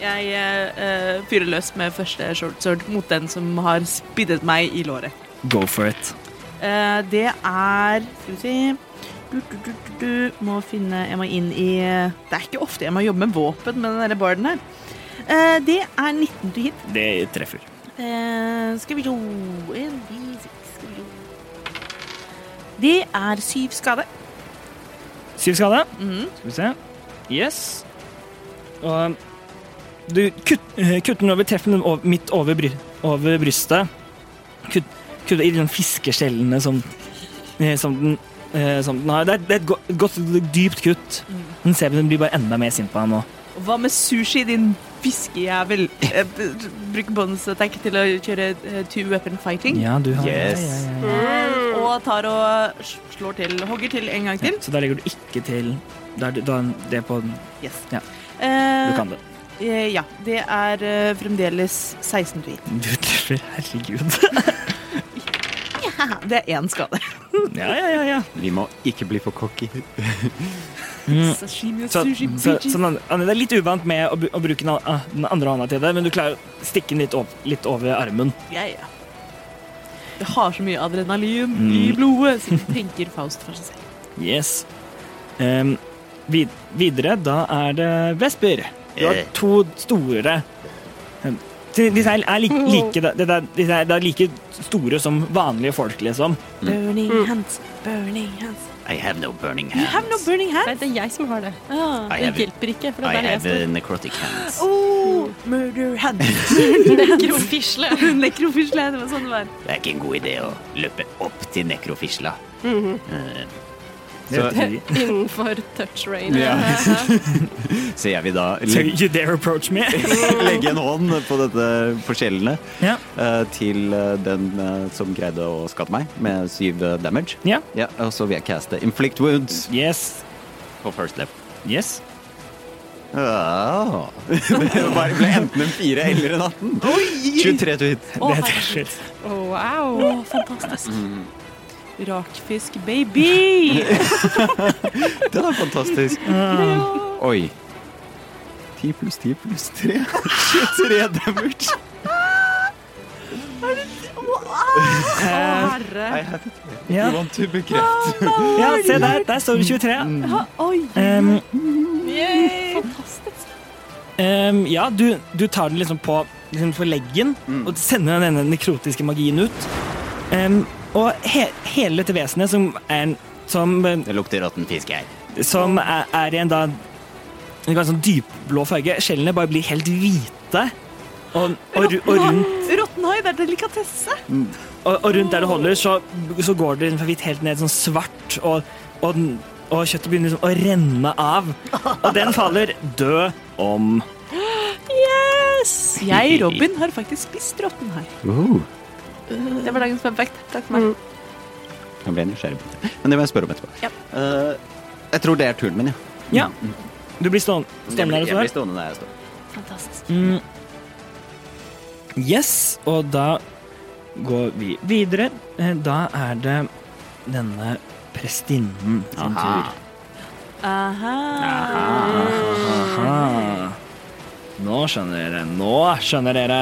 [SPEAKER 6] Jeg eh, eh, fyrer løs med første short sword mot den som har spiddet meg i låret.
[SPEAKER 3] Go for it.
[SPEAKER 6] Eh, det er Skal vi se du, du, du, du, du, Må finne Jeg må inn i eh, Det er ikke ofte jeg må jobbe med våpen med den der barden her. Eh, det er 19 to hit.
[SPEAKER 3] Det treffer.
[SPEAKER 6] Eh, skal vi jo En, D6, skal vi jo Det er syv skade.
[SPEAKER 3] Syv skade.
[SPEAKER 6] Mhm.
[SPEAKER 3] Skal vi se. Yes. Og du kutt, eh, kutter den over, treffer den over, midt over, bry, over brystet. Kutt, kutter i de fiskeskjellene som, eh, som, den, eh, som den har. Det er, det er et godt, et godt dypt kutt. Den ser vi, den blir bare enda mer sint på deg nå.
[SPEAKER 6] Hva med sushi, din fiskejævel? Eh, b- Bruk bonus attack til å kjøre eh, two weapon fighting.
[SPEAKER 3] Ja, du har
[SPEAKER 4] Yes.
[SPEAKER 3] ja, ja, ja,
[SPEAKER 6] Eh, Og tar og s- slår til. Hogger til en gang
[SPEAKER 3] ja.
[SPEAKER 6] til.
[SPEAKER 3] Så da legger du ikke til Da er det, da er det på den.
[SPEAKER 6] Yes.
[SPEAKER 3] Ja.
[SPEAKER 6] Eh,
[SPEAKER 3] Du kan det.
[SPEAKER 6] Eh, ja, det er eh, fremdeles 16 tweet.
[SPEAKER 3] Du treffer. Herregud.
[SPEAKER 6] Det er én skade.
[SPEAKER 3] Ja, ja, ja. ja.
[SPEAKER 4] Vi må ikke bli for cocky.
[SPEAKER 3] Mm.
[SPEAKER 6] Sashimi og
[SPEAKER 3] Så,
[SPEAKER 6] sushi,
[SPEAKER 3] så,
[SPEAKER 6] bitches.
[SPEAKER 3] så den, andre- det er litt uvant med å, bu- å bruke den, an- ah, den andre hånda til det, men du klarer å stikke den litt, ov- litt over armen.
[SPEAKER 6] Ja, ja. Jeg har så mye adrenalin i
[SPEAKER 3] Mm.
[SPEAKER 6] blodet, så tenker Faust for seg selv.
[SPEAKER 3] Yes. Ehm, vid, videre, da er det Vesper. Du har
[SPEAKER 8] Eh.
[SPEAKER 3] to store Ehm, de- Disse her er like, like, da- det der- disse her er like store som vanlige folk, liksom.
[SPEAKER 6] Burning hands, burning hands.
[SPEAKER 8] I have no burning
[SPEAKER 6] You Mm. have no
[SPEAKER 8] hands.
[SPEAKER 6] burning
[SPEAKER 5] Nei,
[SPEAKER 6] hands?
[SPEAKER 5] det er jeg som har det.
[SPEAKER 6] Ah.
[SPEAKER 8] I
[SPEAKER 5] Det
[SPEAKER 8] have,
[SPEAKER 5] hjelper ikke, for
[SPEAKER 8] I
[SPEAKER 5] det er jeg
[SPEAKER 8] have
[SPEAKER 5] som
[SPEAKER 8] uh, necrotic hands.
[SPEAKER 6] Oh, murder hands.
[SPEAKER 5] Nekrofisle.
[SPEAKER 6] Nekrofisle, det var sånn det var.
[SPEAKER 8] Det er ikke en god idé å løpe opp til nekrofisla. Eh,
[SPEAKER 9] Så,
[SPEAKER 5] Innenfor touch range.
[SPEAKER 9] Ja.
[SPEAKER 4] Så jeg vil da
[SPEAKER 3] So
[SPEAKER 4] legge,
[SPEAKER 3] you dare approach me?
[SPEAKER 4] legge en hånd på dette på skjellene
[SPEAKER 3] ja.
[SPEAKER 4] eh, til eh, den eh, som greide å skade meg med syv eh, damage.
[SPEAKER 3] ja.
[SPEAKER 4] Ja, og så vil jeg caste inflict wounds
[SPEAKER 3] Yes.
[SPEAKER 4] på first level.
[SPEAKER 3] Yes.
[SPEAKER 8] Åh.
[SPEAKER 9] Det bare ble enten en 4 eller en 18. 23 to hit.
[SPEAKER 3] Det er shit.
[SPEAKER 5] Wow.
[SPEAKER 6] Å, fantastisk. Rakfisk baby!
[SPEAKER 9] Den er fantastisk. Oi. 10 pluss 10 pluss 3. 23 damage.
[SPEAKER 6] Herre.
[SPEAKER 9] I had it.
[SPEAKER 3] Ja,
[SPEAKER 9] You want to bekrefte.
[SPEAKER 3] ja se der. Der står det 23.
[SPEAKER 6] Mm. Oi,
[SPEAKER 3] Um,
[SPEAKER 6] fantastisk.
[SPEAKER 3] Ehm, ja, du, du tar den liksom på liksom for leggen
[SPEAKER 4] Mm.
[SPEAKER 3] og sender denne nekrotiske magien ut. Ehm, og he, hele dette vesenet som er en som, eh,
[SPEAKER 8] Det lukter råtten fisk her.
[SPEAKER 3] som er, er i en da en ganske sånn dypblå farge. Skjellene bare blir helt hvite. Og, og, ru- og, rundt,
[SPEAKER 6] Råttenhai, det er delikatesse.
[SPEAKER 3] og, og rundt der du holder, så, så går det liksom fra hvitt helt ned sånn svart, og, og, den- og kjøttet begynner liksom å renne av. Og den faller død om.
[SPEAKER 6] Yes! Jeg, Robin, har faktisk spist råttenhai. Det var dagens fun fact. Takk for meg.
[SPEAKER 5] Mm.
[SPEAKER 4] Jeg ble nysgjerrig på det. Men det må jeg spørre om etterpå. Eh, jeg tror det er turen min, ja.
[SPEAKER 3] Ja. Du blir stående,
[SPEAKER 4] Jeg
[SPEAKER 3] stående
[SPEAKER 4] blir,
[SPEAKER 3] der
[SPEAKER 4] jeg
[SPEAKER 3] og
[SPEAKER 4] blir
[SPEAKER 3] står.
[SPEAKER 4] stående der jeg står.
[SPEAKER 3] Mm. Yes, og da går vi videre. Eh, Da er det denne prestinnen sin tur.
[SPEAKER 6] Aha.
[SPEAKER 3] Aha. Nå skjønner dere. Nå skjønner dere.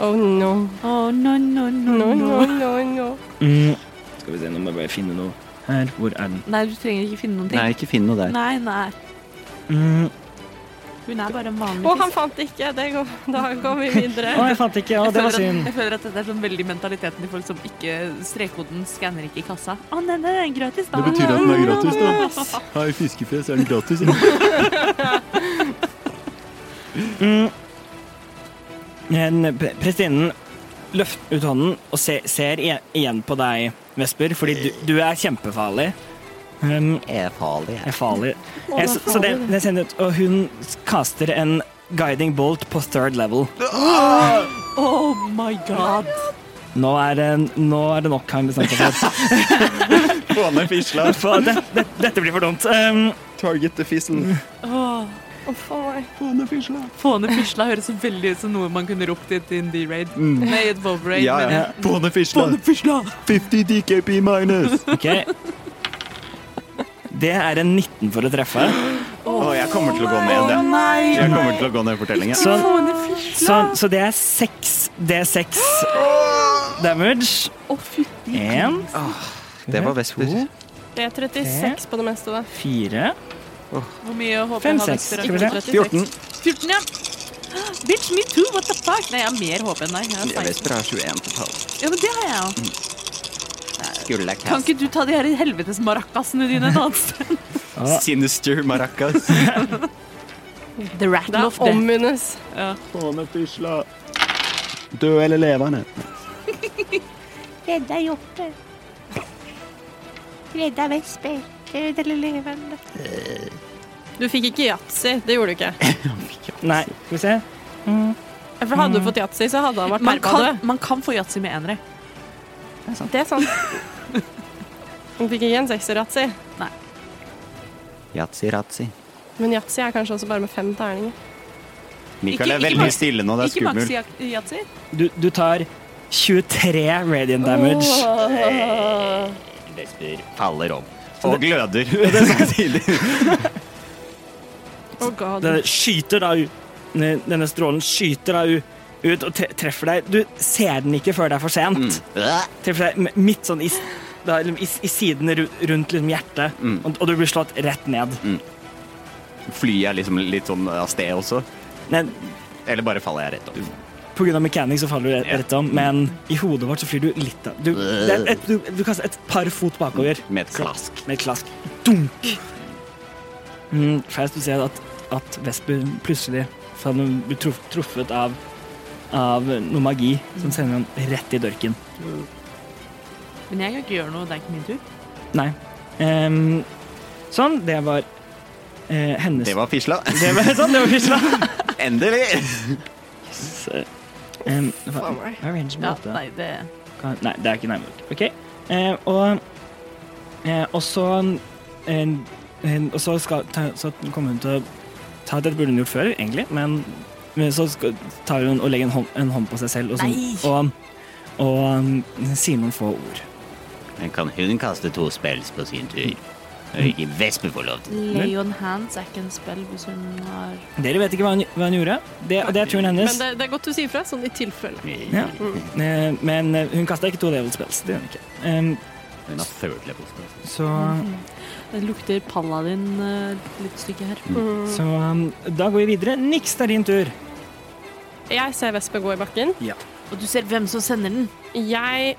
[SPEAKER 5] Oh no.
[SPEAKER 6] Oh, no, no, no, no.
[SPEAKER 5] No, no, no, no.
[SPEAKER 3] Mm. Skal vi se, nå må jeg bare finne noe her. Hvor er den?
[SPEAKER 6] Nei, du trenger ikke finne noen ting.
[SPEAKER 4] Nei, ikke finn noe der.
[SPEAKER 6] Nei, nei.
[SPEAKER 3] Mm.
[SPEAKER 6] Hun er bare en vanlig
[SPEAKER 5] Å, han
[SPEAKER 6] fisk.
[SPEAKER 5] fant det ikke. Det går, da går vi videre.
[SPEAKER 3] Å, jeg fant ikke. Å, det var
[SPEAKER 6] Jeg føler at-
[SPEAKER 3] synd.
[SPEAKER 6] Jeg føler at dette er sånn veldig mentaliteten til folk som ikke Strekkoden skanner ikke i kassa. Å, nei, nei, den er gratis, da.
[SPEAKER 9] Det betyr at den er gratis, da. Her i fiskefjes er den gratis.
[SPEAKER 3] Mm. En pre- Prestinnen løfter ut hånden og se, ser i- igjen på deg, Vesper, fordi du, du er kjempefarlig. Um,
[SPEAKER 8] Jeg er farlig her.
[SPEAKER 3] er farlig. Jeg, så, så det, det sender ut, og hun kaster en guiding bolt på third level.
[SPEAKER 6] Oh my god.
[SPEAKER 3] Nå er det, nå er det nok, har han bestemt seg for.
[SPEAKER 9] Få ned fisla.
[SPEAKER 3] for. Det, det, dette blir for dumt. Um,
[SPEAKER 9] Target the fizzle.
[SPEAKER 6] Åh,
[SPEAKER 5] Uff a meg.
[SPEAKER 9] Få ned fisla.
[SPEAKER 6] Få ned fisla høres så veldig ut som noe man kunne ropt i et Indie-raid. Nei, i et
[SPEAKER 9] Mm.
[SPEAKER 6] Vov-raid.
[SPEAKER 9] Ja,
[SPEAKER 6] men-
[SPEAKER 9] ja. Få ned fisla.
[SPEAKER 6] Få ned fisla!
[SPEAKER 9] 50 DKP minus.
[SPEAKER 3] ok. Det er en 19 for å treffe.
[SPEAKER 9] Å, jeg kommer til å gå ned. jeg.
[SPEAKER 6] Nei!
[SPEAKER 9] Jeg kommer til å gå ned i fortellingen.
[SPEAKER 3] Så,
[SPEAKER 6] Få ned fisla!
[SPEAKER 3] så, så det er 6 D6 damage.
[SPEAKER 6] Å, fytti
[SPEAKER 3] 1,
[SPEAKER 4] Det var Vesper.
[SPEAKER 5] Det er 36 på det meste, da.
[SPEAKER 3] 4
[SPEAKER 6] Hvor mye håper
[SPEAKER 3] Fem,
[SPEAKER 6] jeg har
[SPEAKER 3] seks.
[SPEAKER 6] Vesper?
[SPEAKER 3] Skal vi se.
[SPEAKER 4] 14.
[SPEAKER 6] 14, ja. Bitch, me too, what the fuck? Nei, jeg har mer håp enn deg. Jeg
[SPEAKER 4] Ja,
[SPEAKER 6] har 16.
[SPEAKER 4] Vesper har 21 totalt.
[SPEAKER 6] Ja, men det har jeg
[SPEAKER 9] Mm.
[SPEAKER 6] jo.
[SPEAKER 4] Skulle jeg
[SPEAKER 6] Kan
[SPEAKER 4] cast
[SPEAKER 6] ikke du ta de her helvetes marakkasene dine et annet sted?
[SPEAKER 9] Sinister maracas.
[SPEAKER 6] The
[SPEAKER 5] Det
[SPEAKER 6] rattle
[SPEAKER 5] er ommunnes.
[SPEAKER 9] Få ned fisla. Død eller levende?
[SPEAKER 10] Redda hjorte. Redda vesper. Død eller levende.
[SPEAKER 5] Du fikk ikke yatzy. Det gjorde du ikke.
[SPEAKER 3] Nei, skal vi se.
[SPEAKER 5] For hadde du fått yatzy, så hadde han vært
[SPEAKER 6] Mm. Man
[SPEAKER 5] perpa
[SPEAKER 6] kan,
[SPEAKER 5] død.
[SPEAKER 6] man kan få yatzy med enere.
[SPEAKER 5] Sånn, Det er sant. Han fikk ikke en sekser-yatzy.
[SPEAKER 4] Yatzy Ratzy?
[SPEAKER 5] Men yatzy er kanskje også bare med fem terninger.
[SPEAKER 9] Mikael er
[SPEAKER 6] Ikke- ikke
[SPEAKER 9] veldig
[SPEAKER 6] Max-
[SPEAKER 9] stille nå, det er
[SPEAKER 6] Ikke
[SPEAKER 9] skummelt.
[SPEAKER 6] maxi-yatzy.
[SPEAKER 3] Du, du tar 23 radiant damage.
[SPEAKER 4] Vesper faller om.
[SPEAKER 9] Og gløder. Det er samtidig.
[SPEAKER 5] Oh god.
[SPEAKER 3] Den skyter da ut Denne strålen skyter da u- ut og tre- treffer deg. Du ser den ikke før det er for
[SPEAKER 4] Mm.
[SPEAKER 3] sent. Treffer deg m- midt sånn i, s- da, liksom i, s- i siden ru- rundt liksom hjertet, og, og du blir slått rett ned.
[SPEAKER 9] Flyet er liksom litt sånn av sted også.
[SPEAKER 3] Men
[SPEAKER 9] Eller bare faller jeg rett opp.
[SPEAKER 3] på grunn av mechanics så faller du rett, rett om, men i hodet vårt så flyr du litt av Du, det er et, du, du kaster et par fot bakover.
[SPEAKER 4] Med et klask.
[SPEAKER 3] Med et klask. Dunk! Mm, Faust, du ser at, at Vesper plutselig så han blir truff- truffet av, av noe magi som sender han rett i dørken.
[SPEAKER 6] Men jeg kan ikke gjøre noe, det er ikke min tur.
[SPEAKER 3] Nei. Ehm, sånn, det var eh, hennes
[SPEAKER 9] Det var fisla.
[SPEAKER 3] det var sånn, det var Fisla.
[SPEAKER 9] Endelig!
[SPEAKER 3] Ehm, hva, hva er rangen på
[SPEAKER 6] Ja,
[SPEAKER 3] dette?
[SPEAKER 6] nei, det...
[SPEAKER 3] Kan- Nei, det er ikke nærmere. OK. Eh, og eh, og så en, en, og så, skal, ta, så kommer hun til å ta- Dette burde hun gjort før, egentlig, men, men så sk- tar hun og legger en hånd, en hånd på seg selv og, sånn, og, og um, sier noen få ord.
[SPEAKER 8] Men kan hun kaste to spells på sin tur? Når ikke Vesper får lov til
[SPEAKER 6] Lay on hands er ikke en spell hvis hun har
[SPEAKER 3] Dere vet ikke hva hun, hva hun gjorde. Det, det er turen hennes.
[SPEAKER 5] Men det, det er godt du sier fra, sånn i tilfelle.
[SPEAKER 3] Ja. Eh, Men eh, hun kasta ikke to devil spells. Det gjør hun ikke. Em,
[SPEAKER 8] Hun har third level spells.
[SPEAKER 3] Så,
[SPEAKER 6] Det lukter paladin eh, litt stykke her.
[SPEAKER 3] så em, da går vi videre. Niks, det er din tur.
[SPEAKER 5] Jeg ser Vespe gå i bakken.
[SPEAKER 6] Og du ser hvem som sender den.
[SPEAKER 5] Jeg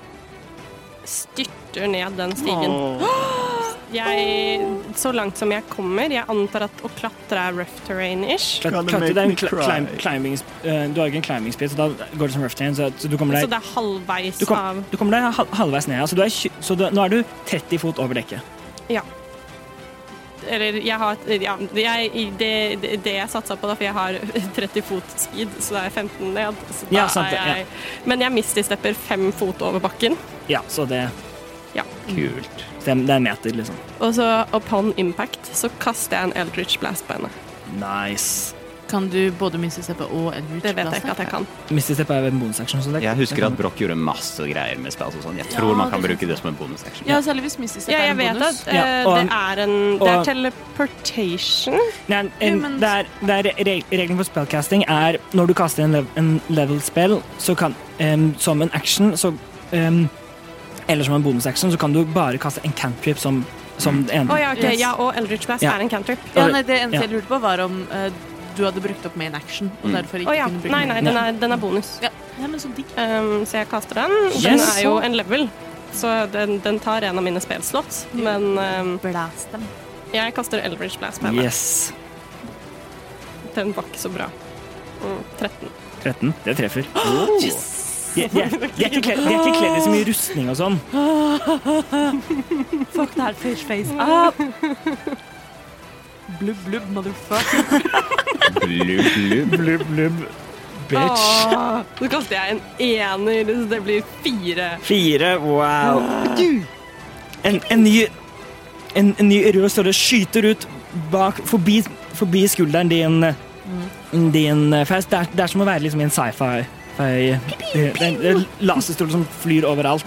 [SPEAKER 5] styrter ned den stigen. Jeg, så langt som jeg kommer, jeg antar at å klatre er rough terrain-ish.
[SPEAKER 3] Klat-
[SPEAKER 9] Gonna
[SPEAKER 3] klatre,
[SPEAKER 9] make
[SPEAKER 3] det er en
[SPEAKER 9] me
[SPEAKER 3] kla-
[SPEAKER 9] cry.
[SPEAKER 3] climb, climbing, sp- eh, du har ikke en climbing speed, så da går det som rough terrain. Så, så du kommer deg,
[SPEAKER 5] Så det er halvveis
[SPEAKER 3] du kom,
[SPEAKER 5] av
[SPEAKER 3] du kommer deg hal- halvveis ned. ja. Så, du er, tjue- så du, nå er du 30 fot over dekket.
[SPEAKER 5] Eller jeg har ja, jeg, i det, det, det jeg satsa på, da, for jeg har 30 fot skid, så da er jeg 15 ned. Så da
[SPEAKER 3] Ja, sant det,
[SPEAKER 5] er jeg, Men jeg mististepper fem fot over bakken.
[SPEAKER 3] Ja, så det
[SPEAKER 8] Kult.
[SPEAKER 3] det er- Det er en meter, liksom.
[SPEAKER 5] Og så upon impact så kaster jeg en Eldridge Blast på henne.
[SPEAKER 3] Nice.
[SPEAKER 6] Kan du både minste CP og Edward?
[SPEAKER 5] Det vet jeg ikke at jeg kan.
[SPEAKER 3] Misty step er en bonusaction. Så det,
[SPEAKER 4] Jeg husker
[SPEAKER 3] det
[SPEAKER 4] at
[SPEAKER 3] kan-
[SPEAKER 4] Broch gjorde masse greier med spells og sånn. Jeg tror
[SPEAKER 6] Ja,
[SPEAKER 4] man kan
[SPEAKER 6] det-
[SPEAKER 4] bruke det som en bonus action.
[SPEAKER 6] Ja, særlig hvis minste CP
[SPEAKER 5] Ja,
[SPEAKER 6] er
[SPEAKER 5] jeg
[SPEAKER 6] en
[SPEAKER 5] vet
[SPEAKER 6] bonus.
[SPEAKER 5] at eh,
[SPEAKER 3] Ja, og-
[SPEAKER 5] det er en Det
[SPEAKER 3] og-
[SPEAKER 5] er teleportation.
[SPEAKER 3] Nei, en,
[SPEAKER 6] Jo, men-
[SPEAKER 3] det er, det er re- Reglene for spellcasting er når du kaster en, lev, en level spell så kan, em, som en action så, em, eller som en bonusaction, så kan du bare kaste en cantrip som, som en.
[SPEAKER 5] Mm. Å ja, ok.
[SPEAKER 6] Yes.
[SPEAKER 5] Ja, og Eldridge Blast
[SPEAKER 3] Ja.
[SPEAKER 5] er en cantrip.
[SPEAKER 6] Ja, nei, det eneste
[SPEAKER 3] Ja.
[SPEAKER 6] jeg lurte på, var om eh, du hadde brukt opp main action, og derfor
[SPEAKER 5] Å
[SPEAKER 6] ikke
[SPEAKER 5] ja.
[SPEAKER 6] kunne bruke
[SPEAKER 5] Nei, nei,
[SPEAKER 6] den.
[SPEAKER 5] den er, den er bonus.
[SPEAKER 6] Ja. Nei, men så digg.
[SPEAKER 5] Um, så jeg kaster den. Den
[SPEAKER 3] Yes.
[SPEAKER 5] er jo en level, så den, den tar en av mine spelslott. Men um,
[SPEAKER 6] Blast dem.
[SPEAKER 5] jeg kaster Eldridge Blast på henne.
[SPEAKER 3] Yes.
[SPEAKER 5] Den var ikke så bra. Mm, 13.
[SPEAKER 3] 13. Det treffer. De, de, er- de, er ikke kledd, de er ikke kledd i så mye rustning og sånn.
[SPEAKER 6] Fuck that fish face up! Blubb, blubb, motherfucker.
[SPEAKER 4] Blubb, blubb.
[SPEAKER 3] Blubb, blubb. Bitch.
[SPEAKER 5] Åh, så kaster jeg en ener, så det blir fire.
[SPEAKER 3] Fire. Wow. En, en ny En, en ny rød ståle skyter ut bak, forbi, forbi skulderen din, Mm. din eh, Faust. Det er, det er som å være liksom i en sci-fi. fi- Det det er en laserstråle som flyr overalt.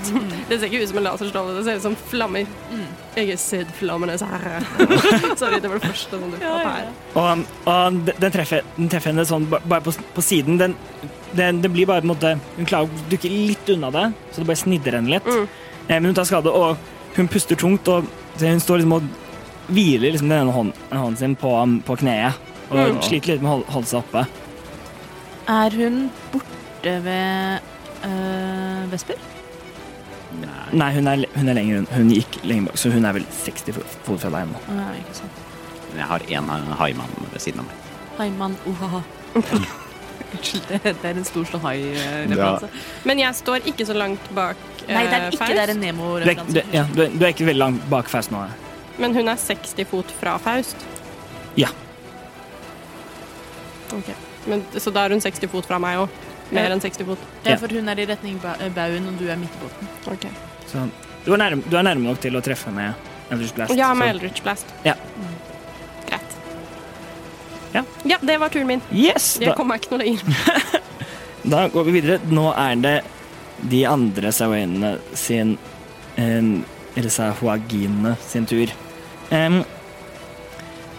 [SPEAKER 5] Det ser ikke ut som en laserstråle, det ser ut som flammer.
[SPEAKER 3] Mm.
[SPEAKER 5] Jeg har sett flammene så her. Sorry, det var det første som dukket opp her.
[SPEAKER 3] Og, og den- den, treffer, den treffer henne sånn ba- bare på, på siden. Den, den, det blir bare på en måte Hun klarer å dukke litt unna det, så det bare snidder henne litt.
[SPEAKER 5] Mm.
[SPEAKER 3] Eh, Men hun tar skade, og hun puster tungt, og så hun står liksom og hviler liksom den ene hånden, hånden sin på, um, på kneet. Og
[SPEAKER 5] Mm.
[SPEAKER 3] sliter litt med å holde, holde seg oppe.
[SPEAKER 6] Er hun borte ved eh, Vesper?
[SPEAKER 4] Nei.
[SPEAKER 3] Nei, hun er, le- hun er lenger unna. Hun gikk lenger bak, så hun er vel 60 fo- fot fra deg nå.
[SPEAKER 6] Nei, ikke sant.
[SPEAKER 4] Men Jeg har én haimann ved siden av meg.
[SPEAKER 6] Hai, mann. Uhaha. Unnskyld, det, det er en storslått hai-referanse.
[SPEAKER 5] Men jeg står ikke så langt bak
[SPEAKER 6] Nei, det er
[SPEAKER 5] eh,
[SPEAKER 6] ikke
[SPEAKER 5] Faust,
[SPEAKER 6] det er en
[SPEAKER 3] Du er, du,
[SPEAKER 6] Nemo-referanse.
[SPEAKER 3] ja, du, er, du er ikke veldig langt bak Faust nå.
[SPEAKER 5] men hun er 60 fot fra Faust.
[SPEAKER 3] Ja.
[SPEAKER 5] Ok. Men, så da er hun 60 fot fra meg òg. Mer enn 60 fot.
[SPEAKER 6] Ja, for hun er i retning ba eh, baugen, og du er midt i båten.
[SPEAKER 5] Ok.
[SPEAKER 3] Så du er, nærme, du er nærme nok til å treffe med Elders Blast.
[SPEAKER 5] Ja, med
[SPEAKER 3] så-
[SPEAKER 5] Eldritch Blast.
[SPEAKER 3] Ja.
[SPEAKER 5] Greit.
[SPEAKER 3] Ja.
[SPEAKER 5] ja, det var turen min.
[SPEAKER 3] Yes!
[SPEAKER 5] Jeg
[SPEAKER 3] Da,
[SPEAKER 5] kom meg ikke noe lenger.
[SPEAKER 3] Da går vi videre. Nå er det de andre Sawainene sin em, Eller Sahuaginene sin tur. Em,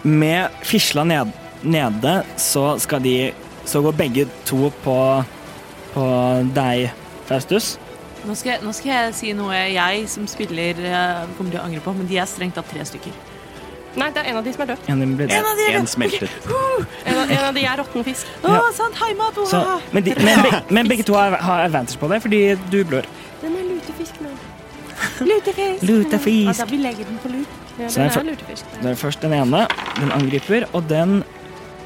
[SPEAKER 3] med fisla ned, nede så skal de Så går begge to på På deg, Faustus.
[SPEAKER 6] Nå skal, jeg, nå skal jeg si noe jeg som spiller eh, kommer til å angre på, men de er strengt tatt tre stykker.
[SPEAKER 5] Nei, det er en av de som er død.
[SPEAKER 3] En av dem blir drept.
[SPEAKER 4] Én smeltet.
[SPEAKER 5] En av, en av de er råtten fisk.
[SPEAKER 6] Å,
[SPEAKER 3] Ja.
[SPEAKER 6] sant! Heimat!
[SPEAKER 3] Så, men, de, men, be, men begge to har, har advantage på deg fordi du blør.
[SPEAKER 5] Den er lutefisk nå.
[SPEAKER 3] Lutefisk.
[SPEAKER 6] vi legger den på lut.
[SPEAKER 5] Ja,
[SPEAKER 3] Så den
[SPEAKER 5] den
[SPEAKER 3] er
[SPEAKER 5] er lutefisk.
[SPEAKER 3] Det er først den ene. Den angriper, og den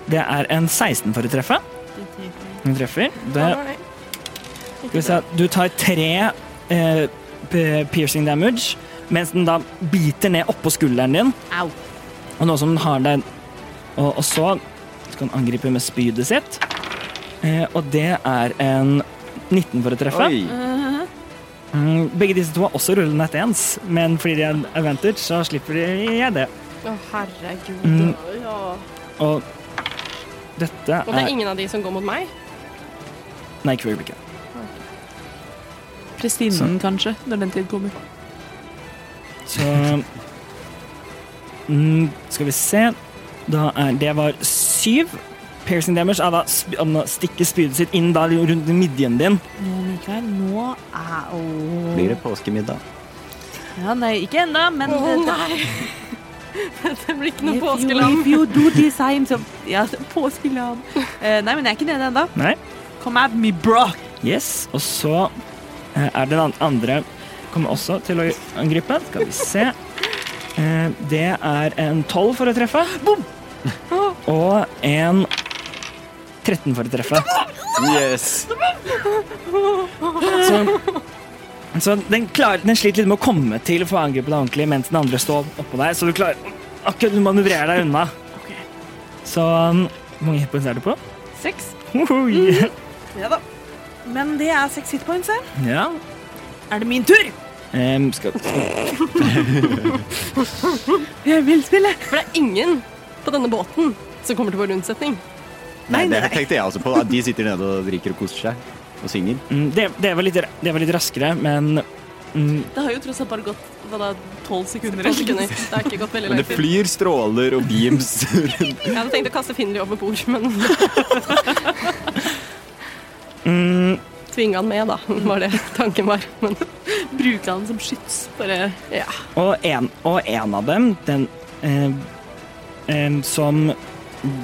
[SPEAKER 3] Det er en 16 for å treffe. Hun treffer. Det,
[SPEAKER 5] Å, nei.
[SPEAKER 3] Skal vi se, du tar tre eh, p- piercing damage, mens den da biter ned oppå skulderen din.
[SPEAKER 6] Au.
[SPEAKER 3] Og nå som den har deg og, og så skal den angripe med spydet sitt. Eh, og det er en 19 for å treffe.
[SPEAKER 9] Oi.
[SPEAKER 3] Mm, begge disse to har også rullende at ens, men fordi de er advantage, så slipper de det.
[SPEAKER 5] Å, herregud.
[SPEAKER 3] Mm.
[SPEAKER 5] Ja.
[SPEAKER 3] Og Dette
[SPEAKER 5] Og det
[SPEAKER 3] er
[SPEAKER 5] er ingen av de som går mot meg.
[SPEAKER 3] Nei, ikke for øyeblikket.
[SPEAKER 6] Prestinen, kanskje, når den tid kommer.
[SPEAKER 3] Så Eh, mm, Skal vi se. Da er, det var syv. Piercing damage er da sp- om å stikke spydet sitt inn der rundt midjen din.
[SPEAKER 6] Nå, Mikael, nå er Åh.
[SPEAKER 4] Blir det påskemiddag?
[SPEAKER 6] Ja, nei, ikke ennå, men eh,
[SPEAKER 5] nei! det blir ikke noe
[SPEAKER 6] If you-
[SPEAKER 5] påskelam.
[SPEAKER 6] If you do this, I'm so... Ja, så- påskelam. Eh, nei, men jeg er ikke nede ennå.
[SPEAKER 3] Nei.
[SPEAKER 6] Come at me, bro!
[SPEAKER 3] Yes. Og så eh, er det den andre kommer også til å angripe. Skal vi se. Eh, Det er en 12 for å treffe. Og en 13 for å treffe.
[SPEAKER 9] Yes.
[SPEAKER 3] Så, så den, klarer, den sliter litt med å komme til for å angripe deg ordentlig mens den andre står oppå deg, så du klarer akkurat du manøvrerer deg unna. Så um, Hvor mange hitpoints er du på?
[SPEAKER 6] Seks.
[SPEAKER 3] Hohoi.
[SPEAKER 6] Ja da. Men det er seks hitpoints, her.
[SPEAKER 3] Ja.
[SPEAKER 6] Er det min tur?
[SPEAKER 3] Em, skal,
[SPEAKER 6] Jeg vil spille.
[SPEAKER 5] For det er ingen på denne båten som kommer til vår unnsetning.
[SPEAKER 9] Nei, det tenkte jeg
[SPEAKER 4] altså
[SPEAKER 9] også på. At de sitter nede og drikker og koser seg. Og synger.
[SPEAKER 3] mm, det, det, var litt, ra- det var litt raskere, men mm,
[SPEAKER 6] Det har jo tross alt bare gått hva da, tolv sekunder.
[SPEAKER 5] Tolv sekunder. Det har ikke gått veldig
[SPEAKER 9] Men
[SPEAKER 5] lang
[SPEAKER 9] det
[SPEAKER 5] tid.
[SPEAKER 9] flyr stråler og beams rundt.
[SPEAKER 5] Jeg hadde tenkt å kaste Finley over bord, men
[SPEAKER 3] mm,
[SPEAKER 5] tvinge han med, da, var det tanken var. Men
[SPEAKER 6] Bruke han som skyts. Bare
[SPEAKER 5] ja.
[SPEAKER 3] Og en, og en av dem, den eh, em, som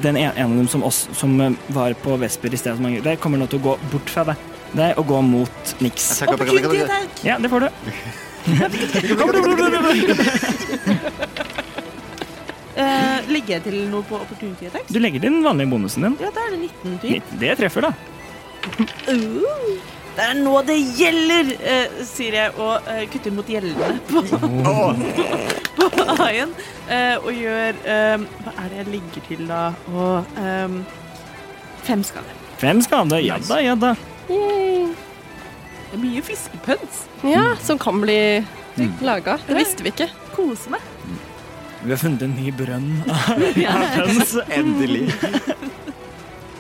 [SPEAKER 3] den en, en av dem som, oss, som eh, var på Vesper i stedet som angriper deg, kommer nå til å gå bort fra deg, deg og gå mot Nix.
[SPEAKER 6] Opportunity attack!
[SPEAKER 3] Ja, det får du.
[SPEAKER 6] Eh, legger jeg til noe på opportunity attack?
[SPEAKER 3] Du legger til den vanlige bonusen din.
[SPEAKER 6] Ja, da er det 19 til.
[SPEAKER 3] Det treffer, da.
[SPEAKER 6] Uh, det er nå det gjelder, eh, sier jeg, og eh, kutter mot gjellene på, på A-en. eh, og gjør eh, Hva er det jeg ligger til, da? Og eh, fem skader.
[SPEAKER 3] Fem skader. Ja da, ja da.
[SPEAKER 5] Yay.
[SPEAKER 6] Det er mye fiskepøns.
[SPEAKER 5] ja, som kan bli laga. Det visste vi ikke.
[SPEAKER 6] Kose meg.
[SPEAKER 3] Vi har funnet en ny brønn av høns.
[SPEAKER 9] Endelig.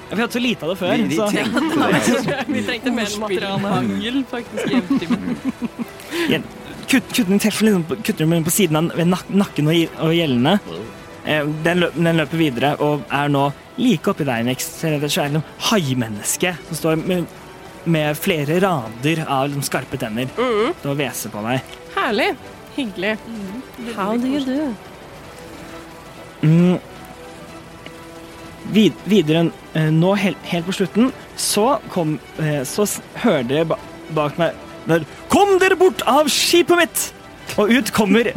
[SPEAKER 3] Vi hadde så lite av det før.
[SPEAKER 9] Vi- vi
[SPEAKER 3] Så.
[SPEAKER 9] tenkte det.
[SPEAKER 5] Vi trengte mer materiale.
[SPEAKER 6] Ordspillmangel, faktisk, i eventyrmen.
[SPEAKER 3] Kutt, kutt den treffer liksom, på- kutter den med på siden av ved nak nakken og, i- og gjellene. Eh, Den, løp, den løper videre og er nå like oppi deg, Nix. Så er det så er det noe haimenneske som står med, med flere rader av liksom, skarpe tenner og hveser på deg.
[SPEAKER 5] Herlig. Hyggelig. How do you do?
[SPEAKER 3] Mm. Vid, videre eh, nå helt, helt på slutten, så kom eh, Så s- hører dere ba, bak meg der, Kom dere bort av skipet mitt! Og ut kommer,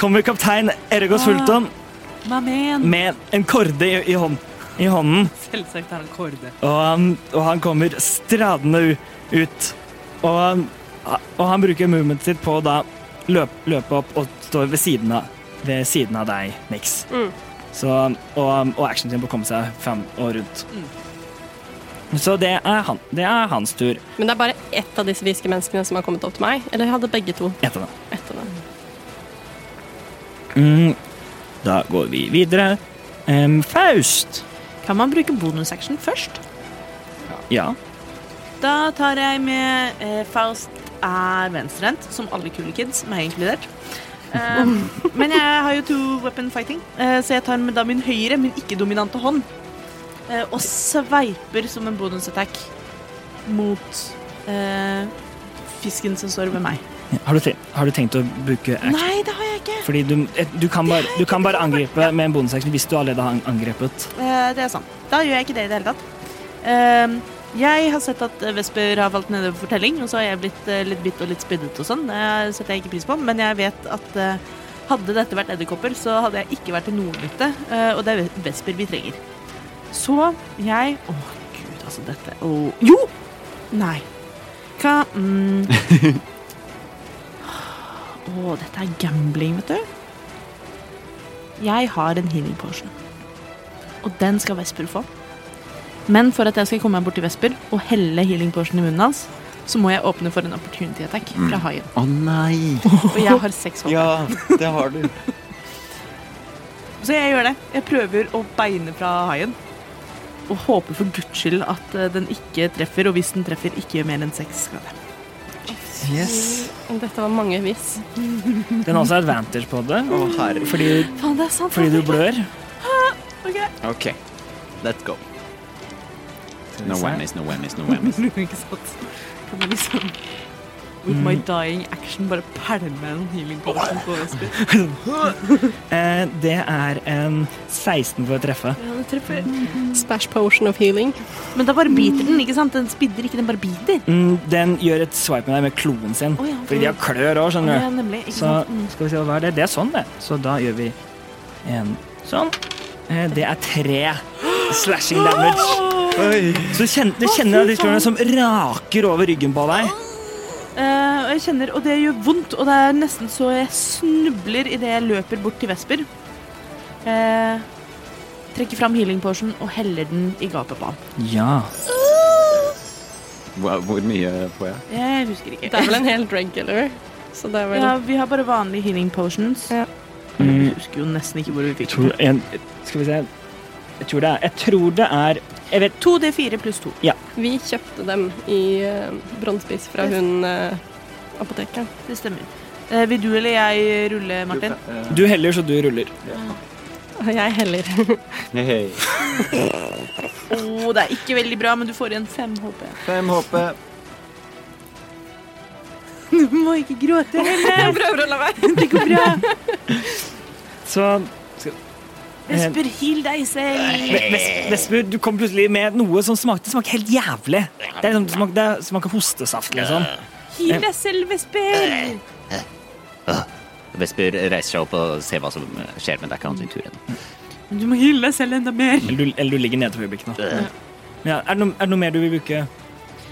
[SPEAKER 3] kommer kaptein Ergos Fulton
[SPEAKER 6] My man.
[SPEAKER 3] med en korde i, i, hånd, i hånden.
[SPEAKER 6] Selvsagt er han kårde.
[SPEAKER 3] Og han, og han kommer stradende u- ut. Og, han- og han bruker movementet sitt på å da løp, løpe opp og stå ved siden av, ved siden av deg, Nix.
[SPEAKER 5] Mm.
[SPEAKER 3] Så, og, og actionen sin på å komme seg fram og rundt. Så det er, han, det er hans tur
[SPEAKER 5] Men det er bare ett av disse fiskemenneskene som har kommet opp til meg. Eller hadde begge to
[SPEAKER 3] etter det.
[SPEAKER 5] etter det.
[SPEAKER 3] Mm. Da går vi videre. Em, Faust.
[SPEAKER 6] Kan man bruke bonusaction først?
[SPEAKER 3] Ja.
[SPEAKER 6] Da tar jeg med eh, Faust er venstrehendt, som alle kule kids, meg inkludert. Um, men jeg har jo two weapon fighting, eh, så jeg tar med da min høyre, men ikke-dominante hånd. eh, og sveiper som en bonusattack mot eh, fisken som står ved meg.
[SPEAKER 3] Har du, te- har du tenkt å bruke action?
[SPEAKER 6] Nei, det har jeg ikke!
[SPEAKER 3] Fordi du, du, kan bare, du kan bare angripe med en bonusaction hvis du allerede har angrepet.
[SPEAKER 6] Eh, det er sant. Da gjør jeg ikke det i det hele tatt. Ehm, jeg har sett at eh, Vesper har valgt nedover fortelling, og så har jeg blitt eh, litt bitt og litt spiddet og sånn. Det setter jeg ikke pris på, men jeg vet at eh, hadde dette vært edderkopper, så hadde jeg ikke vært til noe nytte, eh, og det er ve- Vesper vi trenger. Så jeg Å, gud, altså, dette Å Jo! Nei. Hva mm. Å, dette er gambling, vet du. Jeg har en healing potion og den skal Vesper få. Men for at jeg skal komme meg bort til Vesper og helle healing potion i munnen hans, så må jeg åpne for en opportunity attack
[SPEAKER 3] Mm.
[SPEAKER 6] fra haien.
[SPEAKER 4] Å nei!
[SPEAKER 6] Og jeg har seks hånd.
[SPEAKER 4] Ja, det har du.
[SPEAKER 6] Så jeg gjør det. Jeg prøver å beine fra haien. og håper for guds skyld at eh, den ikke treffer, og hvis den treffer, ikke gjør mer enn seks skader.
[SPEAKER 9] Yes.
[SPEAKER 5] Dette var mange hvis.
[SPEAKER 3] Den har også advantage på det,
[SPEAKER 4] Å, herre.
[SPEAKER 3] fordi,
[SPEAKER 6] Faen, det er sant.
[SPEAKER 3] fordi du blør.
[SPEAKER 4] OK, let's go.
[SPEAKER 3] Skal vi se.
[SPEAKER 4] No whammies, no whammies, no whammies.
[SPEAKER 6] ikke sant? Kan man liksom With
[SPEAKER 3] Mm.
[SPEAKER 6] my dying action bare pælme en healing potion på Vesper?
[SPEAKER 3] Eh, Det er en 16 for å treffe.
[SPEAKER 5] Spash potion of healing.
[SPEAKER 6] Men da bare biter den, ikke sant? Den spidder ikke, den bare biter.
[SPEAKER 3] Mm, Den gjør et swipe med deg med kloen sin.
[SPEAKER 6] Å ja,
[SPEAKER 3] Fordi de har klør òg, skjønner du.
[SPEAKER 6] Ja, nemlig. Ikke
[SPEAKER 3] Så
[SPEAKER 6] sant? Mm.
[SPEAKER 3] skal vi se hva er det. Det er sånn, det. Så da gjør vi en sånn. Eh, Det er tre slashing damage.
[SPEAKER 9] Oi.
[SPEAKER 3] Så du kjenner, du kjenner de klørne som raker over ryggen på deg.
[SPEAKER 6] Eh, og jeg kjenner, og det gjør vondt, og det er nesten så jeg snubler idet jeg løper bort til Vesper. Eh, trekker fram healing potion og heller den i gapet på ham.
[SPEAKER 3] Ja.
[SPEAKER 4] Hvor, hvor mye får jeg?
[SPEAKER 6] Jeg husker ikke.
[SPEAKER 5] Det er vel en helt regular. Så det er vel
[SPEAKER 6] Ja, vi har bare vanlige healing potions.
[SPEAKER 5] Ja.
[SPEAKER 6] Jeg husker jo nesten ikke hvor vi fikk den.
[SPEAKER 3] Mm, Tror en, skal vi se Jeg tror det er Jeg tror det er Jeg vet
[SPEAKER 6] 2D4 pluss 2.
[SPEAKER 5] Vi kjøpte dem i uh, bronsepris fra hun eh, apotekeren.
[SPEAKER 6] Det stemmer. Eh, vil du eller jeg rulle, Martin?
[SPEAKER 3] Du heller, så du ruller.
[SPEAKER 5] Jeg heller.
[SPEAKER 4] Hei.
[SPEAKER 6] Å, det er ikke veldig bra, men du får igjen fem, håper jeg.
[SPEAKER 4] Fem HP.
[SPEAKER 6] Du må ikke gråte,
[SPEAKER 5] Jeg prøver å la være.
[SPEAKER 6] det går bra.
[SPEAKER 3] Så
[SPEAKER 6] Vesper, heal deg selv.
[SPEAKER 3] Ve- Ves- Vesper, du kom plutselig med noe som smakte, smaker helt jævlig. Det, er liksom, det, smaker, det smaker hostesaft, liksom.
[SPEAKER 6] Heal deg selv, Vesper.
[SPEAKER 8] Vesper reiser seg opp og ser hva som eh, skjer, men det er ikke hans tur ennå.
[SPEAKER 6] Du må heale deg selv enda mer.
[SPEAKER 3] Eller du, eller du ligger nede for øyeblikket nå. Ja, er, det noe, er det noe mer du vil bruke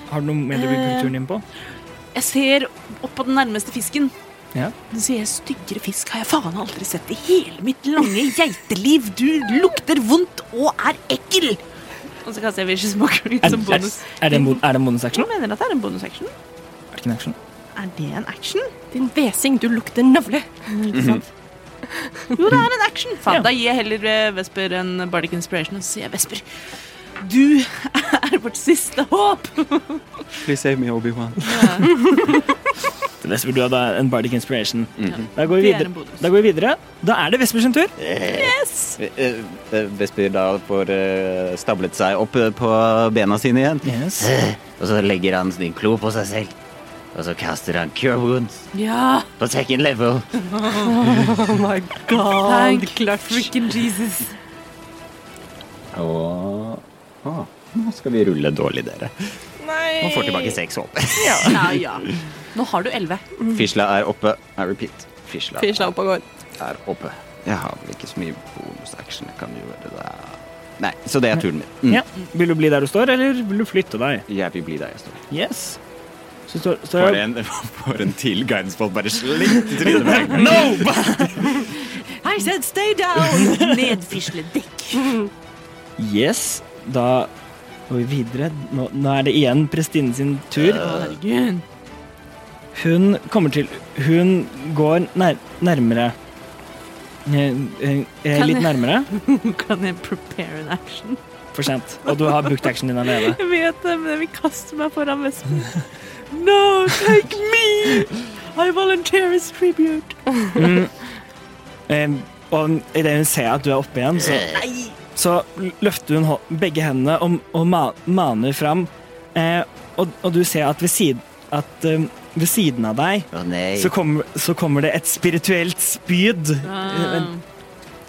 [SPEAKER 3] Har du noe mer du vil
[SPEAKER 6] Eh,
[SPEAKER 3] bruke turen din på?
[SPEAKER 6] Jeg ser opp på den nærmeste fisken.
[SPEAKER 3] Ja.
[SPEAKER 6] Den sier styggere fisk har jeg faen aldri sett i hele mitt lange geiteliv. Du lukter vondt og er ekkel. Og så kaster jeg Vicious Mockery
[SPEAKER 3] Er,
[SPEAKER 6] som
[SPEAKER 3] er,
[SPEAKER 6] bonus.
[SPEAKER 3] er det en, bon- er det en bonusaction?
[SPEAKER 6] Jeg mener at det er en bonusaction.
[SPEAKER 3] Er det ikke en action?
[SPEAKER 6] Er det en action?
[SPEAKER 5] Din hvesing, du lukter navle.
[SPEAKER 6] Ikke sant? Jo, det er en action. Faen, Da gir jeg heller eh, Vesper en Bardic Inspiration, og så sier jeg Vesper. Du er vårt siste håp!
[SPEAKER 9] Please save me, Obi-Wan.
[SPEAKER 3] Så Vesper, du hadde en bardic inspiration. Da går vi
[SPEAKER 6] Det er en
[SPEAKER 3] videre.
[SPEAKER 6] bonus.
[SPEAKER 3] Da går vi videre. Da er det Vesper sin tur.
[SPEAKER 4] Eh, Vesper da får eh, stablet seg opp eh, på bena sine igjen.
[SPEAKER 3] Yes.
[SPEAKER 8] Og så legger han sin klo på seg selv, og så kaster han cure wounds
[SPEAKER 6] Ja!
[SPEAKER 8] på second level.
[SPEAKER 6] Thank freaking Jesus.
[SPEAKER 4] Og Å, nå skal vi rulle dårlig, dere.
[SPEAKER 5] Nei.
[SPEAKER 4] Og får tilbake seks HP.
[SPEAKER 6] Ja, ja. Nå har du elleve.
[SPEAKER 4] Fisla er oppe. I repeat. Fisla
[SPEAKER 5] Fy slapp og går.
[SPEAKER 4] er oppe. Jeg har vel ikke så mye bonusaction jeg kan gjøre der. Nei, så det er turen min. Mm.
[SPEAKER 3] Ja. Vil du bli der du står, eller vil du flytte deg?
[SPEAKER 4] Jeg vil bli der jeg står.
[SPEAKER 3] Yes. Så står, står
[SPEAKER 9] For en, for en til guidance bolt bare slengt i trynet på meg.
[SPEAKER 6] I said stay down! Nedfisle dekk.
[SPEAKER 3] Yes. Da går vi videre. Nå, nå er det igjen prestinnen sin tur.
[SPEAKER 6] Herregud.
[SPEAKER 3] Hun kommer til Hun går nær, nærmere. Eh, eh, eh,
[SPEAKER 6] Kan
[SPEAKER 3] litt
[SPEAKER 6] jeg-
[SPEAKER 3] nærmere.
[SPEAKER 6] Kan jeg prepare an action?
[SPEAKER 3] For sent. Og du har brukt actionen din allerede.
[SPEAKER 6] Jeg vet det, men jeg vil kaste meg foran vespen. No, take me! I volunteer as tribute.
[SPEAKER 3] Mm. Eh, og idet hun ser at du er oppe igjen, så,
[SPEAKER 6] Eh.
[SPEAKER 3] så løfter hun hå- begge hendene og, og ma, maner fram. Eh, og, og du ser at ved siden, at, eh, ved siden av deg
[SPEAKER 8] Å nei.
[SPEAKER 3] så kommer, så kommer det et spirituelt spyd.
[SPEAKER 6] Ah.
[SPEAKER 3] Eh, en-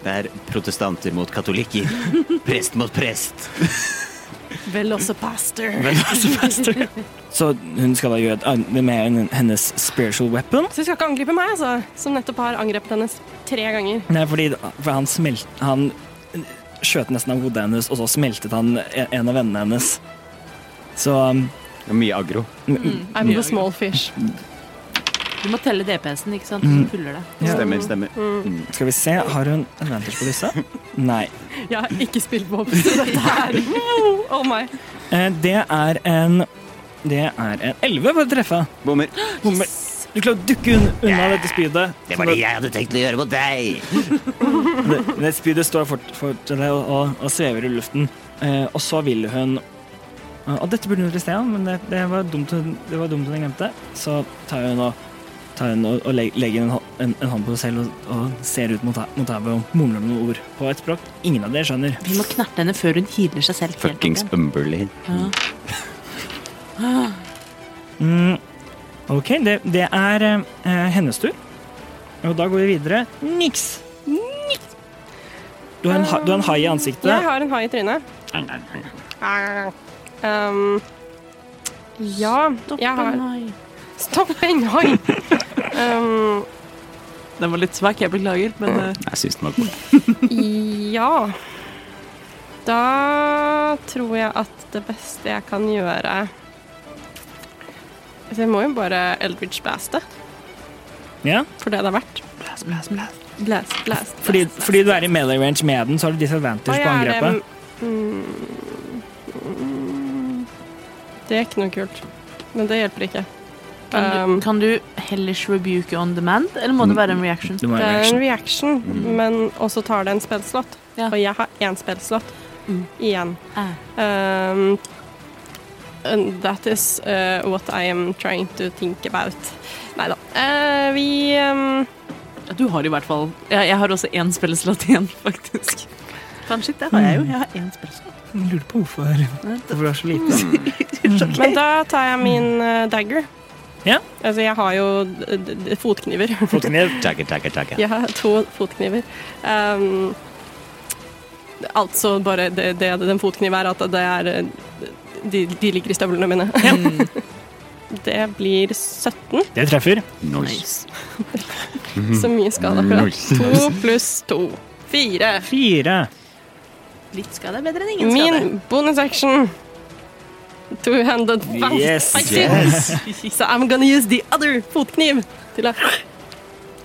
[SPEAKER 8] Det er protestanter mot katolikker. Prest mot prest.
[SPEAKER 6] Vel også pastor.
[SPEAKER 3] Så hun skal da gjøre et an- med en- hennes spiritual weapon.
[SPEAKER 5] Så du skal ikke angripe meg, altså? Som nettopp har angrepet hennes tre ganger.
[SPEAKER 3] Nei, fordi for han smelt... Han skjøt nesten av hodet hennes, og så smeltet han en en av vennene hennes. Så um,
[SPEAKER 4] Det er Mye aggro.
[SPEAKER 5] I'm the small fish.
[SPEAKER 6] Du må telle DPS-en, ikke sant? Så du puller det.
[SPEAKER 3] Ja.
[SPEAKER 4] Stemmer, stemmer.
[SPEAKER 3] skal vi se, har hun advantage på disse? Nei.
[SPEAKER 5] Jeg har ikke spilt på så dette her. Oh my.
[SPEAKER 3] Eh, Det er en Det er en 11 for å treffe.
[SPEAKER 4] Bommer.
[SPEAKER 3] Bommer. Du klarer å dukke un unna dette spydet.
[SPEAKER 8] Det var det jeg hadde tenkt å gjøre mot deg.
[SPEAKER 3] Det, det spydet står fort, fort og, og, og svever i luften. Eh, og så vil hun eh, Og dette burde hun gjort i sted, men det, det, var dumt, hun- det var dumt hun glemte. Så tar hun og, tar hun og, og leg- legger en, hå- en, en hånd på seg selv og, og ser ut mot, ha- mot havet og mumler noen ord på et språk ingen av dere skjønner.
[SPEAKER 6] Vi må knerte henne før hun healer seg selv. helt opp
[SPEAKER 4] Fuckings
[SPEAKER 6] igjen.
[SPEAKER 4] Umberley.
[SPEAKER 6] Ah,
[SPEAKER 3] Mm, ok, det, det er eh, hennes tur. Og da går vi videre. Niks! Du har en, ha- du har en hai i ansiktet.
[SPEAKER 5] Jeg har en hai i trynet. Um, ja, jeg har Stopp en hai! Um,
[SPEAKER 6] Den var litt svak, jeg beklager, men eh,
[SPEAKER 4] Jeg syns den var god.
[SPEAKER 5] Ja. Da tror jeg at det beste jeg kan gjøre Altså, jeg må jo bare Eldridge blaste
[SPEAKER 3] Ja,
[SPEAKER 5] for det det er verdt. Blast, blast, blast. Blast, blast.
[SPEAKER 3] fordi, fordi du er i melee range med den, så har du disadvantage på angrepet.
[SPEAKER 5] Det, mm, mm, det er ikke noe kult. Men det hjelper ikke.
[SPEAKER 6] kan,
[SPEAKER 5] Um,
[SPEAKER 6] du, kan du hellish rebuke on demand, eller må det være en reaction?
[SPEAKER 3] Du må ha
[SPEAKER 5] det er
[SPEAKER 3] reaction.
[SPEAKER 5] en reaction,
[SPEAKER 4] Mm.
[SPEAKER 5] men også tar det en spellslott.
[SPEAKER 6] Ja.
[SPEAKER 5] Og jeg har én spellslott
[SPEAKER 6] Mm.
[SPEAKER 5] igjen.
[SPEAKER 6] Ah.
[SPEAKER 5] Um, and that is uh, what I am trying to think about. Nei da. Eh, vi um,
[SPEAKER 6] Du har i hvert fall ja, Jeg har også én spilleslott igjen, faktisk. Mm. Fan, shit, det har jeg jo. Jeg har én spilleslott.
[SPEAKER 3] Jeg lurer på hvorfor Hvorfor det er så lite.
[SPEAKER 5] Men da tar jeg min eh, dagger.
[SPEAKER 3] Ja.
[SPEAKER 5] Altså, jeg har jo d d d fotkniver.
[SPEAKER 3] Fotkniv.
[SPEAKER 4] Dagger, dagger, dagger.
[SPEAKER 5] jeg har to fotkniver. Um, altså bare det, det den fotkniven er, at det er eh, de, de ligger i støvlene mine. det blir 17,
[SPEAKER 3] Det treffer.
[SPEAKER 4] Nice.
[SPEAKER 5] så mye skade akkurat. To pluss to. Fire.
[SPEAKER 3] Fire.
[SPEAKER 6] Litt skade er bedre enn ingen skade.
[SPEAKER 5] Min bonus action. Two-handed fast
[SPEAKER 3] Yes.
[SPEAKER 5] fighting. Så I'm gonna use the other fotkniv til å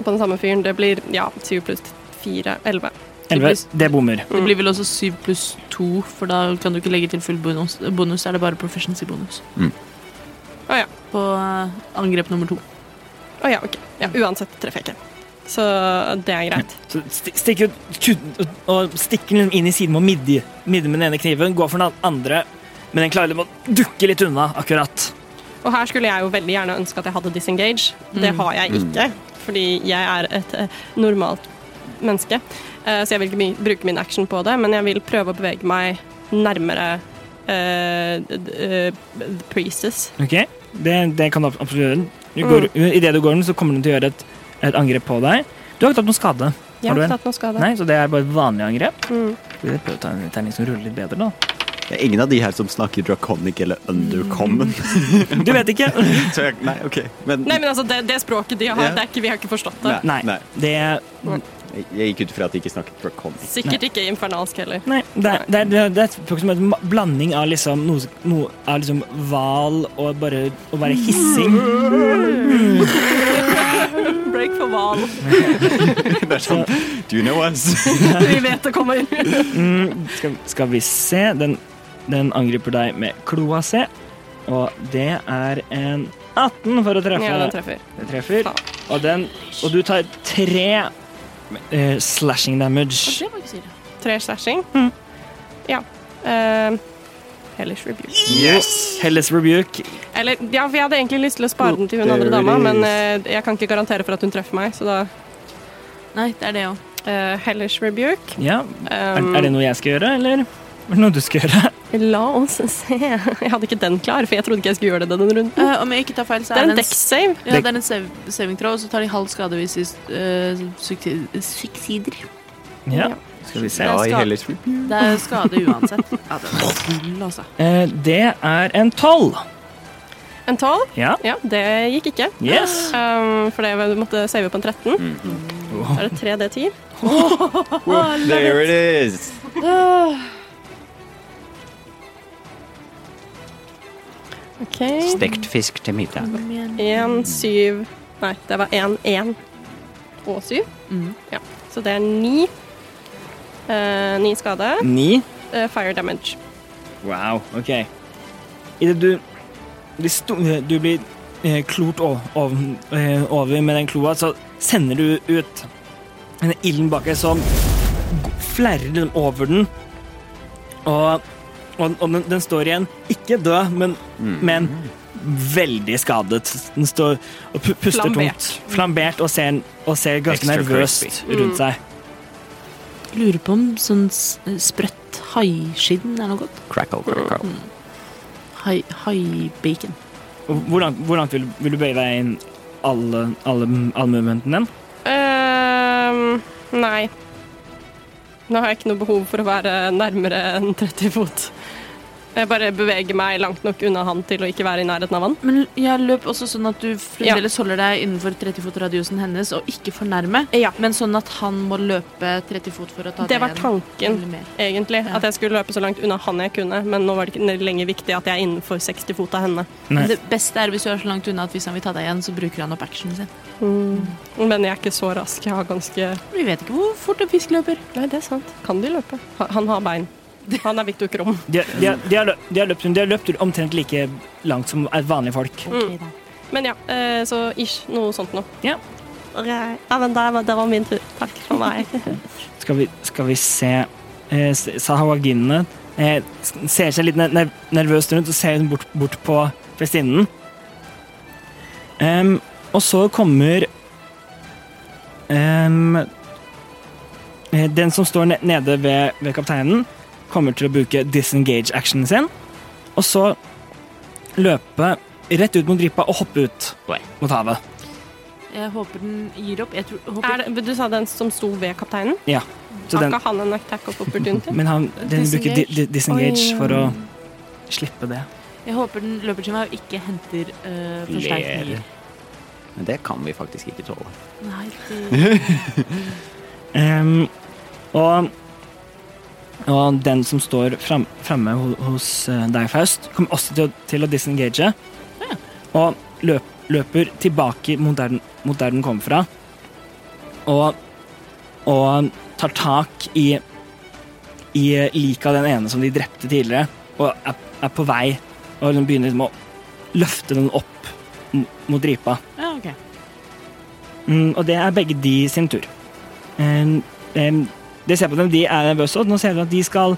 [SPEAKER 5] På den samme fyren. Det blir ja, 7 pluss 4, 11.
[SPEAKER 3] Elleve. Det bommer.
[SPEAKER 6] Det blir vel også syv pluss to, for da kan du ikke legge til full bonus. Bonus er det bare proficiency-bonus.
[SPEAKER 4] Mm.
[SPEAKER 5] Å ja.
[SPEAKER 6] På eh, angrep nummer to.
[SPEAKER 5] Å ja, OK. Ja, uansett treffer jeg ikke. Så det er greit.
[SPEAKER 3] Så sti- stikker ut kuten ut- og stikker den inn i siden på midje, midje med den ene kniven. Går for den andre, men den klarer liksom å dukke litt unna akkurat.
[SPEAKER 5] Og her skulle jeg jo veldig gjerne ønske at jeg hadde disengage. Det
[SPEAKER 3] Mm.
[SPEAKER 5] har jeg ikke, fordi jeg er et eh, normalt menneske. Eh, så jeg vil ikke mi- bruke min action på det, men jeg vil prøve å bevege meg nærmere eh, d- d- eh, the Preces.
[SPEAKER 3] Ok, Det, det kan du ab- absolutt gjøre. Du går, Idet du går den, så kommer den til å gjøre et, et angrep på deg. Du har ikke tatt noen skade,
[SPEAKER 5] Jeg
[SPEAKER 3] Har
[SPEAKER 5] har
[SPEAKER 3] du
[SPEAKER 5] ikke
[SPEAKER 3] en?
[SPEAKER 5] tatt noe skade.
[SPEAKER 3] Nei, så det er bare et vanlig angrep.
[SPEAKER 5] Mm.
[SPEAKER 3] Skal vi prøve å ta en terning som ruller litt bedre, da?
[SPEAKER 9] Det er ingen av de her som snakker draconic eller undercommon.
[SPEAKER 3] Du vet ikke.
[SPEAKER 9] Så jeg, nei, ok. Men,
[SPEAKER 5] Nei, men altså, det, det språket de har,
[SPEAKER 9] Ja.
[SPEAKER 5] det er ikke, vi har ikke forstått det.
[SPEAKER 9] Nei.
[SPEAKER 3] Nei. Det,
[SPEAKER 9] Jeg- jeg gikk ut fra at de ikke snakket draconic.
[SPEAKER 5] Sikkert ikke infernalsk heller.
[SPEAKER 3] nei, det, er- det, er- det, er et språk som er en ma- blanding av liksom noe, noe av liksom hval og bare å være hissing.
[SPEAKER 5] Break for hval.
[SPEAKER 9] Det er sånn, do you know us?
[SPEAKER 5] Vi vet det kommer inn.
[SPEAKER 3] Mm, skal, skal vi se. Den, den angriper deg med kloa si. Og det er en 18 for å treffe.
[SPEAKER 5] Ja, den treffer.
[SPEAKER 3] Det treffer. Og, den, og du tar tre eh, slashing damage.
[SPEAKER 5] Tre slashing.
[SPEAKER 3] Mm.
[SPEAKER 5] Ja. Uh, Hellish rebuke.
[SPEAKER 9] Yes!
[SPEAKER 3] Helles rebuke.
[SPEAKER 5] Eller, ja, for jeg hadde egentlig lyst til å spare den til hun andre dama, men eh, jeg kan ikke garantere for at hun treffer meg, så da
[SPEAKER 6] Nei, det er det òg.
[SPEAKER 5] eh, Hellish rebuke.
[SPEAKER 3] Ja. Er,
[SPEAKER 5] Um,
[SPEAKER 3] er det noe jeg skal gjøre, eller er det noe du skal gjøre?
[SPEAKER 5] La oss se. Jeg hadde ikke den klar, for jeg trodde ikke jeg skulle gjøre det denne runden.
[SPEAKER 6] Eh, om jeg ikke tar feil, så
[SPEAKER 5] Det er en
[SPEAKER 6] det
[SPEAKER 5] dex save.
[SPEAKER 6] Ja, det er en save, saving throw, og så tar de halv skade hvis de uh, suksider.
[SPEAKER 3] Ja, skal vi se.
[SPEAKER 5] Ja, i
[SPEAKER 9] Hellish
[SPEAKER 6] Det er skade uansett. Ja, den er full, altså.
[SPEAKER 3] Eh, det er en tolv.
[SPEAKER 5] En tolv.
[SPEAKER 3] Ja.
[SPEAKER 5] Ja, det gikk ikke.
[SPEAKER 3] Yes.
[SPEAKER 5] Um, for det, du måtte save på en 13.
[SPEAKER 3] Mm-hmm.
[SPEAKER 5] Da er det 3D10.
[SPEAKER 9] There it is!
[SPEAKER 5] OK.
[SPEAKER 4] Stekt fisk til middag.
[SPEAKER 5] 1, 7 Nei, det var 1, 1 og 7.
[SPEAKER 6] Mhm.
[SPEAKER 5] Ja. Så det er 9. Uh, 9 skade.
[SPEAKER 3] Ni.
[SPEAKER 5] Eh, fire damage.
[SPEAKER 3] Wow, ok. Idet du blir, sto, du blir eh, klort o- ov, eh, over med den kloa, så sender du ut denne ilden bak deg som g- flerrer den over den. Og Og, og den, den står igjen, ikke død, men,
[SPEAKER 8] Mm.
[SPEAKER 3] men veldig skadet. Den står og pu- puster
[SPEAKER 5] Flambert.
[SPEAKER 3] tungt. Flambert og ser, og ser ganske
[SPEAKER 4] Extra
[SPEAKER 3] nervøst
[SPEAKER 4] crispy.
[SPEAKER 3] rundt seg.
[SPEAKER 6] Lurer på om sånn s- sprøtt haiskinn er noe godt. Mm.
[SPEAKER 4] Crackle, crackle.
[SPEAKER 6] Hai- Haibacon.
[SPEAKER 3] Og Hvor langt, hvor langt vil, vil du bøye deg inn alle, alle, alle movementene din?
[SPEAKER 5] Ehm, nei. Nå har jeg ikke noe behov for å være nærmere enn 30 fot. Jeg bare beveger meg langt nok unna han til å ikke være i nærheten av han.
[SPEAKER 6] Men jeg løp også sånn at du fremdeles holder deg innenfor 30-fotradiusen hennes og ikke for nærme,
[SPEAKER 5] Ja.
[SPEAKER 6] men sånn at han må løpe 30 fot for å ta
[SPEAKER 5] Det var
[SPEAKER 6] igjen.
[SPEAKER 5] tanken,
[SPEAKER 6] Eller mer.
[SPEAKER 5] egentlig.
[SPEAKER 6] Ja.
[SPEAKER 5] At jeg skulle løpe så langt unna han jeg kunne. Men nå var det ikke lenger viktig at jeg er innenfor 60 fot av henne.
[SPEAKER 3] Nei.
[SPEAKER 6] Det beste er hvis du er så langt unna at hvis han vil ta deg igjen, så bruker han opp actionen sin.
[SPEAKER 5] Men jeg er ikke så rask. Jeg har ganske
[SPEAKER 6] Vi vet ikke hvor fort en fisk løper.
[SPEAKER 5] Nei, det er sant. Kan de løpe? Ha- Han har bein. Han er Victor Krum.
[SPEAKER 3] De, de, har- de, har løpt, de, har løpt, de har løpt omtrent like langt som er vanlige folk.
[SPEAKER 5] Men ja, eh, så ish. Noe sånt noe.
[SPEAKER 3] Ja.
[SPEAKER 5] Ja, men det var, det var min tur. Takk for meg.
[SPEAKER 3] Skal vi, skal vi se eh, Sahawaginene eh, s- ser seg litt ner- ner- nervøst rundt og ser hun bort, bort på prestinnen. Em, og så kommer em, eh, Den som står ne- nede ved, ved kapteinen, kommer til å bruke disengage-actionen sin. Og så løpe rett ut mot gripa og hoppe ut mot havet.
[SPEAKER 6] Jeg håper den gir opp. Jeg tror, håper
[SPEAKER 5] Er det, du sa den som sto ved kapteinen?
[SPEAKER 3] Så
[SPEAKER 5] Har
[SPEAKER 3] den,
[SPEAKER 5] ikke han en attack of opportunity?
[SPEAKER 3] men han, den bruker di, di, disengage
[SPEAKER 5] Oi.
[SPEAKER 3] for å slippe det.
[SPEAKER 6] Jeg håper den løper til meg og ikke henter øh, forsterkninger.
[SPEAKER 8] Men det kan vi faktisk ikke tåle.
[SPEAKER 6] Nei, det...
[SPEAKER 3] Ehm, og, og den som står fram, framme ho- hos eh, deg, Faust, kommer også til å, til å disengage. Og løp, løper tilbake mot der, den- mot der den kom fra. Og, og tar tak i, i eh, liket av den ene som de drepte tidligere, og er, er på vei og liksom begynner liksom å løfte den opp m- mot ripa.
[SPEAKER 6] Ja, ok.
[SPEAKER 3] Mm, og det er begge de sin tur. Um, um, det ser på dem, de er nervøse, og nå ser du at de skal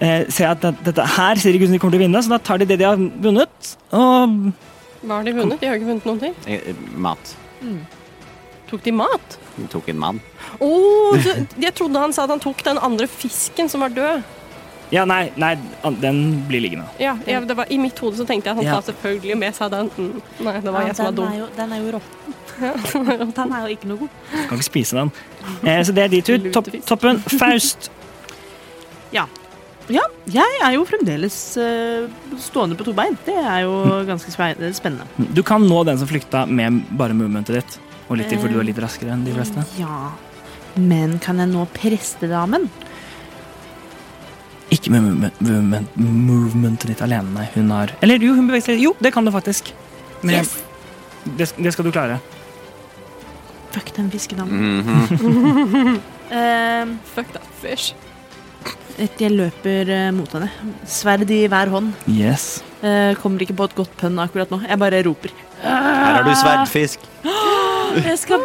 [SPEAKER 3] eh, se at det- dette her ser ikke ut som de kommer til å vinne, så da tar de det de har vunnet, og
[SPEAKER 5] Hva har de vunnet? De har jo ikke vunnet noen ting.
[SPEAKER 8] Eh, eh, Mat.
[SPEAKER 5] Tok de mat?
[SPEAKER 8] Vi tok en mann.
[SPEAKER 5] Å,
[SPEAKER 3] Mm.
[SPEAKER 5] du- jeg trodde han sa at han tok den andre fisken som var død.
[SPEAKER 3] Ja, nei, nei, an- den blir liggende.
[SPEAKER 5] Ja, jeg, det var, I mitt hode så tenkte jeg at han
[SPEAKER 3] Ja.
[SPEAKER 5] tar selvfølgelig med seg den. Mm, Nei, det var jeg som var
[SPEAKER 1] den,
[SPEAKER 5] dum.
[SPEAKER 1] er jo, den er jo råtten. den er jo ikke noe god.
[SPEAKER 3] Kan ikke spise den. Eh, så det er de tur. Topp, toppen. Faust.
[SPEAKER 6] Ja, jeg er jo fremdeles øh, stående på to bein. Det er jo ganske spe- spennende.
[SPEAKER 3] Du kan nå den som flykta med bare movementet ditt, og litt til, for du er litt raskere enn de
[SPEAKER 6] Eh.
[SPEAKER 3] fleste.
[SPEAKER 6] Ja, men kan jeg nå prestedamen?
[SPEAKER 3] Ikke med movement, movement, movementet ditt alene, nei. Hun har Eller jo, hun beveger seg Jo, det kan du faktisk. Men jeg- det, det skal du klare.
[SPEAKER 6] Fuck den fiskedamen.
[SPEAKER 4] Mhm.
[SPEAKER 6] Eh,
[SPEAKER 5] Fuck that fish.
[SPEAKER 6] jeg løper eh, mot henne. Sverd i hver hånd.
[SPEAKER 3] Yes.
[SPEAKER 6] Eh, kommer ikke på et godt pønn akkurat nå. Jeg bare roper.
[SPEAKER 4] Her har du sverdfisk.
[SPEAKER 6] Jeg skal,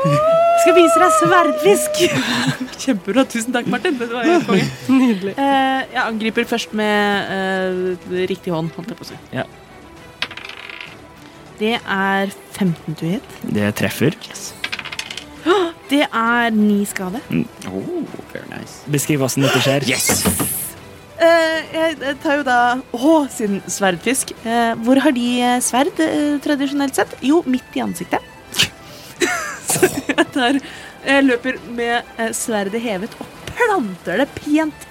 [SPEAKER 6] skal vise deg sverdfisk! Kjempebra. Tusen takk, Martin. Det var helt konge.
[SPEAKER 5] Nydelig.
[SPEAKER 6] Eh, jeg angriper først med eh, riktig hånd, holdt jeg på å si.
[SPEAKER 3] Ja.
[SPEAKER 6] Det er 15 du hit.
[SPEAKER 3] Det treffer.
[SPEAKER 6] Det er ni skade.
[SPEAKER 4] Mm.
[SPEAKER 8] Oh, very nice.
[SPEAKER 3] Beskriv hvordan dette skjer.
[SPEAKER 8] Yes!
[SPEAKER 6] Eh, jeg jeg tar jo da Å, siden sverdfisk. Eh, hvor har de eh, sverd eh, tradisjonelt sett? Jo, midt i ansiktet. Så jeg tar Jeg løper med eh, sverdet hevet og planter det pent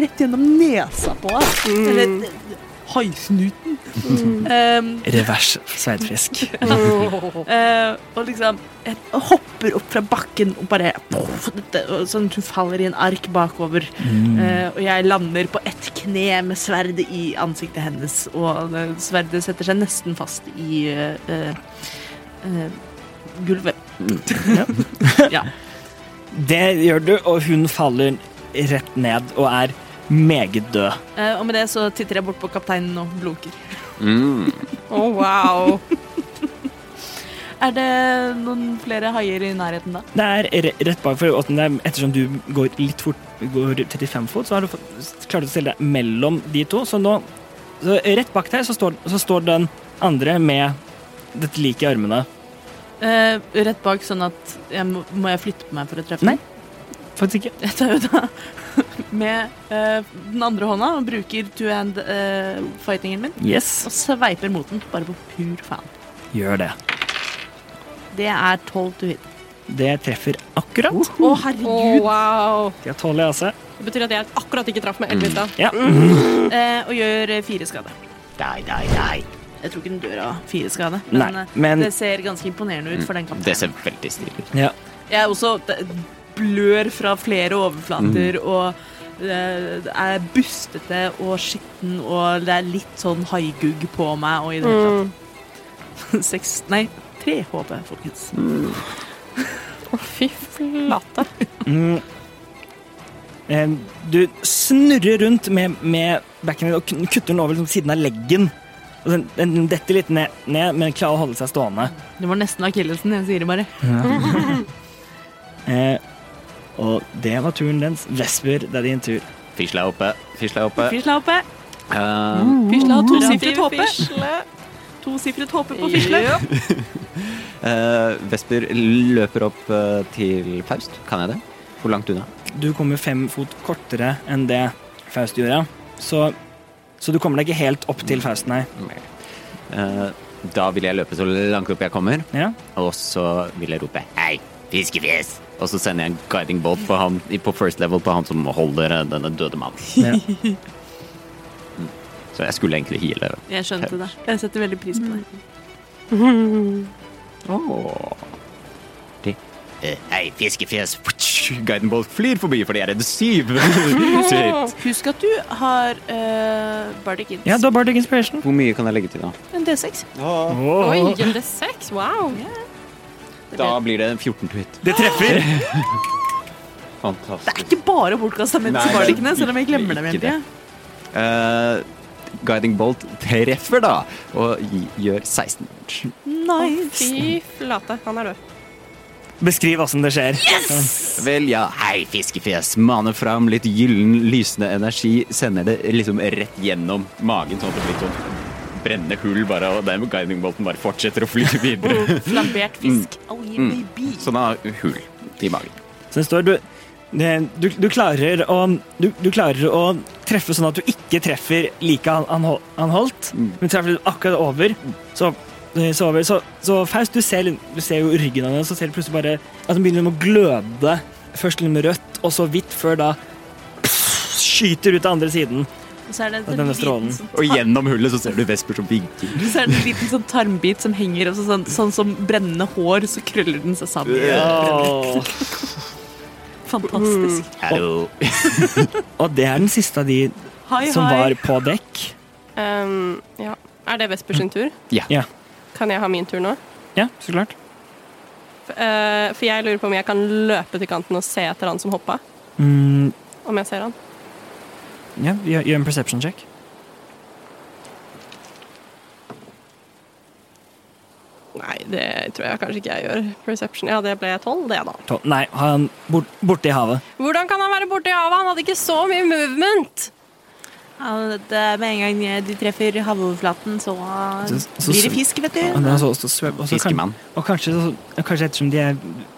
[SPEAKER 6] rett gjennom nesa på henne. Eller eh, haisnuten. Eh,
[SPEAKER 3] Revers sveidfisk.
[SPEAKER 6] Eh, og liksom jeg hopper opp fra bakken og bare poff, dette- og Sånn at hun faller i en ark bakover. Eh, og jeg lander på ett kne med sverdet i ansiktet hennes. Og eh, sverdet setter seg nesten fast i eh, eh, eh, gulvet.
[SPEAKER 3] Det gjør du, og hun faller rett ned og er meget død.
[SPEAKER 6] Eh, og med det så titter jeg bort
[SPEAKER 8] Mm.
[SPEAKER 6] på kapteinen og blunker.
[SPEAKER 5] Oh, wow.
[SPEAKER 6] Er det noen flere haier i nærheten da?
[SPEAKER 3] Det er re- rett bak for åtten der, ettersom du går litt fort, går 35 fot, så har du fått, klart å stille deg mellom de to. Så nå, så rett bak der, så står, så står den andre med dette liket i armene.
[SPEAKER 6] Eh, rett bak, sånn at jeg må, må jeg flytte på meg for å treffe
[SPEAKER 3] Nei.
[SPEAKER 6] den?
[SPEAKER 3] Faktisk ikke.
[SPEAKER 6] Jeg tar jo da med eh, den andre hånda og bruker two-hand-fightingen min.
[SPEAKER 3] Yes.
[SPEAKER 6] Og sveiper mot den, bare på pur faen.
[SPEAKER 3] Gjør det.
[SPEAKER 6] Det er 12 to hit.
[SPEAKER 3] Det treffer akkurat.
[SPEAKER 6] Å, herregud!
[SPEAKER 5] Å, wow.
[SPEAKER 3] De har tolv i AC.
[SPEAKER 5] Det betyr at jeg akkurat ikke traff med
[SPEAKER 3] Mm.
[SPEAKER 5] elleve i stad.
[SPEAKER 3] altså. Ja.
[SPEAKER 6] Eh, og gjør eh, fire skade.
[SPEAKER 8] Nei, nei, nei.
[SPEAKER 6] Jeg tror ikke den dør av fire skade,
[SPEAKER 3] Nei,
[SPEAKER 6] men, eh,
[SPEAKER 3] men-
[SPEAKER 6] det ser ganske imponerende ut for den
[SPEAKER 8] Mm, Det
[SPEAKER 6] kampen.
[SPEAKER 8] ser veldig stilig ut.
[SPEAKER 3] ja.
[SPEAKER 6] Jeg er også d- blør fra flere overflater
[SPEAKER 4] Mhm.
[SPEAKER 6] og eh, er bustete og skitten, og det er litt sånn haigugg på meg og i det hele
[SPEAKER 5] Mm.
[SPEAKER 6] tatt. Seks Nei, tre HP, folkens.
[SPEAKER 5] Å, fy flate.
[SPEAKER 3] Mm. Eh, Du snurrer rundt med, med backen din og kn- kutter den over liksom, siden av leggen. Og den, den detter litt ned, ned, men klarer å holde seg stående.
[SPEAKER 6] Det var nesten akillesen, jeg sier det bare.
[SPEAKER 3] Eh, og det var turen dens. Vesper, det er din tur.
[SPEAKER 4] Fisla er oppe. Fisla er oppe.
[SPEAKER 6] Fisla HP.
[SPEAKER 4] Eh,
[SPEAKER 5] Uh,
[SPEAKER 6] Fisla har tosifret
[SPEAKER 5] Operativ
[SPEAKER 6] HP.
[SPEAKER 5] fisle.
[SPEAKER 6] Tosifret HP på Fisla.
[SPEAKER 4] eh, Vesper løper opp eh, til Faust. Kan jeg det? Hvor langt unna?
[SPEAKER 3] Du kommer fem fot kortere enn det Faust gjorde. Så, så du kommer deg ikke helt opp til Faust, nei.
[SPEAKER 4] Eh, da vil jeg løpe så langt opp jeg kommer,
[SPEAKER 3] Ja?
[SPEAKER 4] og så vil jeg rope 'hei, fiskefjes'! Og så sender jeg en guiding bolt på, han, på first level på han som holder eh, denne døde mannen.
[SPEAKER 3] Ja.
[SPEAKER 4] Mm. Så jeg skulle egentlig heale.
[SPEAKER 6] Jeg skjønte det. Jeg setter veldig pris på det.
[SPEAKER 5] Mm.
[SPEAKER 4] Oh. Eh, hei, fiskefjes! Guiding bolt flyr forbi fordi jeg er redd syv. Shit.
[SPEAKER 6] Husk at du har uh, Bardic Inns.
[SPEAKER 3] ja, du har Bardic Inspiration.
[SPEAKER 4] Hvor mye kan jeg legge til, da?
[SPEAKER 6] En D6.
[SPEAKER 5] Oi, en D6. Wow.
[SPEAKER 4] Da blir det 14 to hit.
[SPEAKER 3] Det treffer!
[SPEAKER 6] Det
[SPEAKER 4] Fantastisk.
[SPEAKER 6] er ikke bare bortkasta
[SPEAKER 4] Nei, det er
[SPEAKER 6] Bardicene, selv om jeg
[SPEAKER 4] virkelig
[SPEAKER 6] glemmer dem
[SPEAKER 4] ikke
[SPEAKER 6] hele tida.
[SPEAKER 4] Eh, Guiding Bolt treffer da, og gi- gjør 16.
[SPEAKER 6] Nice.
[SPEAKER 5] Fy flate. Han er død.
[SPEAKER 3] Beskriv åssen det skjer.
[SPEAKER 4] Vel, ja, hei, fiskefjes. Maner fram litt gyllen, lysende energi. Sender det liksom rett gjennom magen, sånn at det blir sånn brennende hull bare, og der Guiding Bolten bare fortsetter å fly videre.
[SPEAKER 6] Flambert
[SPEAKER 4] Mm.
[SPEAKER 6] fisk. Oh, yeah, baby.
[SPEAKER 4] Så den har Sånn hull i magen.
[SPEAKER 3] Så det står du, det- du, du, klarer å, du, du klarer å treffe sånn at du ikke treffer like han, han, hol- han holdt, men treffer akkurat over. Så, eh, så, over. så, så Faust, du ser, du ser jo ryggen hans, så ser du plutselig bare at den begynner å gløde. Først litt med rødt, og så hvitt, før da skyter ut av andre siden.
[SPEAKER 6] Og så er det en
[SPEAKER 3] Og
[SPEAKER 6] sånn
[SPEAKER 3] denne
[SPEAKER 6] liten
[SPEAKER 3] strålen.
[SPEAKER 6] sånn-
[SPEAKER 4] Og gjennom hullet så ser du Vesper som vinker.
[SPEAKER 6] Så er det en liten sånn tarmbit som henger, og så sånn, sånn som brennende hår, så krøller den seg sammen. Fantastisk.
[SPEAKER 3] Mm.
[SPEAKER 4] Hallo.
[SPEAKER 3] Og det er den siste av de
[SPEAKER 6] Hei,
[SPEAKER 3] som
[SPEAKER 6] hei.
[SPEAKER 3] var på dekk.
[SPEAKER 5] Um, ja. Er det Vesper sin tur?
[SPEAKER 4] Ja.
[SPEAKER 3] Ja.
[SPEAKER 5] Kan jeg ha min tur nå?
[SPEAKER 3] Ja, så klart.
[SPEAKER 5] F- eh, for jeg lurer på om jeg kan løpe til kanten og se etter han som hoppa.
[SPEAKER 3] Mm,
[SPEAKER 5] Om jeg ser han.
[SPEAKER 3] ja, gjør, gjør en perception check.
[SPEAKER 5] Nei, det tror jeg kanskje ikke jeg gjør. Perception. Ja, det ble tolv, det, da.
[SPEAKER 3] Tolv. Nei, han bort, borte i havet.
[SPEAKER 5] Hvordan kan han være borte i havet? Han hadde ikke så mye movement.
[SPEAKER 6] Ja, det er med en gang de treffer havoverflaten, så, uh,
[SPEAKER 3] Så- så-
[SPEAKER 6] blir det fisk, vet
[SPEAKER 3] Ja, men
[SPEAKER 6] du.
[SPEAKER 3] altså, også svøm- også kan-
[SPEAKER 4] Fiskemann.
[SPEAKER 3] Og kanskje, så- og kanskje ettersom de er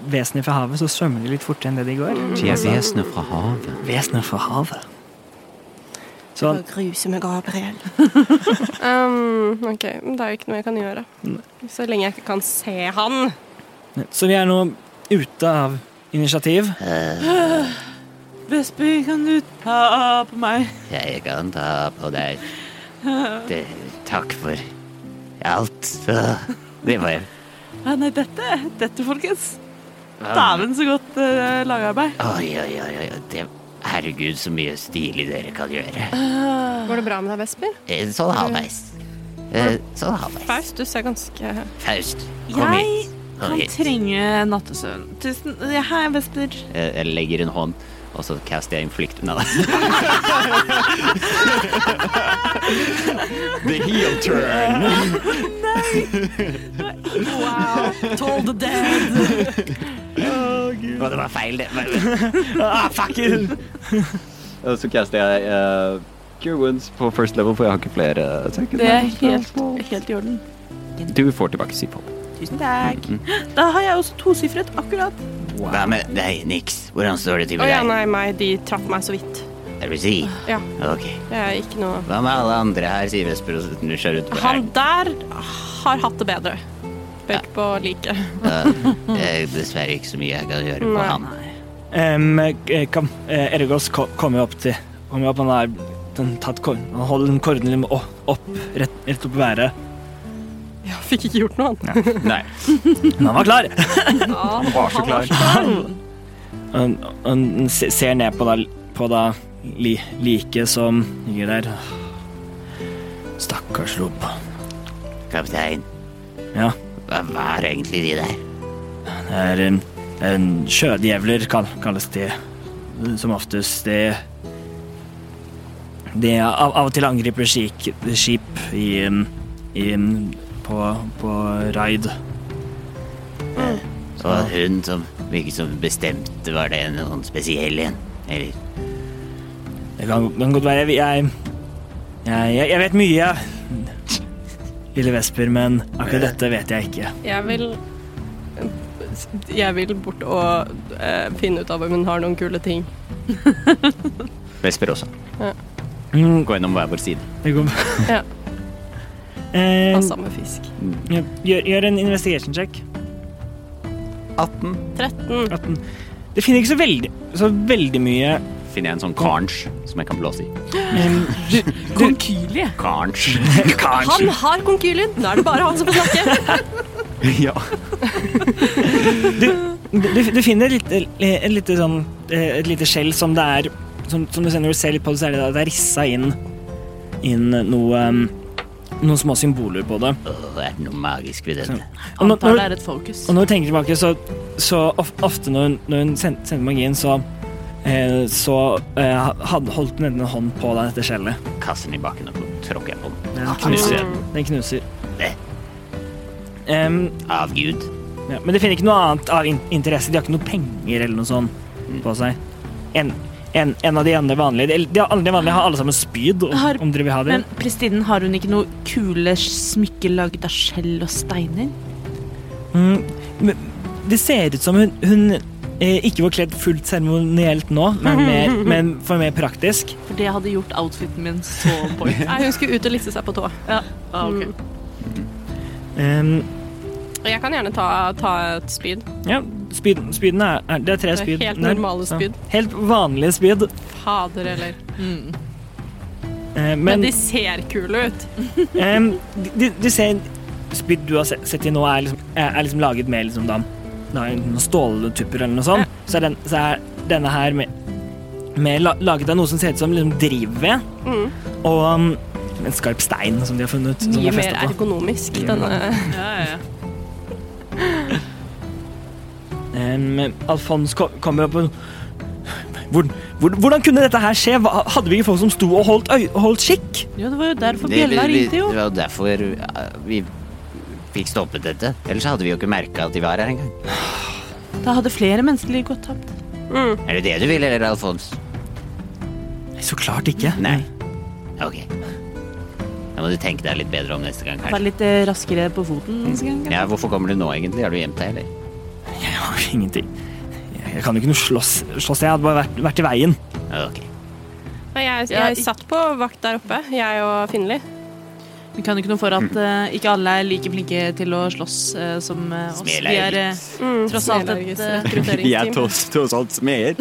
[SPEAKER 3] vesener fra havet, så svømmer de litt fortere enn det de går.
[SPEAKER 4] De er vesener fra havet.
[SPEAKER 3] Vesener fra havet. Så
[SPEAKER 10] Gruse med Gabriel.
[SPEAKER 5] Um, ok, men Det er jo ikke noe jeg kan gjøre. Så lenge jeg ikke kan se han.
[SPEAKER 3] Så vi er nå ute av initiativ.
[SPEAKER 6] Vesper, kan du ta på meg?
[SPEAKER 8] Jeg kan ta på deg. Det, takk for alt. Det var jeg.
[SPEAKER 6] Ja, nei, dette, dette folkens. Dæven, så godt uh, lagarbeid.
[SPEAKER 8] Oi, oi, oi, oi. Det, herregud, så mye stilig dere kan gjøre.
[SPEAKER 5] Går det bra med deg, Vesper?
[SPEAKER 8] Eh, Sånn halvveis. Eh, Sånn halvveis.
[SPEAKER 5] Faust, du ser ganske
[SPEAKER 8] Faust, kom
[SPEAKER 6] Jeg
[SPEAKER 8] hit. Kom
[SPEAKER 6] kan
[SPEAKER 8] hit.
[SPEAKER 6] trenge nattesøvn. Tusen ja, Hei, Vesper.
[SPEAKER 4] Jeg jeg legger en hånd, og så caster jeg inflict. Nei da.
[SPEAKER 9] The heel turn.
[SPEAKER 6] Wow! Told the dead!
[SPEAKER 8] Å, det var feil, det.
[SPEAKER 3] Ah, fuck it!
[SPEAKER 9] Og så caster jeg eh, Cure Wounds på first level, for jeg har ikke flere. eh, så jeg kan-
[SPEAKER 6] Det er helt, helt i orden.
[SPEAKER 9] Du får tilbake syv håp.
[SPEAKER 6] Tusen takk. Da har jeg også tosifret akkurat.
[SPEAKER 8] Hva med deg, Nix? Hvordan står det til
[SPEAKER 5] Å
[SPEAKER 8] med
[SPEAKER 5] ja,
[SPEAKER 8] deg?
[SPEAKER 5] nei, meg. De traff meg så vidt.
[SPEAKER 8] Er du si?
[SPEAKER 5] Ja.
[SPEAKER 8] Ok.
[SPEAKER 5] Jeg er ikke noe
[SPEAKER 8] Hva med alle andre her, sier Vesper og skjører ut på
[SPEAKER 5] Han
[SPEAKER 8] hælen.
[SPEAKER 5] der har hatt det bedre. Pek på like.
[SPEAKER 8] Da, Det er Eh, dessverre ikke så mye jeg kan gjøre på
[SPEAKER 5] Nei.
[SPEAKER 8] han.
[SPEAKER 3] Em, eh, kom, eh, Ergos ko- kommer opp til kommer opp, Han har den tatt kor- Han holder den korden litt opp, opp rett, rett opp i været.
[SPEAKER 5] Jeg fikk ikke gjort noe annet.
[SPEAKER 9] Nei.
[SPEAKER 3] Men han var klar!
[SPEAKER 9] Han var så klar.
[SPEAKER 3] Han, han se- ser ned på da, på da li, like som ligger der. Stakkars lobb.
[SPEAKER 8] Kaptein,
[SPEAKER 3] Ja,
[SPEAKER 8] hva var egentlig de der?
[SPEAKER 3] det er en, en sjødjevler, kall, kalles det. Som oftest det Det av, av og til angriper skik, skip i, em, i em, på, på raid.
[SPEAKER 8] Og hun som virket som bestemte, var det noen spesiell en? Eller
[SPEAKER 3] Det kan, kan godt være. Jeg, jeg, jeg, jeg vet mye, jeg. Lille Vesper, men akkurat dette vet jeg ikke.
[SPEAKER 5] Jeg vil Jeg vil bort og eh, finne ut av om hun har noen kule ting.
[SPEAKER 4] Vesper også.
[SPEAKER 3] Mm,
[SPEAKER 4] Gå gjennom hver vår side.
[SPEAKER 3] Det går
[SPEAKER 5] Ja.
[SPEAKER 3] Eh,
[SPEAKER 5] Av samme Altså, fisk.
[SPEAKER 3] ja, gjør, gjør en investigation check.
[SPEAKER 4] 18.
[SPEAKER 5] 13.
[SPEAKER 3] At den, det finner ikke så veldig, så veldig mye
[SPEAKER 4] Finner jeg en sånn karnsj som jeg kan blåse i.
[SPEAKER 6] Konkylie.
[SPEAKER 4] Karnsj.
[SPEAKER 5] Han har konkylien! Nå er det bare han som får snakke.
[SPEAKER 4] ja.
[SPEAKER 3] Du, du, du finner et lite, et lite sånn eh, Et lite skjell som det er Som, som du ser når du ser litt på det, så er det, det er rissa inn Inn noe em, Noen små symboler på det.
[SPEAKER 8] Åh, er det noe magisk ved denne?
[SPEAKER 3] Og når,
[SPEAKER 6] Antar det
[SPEAKER 3] når,
[SPEAKER 6] er et fokus.
[SPEAKER 3] og når du tenker tilbake, så, så of, ofte når hun, når hun send- sender magien, så eh, Så eh, had, holdt hun enten en hånd på deg, dette skjellet.
[SPEAKER 8] Kaster den i bakken og tråkker jeg på den.
[SPEAKER 3] Den knuser. Den knuser. Em,
[SPEAKER 8] Av Gud.
[SPEAKER 3] Ja, men de finner ikke noe annet av in interesse. De har ikke noe penger eller noe sånt på seg. En, en, en av de andre vanlige De, de andre vanlige har alle sammen spyd, om,
[SPEAKER 6] Har-
[SPEAKER 3] om dere vil ha det.
[SPEAKER 6] Men Prestinen, har hun ikke noe kule smykker laget av skjell og steiner?
[SPEAKER 3] Mm, men det ser ut som hun, hun eh, ikke var kledd fullt seremonielt nå, men, mer, men for mer praktisk.
[SPEAKER 6] For det hadde gjort outfiten min så boy.
[SPEAKER 5] Nei, hun skulle ut og lisse seg på tå.
[SPEAKER 6] Ah, ok.
[SPEAKER 3] Um,
[SPEAKER 5] Jeg kan gjerne ta, ta et spyd.
[SPEAKER 3] ja, spyd, spydene er, er Det er tre
[SPEAKER 5] Det er
[SPEAKER 3] spyd.
[SPEAKER 5] helt
[SPEAKER 3] der.
[SPEAKER 5] normale spyd.
[SPEAKER 3] Ja, helt Eh, vanlige spyd.
[SPEAKER 5] Fader, eller
[SPEAKER 6] Mm.
[SPEAKER 3] eh,
[SPEAKER 5] Men
[SPEAKER 3] men
[SPEAKER 5] de ser kule ut.
[SPEAKER 3] Ehm, du, du ser spyd du har se- sett i nå er liksom, er er liksom laget med liksom da, da er det noen ståltupper eller noe sånt. Så er, den, så er denne her med, med la, laget av noe som ser ut som liksom drivved.
[SPEAKER 5] Mm.
[SPEAKER 3] Og um, en skarp stein som de har funnet. Som de
[SPEAKER 5] Mye
[SPEAKER 3] har
[SPEAKER 5] mer
[SPEAKER 3] festet på.
[SPEAKER 5] ergonomisk, denne.
[SPEAKER 6] Ja, ja, ja.
[SPEAKER 3] Ehm, Alfons ko kommer opp og hvor, hvor, Hvordan kunne dette her skje? Hva, hadde vi ikke folk som sto og holdt, øy, holdt skikk?
[SPEAKER 6] Jo, det var jo derfor
[SPEAKER 8] Det-
[SPEAKER 6] bjella
[SPEAKER 8] vi- vi-
[SPEAKER 6] ringte, jo.
[SPEAKER 8] Det var derfor ja, vi fikk stoppet dette. Ellers hadde vi jo ikke merka at de var her engang.
[SPEAKER 6] Da hadde flere menneskeliv gått tapt.
[SPEAKER 8] Er det det du vil, eller, Alfons?
[SPEAKER 3] Nei, Så klart ikke.
[SPEAKER 8] Nei. Ok. Da må du tenke deg litt bedre om neste gang,
[SPEAKER 6] Være
[SPEAKER 8] kanskje.
[SPEAKER 6] litt eh, raskere på foten. neste gang, kanskje.
[SPEAKER 8] Ja, hvorfor kommer du nå, egentlig? Har du gjemt deg, eller?
[SPEAKER 3] Jeg har jo ingenting. Jeg, jeg kan jo ikke noe slåss. slåss. Jeg hadde bare vært, vært i veien.
[SPEAKER 8] Ok.
[SPEAKER 5] Nei, Jeg,
[SPEAKER 6] Ja,
[SPEAKER 5] jeg
[SPEAKER 6] ik-
[SPEAKER 5] satt på vakt der oppe, jeg og Finli.
[SPEAKER 6] Vi kan ikke noe for at eh, ikke alle er like flinke til å slåss eh, som eh, oss. Vi
[SPEAKER 8] Smeler
[SPEAKER 6] er eh, tross alt et eh,
[SPEAKER 9] Vi er
[SPEAKER 5] rekrutteringsteam.
[SPEAKER 9] tross tross alt smeder.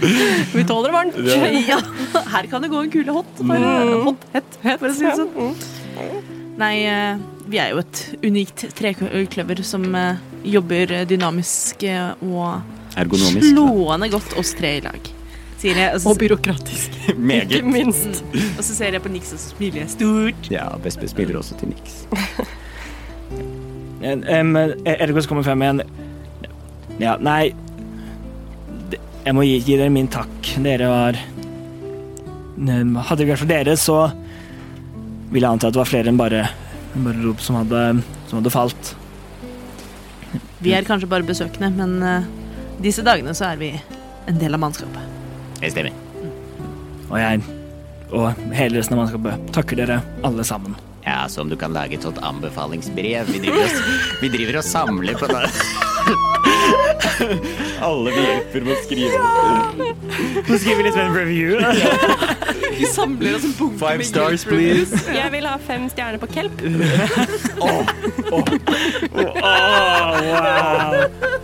[SPEAKER 5] Vi tåler det varmt.
[SPEAKER 6] Ja, Mm. her kan det gå en kule hot. For, hot hett, for å si det sånn.
[SPEAKER 5] Mm.
[SPEAKER 6] Nei, eh, vi er jo et unikt trekløver som eh, jobber dynamisk eh, og
[SPEAKER 9] Ergonomisk.
[SPEAKER 6] slående godt oss tre i lag. Sier jeg, og, så, Mm,
[SPEAKER 5] byråkratisk.
[SPEAKER 9] Meget.
[SPEAKER 5] Ikke minst.
[SPEAKER 6] og så ser jeg på Nix og så smiler jeg stort.
[SPEAKER 9] Ja, Vesper spiller også til Nix.
[SPEAKER 3] Um, Ergos kommer frem igjen. Ja, nei Det- Jeg må gi, gi dere min takk. Dere var eh, Hadde det vært for dere, så vil jeg anta at det var flere enn bare, enn bare Rop som hadde, som hadde falt.
[SPEAKER 6] Vi er kanskje bare besøkende, men eh, disse dagene så er vi en del av mannskapet.
[SPEAKER 8] Det stemmer.
[SPEAKER 3] Og jeg og hele resten av mannskapet takker dere alle sammen.
[SPEAKER 8] Ja, så om du kan lage et sånt anbefalingsbrev. Vi driver og, vi driver og samler på det.
[SPEAKER 9] Alle vi hjelper med å skrive.
[SPEAKER 3] Nå skriver vi litt en review.
[SPEAKER 6] Vi samler oss en bunke
[SPEAKER 9] Five stars, please.
[SPEAKER 5] Jeg vil ha fem stjerner på kelp.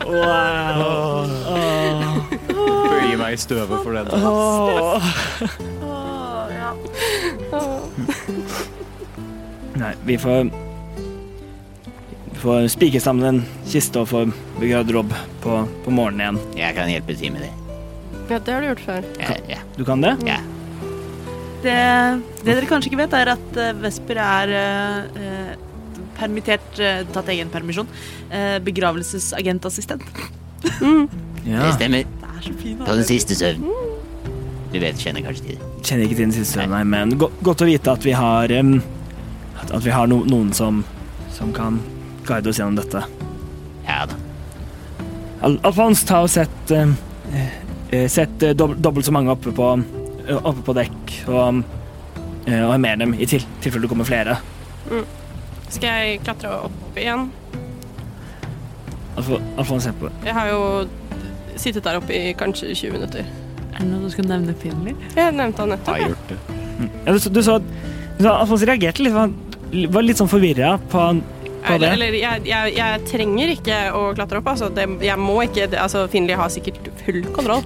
[SPEAKER 3] wow. wow.
[SPEAKER 9] Bøye meg i støvet for den.
[SPEAKER 3] Nei, vi får Vi får spike sammen en kiste og få bygge garderob på, på morgenen igjen.
[SPEAKER 8] Jeg kan hjelpe til med det.
[SPEAKER 5] Ja, det har du gjort før.
[SPEAKER 8] Ja, ja,
[SPEAKER 3] Du kan det?
[SPEAKER 8] ja.
[SPEAKER 6] Det, det dere kanskje ikke vet, er at eh, Vesper er eh, eh, permittert, eh, tatt egen permisjon, eh, begravelsesagentassistent.
[SPEAKER 3] Ja.
[SPEAKER 8] Det stemmer.
[SPEAKER 6] Det er så fin
[SPEAKER 8] På den siste søvn. Du vet, kjenner kanskje til det.
[SPEAKER 3] Kjenner ikke til den siste søvnen, nei, men go godt å vite at vi har em, at, at vi har no noen som, som kan guide oss gjennom dette.
[SPEAKER 8] Ja da.
[SPEAKER 3] Al Alfons, ta og sett em, eh, Sett eh, dob dobbelt så mange oppe på, eh, oppe på dekk, og, eh, og mer dem i til tilfelle det kommer flere.
[SPEAKER 5] Skal jeg klatre opp igjen?
[SPEAKER 3] Alf Alfons, se på
[SPEAKER 5] Jeg har jo sittet der oppe i kanskje 20 minutter.
[SPEAKER 6] Er det noe du skulle nevne, Finley?
[SPEAKER 5] Jeg nevnte han nettopp.
[SPEAKER 9] Har gjort det.
[SPEAKER 3] Ja, du, så- du så du sa Alfons reagerte litt. Han var litt sånn forvirra på, på
[SPEAKER 5] Eller,
[SPEAKER 3] det.
[SPEAKER 5] eller jeg, jeg, jeg trenger ikke å klatre opp, altså. Det, jeg må ikke det, Altså, Finley har sikkert full kontroll.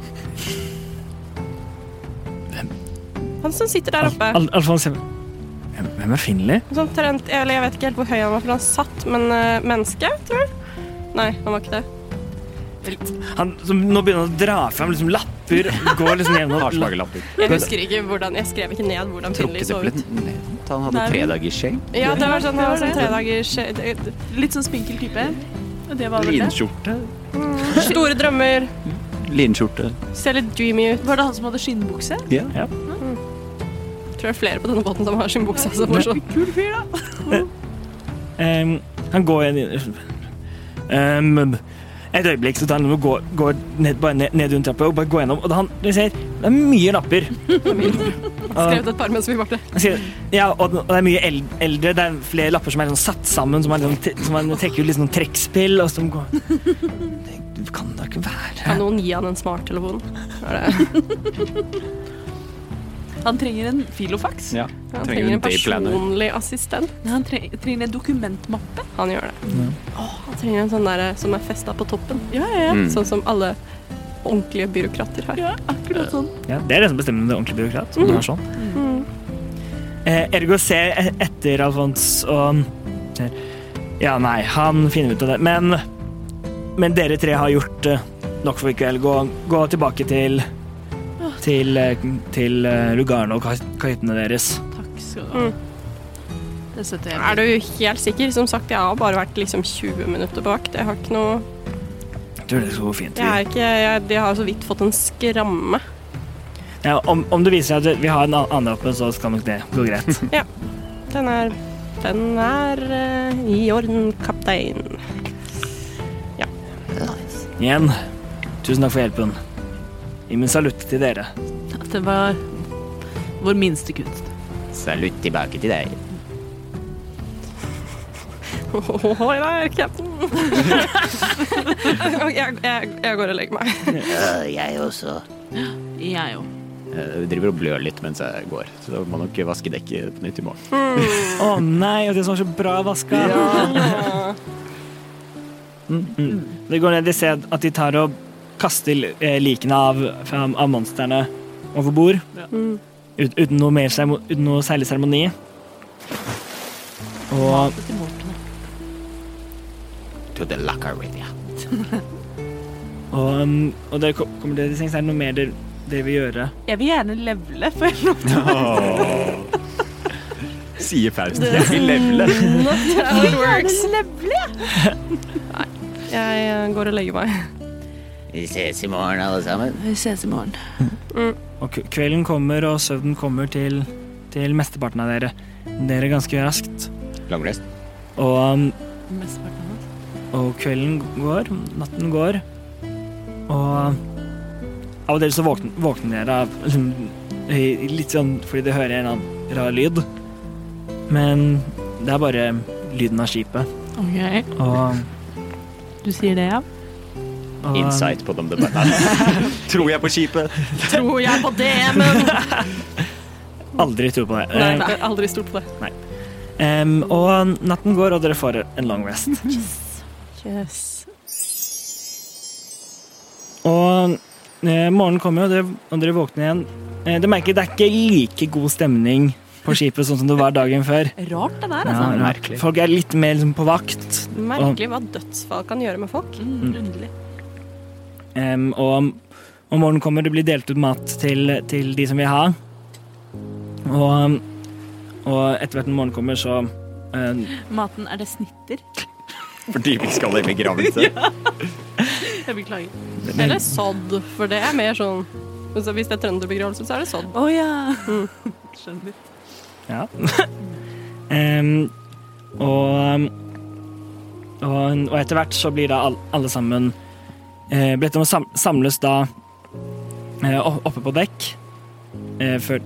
[SPEAKER 5] Han som sitter der oppe.
[SPEAKER 3] Al Alfons hvem, hvem er Finley?
[SPEAKER 5] Sånn trent, eller jeg vet ikke helt hvor høy han var, for han satt, men eh, menneske, tror jeg. Nei, han var ikke det.
[SPEAKER 3] Han som nå begynner han å dra fram liksom, lapper. Går liksom gjennom
[SPEAKER 9] Harslagelapper.
[SPEAKER 5] Jeg husker ikke hvordan, jeg skrev ikke ned hvordan Finley
[SPEAKER 4] Trukket
[SPEAKER 5] så
[SPEAKER 4] det
[SPEAKER 5] ut.
[SPEAKER 4] litt ned. Han hadde tredagersskjegg.
[SPEAKER 5] Ja, det var sånn, det var sånn tre eh, dagers det- det-
[SPEAKER 6] Litt sånn spinkel type. Og det var vel det.
[SPEAKER 9] Linskjorte.
[SPEAKER 5] Store drømmer,
[SPEAKER 4] Linskjorte.
[SPEAKER 5] ser litt dreamy ut.
[SPEAKER 6] Var det han som hadde skinnbukse?
[SPEAKER 5] Tror det er flere på denne båten som har sin buksa som var sånn.
[SPEAKER 6] Kul fyr, da.
[SPEAKER 3] Em, Ehm, han går igjen um, Et øyeblikk så tar han og går, går ned, bare ned, ned rundt trappa og bare går gjennom. Og da han, du ser, det er mye lapper.
[SPEAKER 5] Skrevet et par mens vi var der.
[SPEAKER 3] Han sier- Ja, og den- og det er mye el- eldre. Det er flere lapper som er sånn satt sammen, som, er liksom, te- som er, trekker ut litt sånn trekkspill, og som går Det kan da ikke være
[SPEAKER 5] Kan noen gi han en smarttelefon? Er det-
[SPEAKER 6] Han trenger en filofax.
[SPEAKER 9] Ja. Trenger
[SPEAKER 5] Han trenger en
[SPEAKER 9] en dayplanner.
[SPEAKER 5] personlig assistent.
[SPEAKER 6] Nei, Han tre trenger en dokumentmappe.
[SPEAKER 5] Han gjør det. Åh, han trenger en sånn der som er festa på toppen.
[SPEAKER 6] Ja, ja, ja.
[SPEAKER 8] Mm.
[SPEAKER 4] Mm.
[SPEAKER 5] Sånn som alle ordentlige byråkrater har.
[SPEAKER 6] ja akkurat sånn.
[SPEAKER 3] ja, Det er det som bestemmer om det er ordentlig byråkrat. Om det er sånn. Eh, ergo ser e- etter Alfons og ser, Ja, nei, han finner ut av det. Men, men dere tre har gjort eh, nok for i kveld. Gå, gå tilbake til til, eh, til eh, lugarene og kaj- kahyttene deres.
[SPEAKER 6] Takk skal du ha. Det støtter jeg.
[SPEAKER 5] Er du helt sikker? Som sagt, jeg har bare vært liksom 20 minutter på vakt. Jeg har ikke noe
[SPEAKER 3] Jeg tror det skal gå fint.
[SPEAKER 5] Jeg, er ikke, jeg, jeg har så vidt fått en skramme.
[SPEAKER 3] Ja, om, om det viser seg at vi har en an- annen oppe, så skal nok det gå greit.
[SPEAKER 5] Den er Den er eh, i orden, kaptein.
[SPEAKER 3] Igjen, tusen takk for hjelpen. Gi min salutt til dere.
[SPEAKER 6] At det var vår minste kunst.
[SPEAKER 8] Salutt tilbake til deg.
[SPEAKER 5] Ohoi der, kaptein. Ok, jeg, jeg, jeg går og legger meg.
[SPEAKER 8] Øh, jeg også.
[SPEAKER 6] Jeg òg.
[SPEAKER 4] Øh, Jeg driver og blør litt mens jeg går, så da må nok vaske dekket på nytt i morgen.
[SPEAKER 3] Å nei, og det som var så bra vaska. Mm, mm. Det går ned, de ser at de tar og kaster li- eh, likene av, fra- av monstrene over bord. Mm. Ut, uten noe mer seremo- uten noe særlig seremoni. Og
[SPEAKER 8] To the locker room, ja.
[SPEAKER 3] Og, um, og dere kom- kommer til sengs. Er det noe mer dere, dere vil gjøre?
[SPEAKER 6] Jeg vil gjerne levele, for jeg lov
[SPEAKER 9] Sier Faust. Jeg vil levele.
[SPEAKER 5] It works. Jeg eh, går og legger meg.
[SPEAKER 8] Vi ses i morgen, alle sammen.
[SPEAKER 6] Vi ses i morgen.
[SPEAKER 3] Og k- kvelden kommer, og søvnen kommer til, til mesteparten av dere. Dere ganske raskt.
[SPEAKER 4] Langrest.
[SPEAKER 3] Og, um,
[SPEAKER 6] Mesteparten av oss.
[SPEAKER 3] og kvelden går, natten går, og av og til så våkn- våkner dere av liksom, i- litt sånn fordi dere hører en eller annen rar lyd. Men det er bare lyden av skipet.
[SPEAKER 6] Ok,
[SPEAKER 3] Og,
[SPEAKER 6] du sier det, ja?
[SPEAKER 3] og
[SPEAKER 6] Ah.
[SPEAKER 4] Insight på dem. det bare- Nei. Tror jeg på skipet?
[SPEAKER 5] Tror jeg på det, men
[SPEAKER 3] Aldri tro på det.
[SPEAKER 5] Nei,
[SPEAKER 3] Eh,
[SPEAKER 5] jeg har aldri stolt på det.
[SPEAKER 3] em, og natten går, og dere får en long rest. Og eh, morgenen kommer, og dere, og dere våkner igjen. Eh, dere merker det er ikke like god stemning på skipet sånn som det var dagen før.
[SPEAKER 6] Rart, det der.
[SPEAKER 3] Ja,
[SPEAKER 4] merkelig.
[SPEAKER 3] Folk er litt mer liksom, på vakt.
[SPEAKER 5] Merkelig hva dødsfall kan gjøre med folk.
[SPEAKER 6] Mm, underlig.
[SPEAKER 3] Em, og om morgenen kommer det blir delt ut mat til, til de som vil ha. Og, og etter hvert når morgenen kommer, så eh,
[SPEAKER 6] Maten, er det snitter?
[SPEAKER 4] Fordi vi skal i begravelse.
[SPEAKER 6] Jeg beklager.
[SPEAKER 5] Eller sodd, for det er mer sånn så Hvis det er trønderbegravelse, så er det sodd.
[SPEAKER 6] Å ja. Skjønner.
[SPEAKER 3] Ja. Em, og, um, og, og etter hvert så blir da all- alle sammen eh, Bedt om å sam- samles da eh, opp- oppe på dekk eh, før,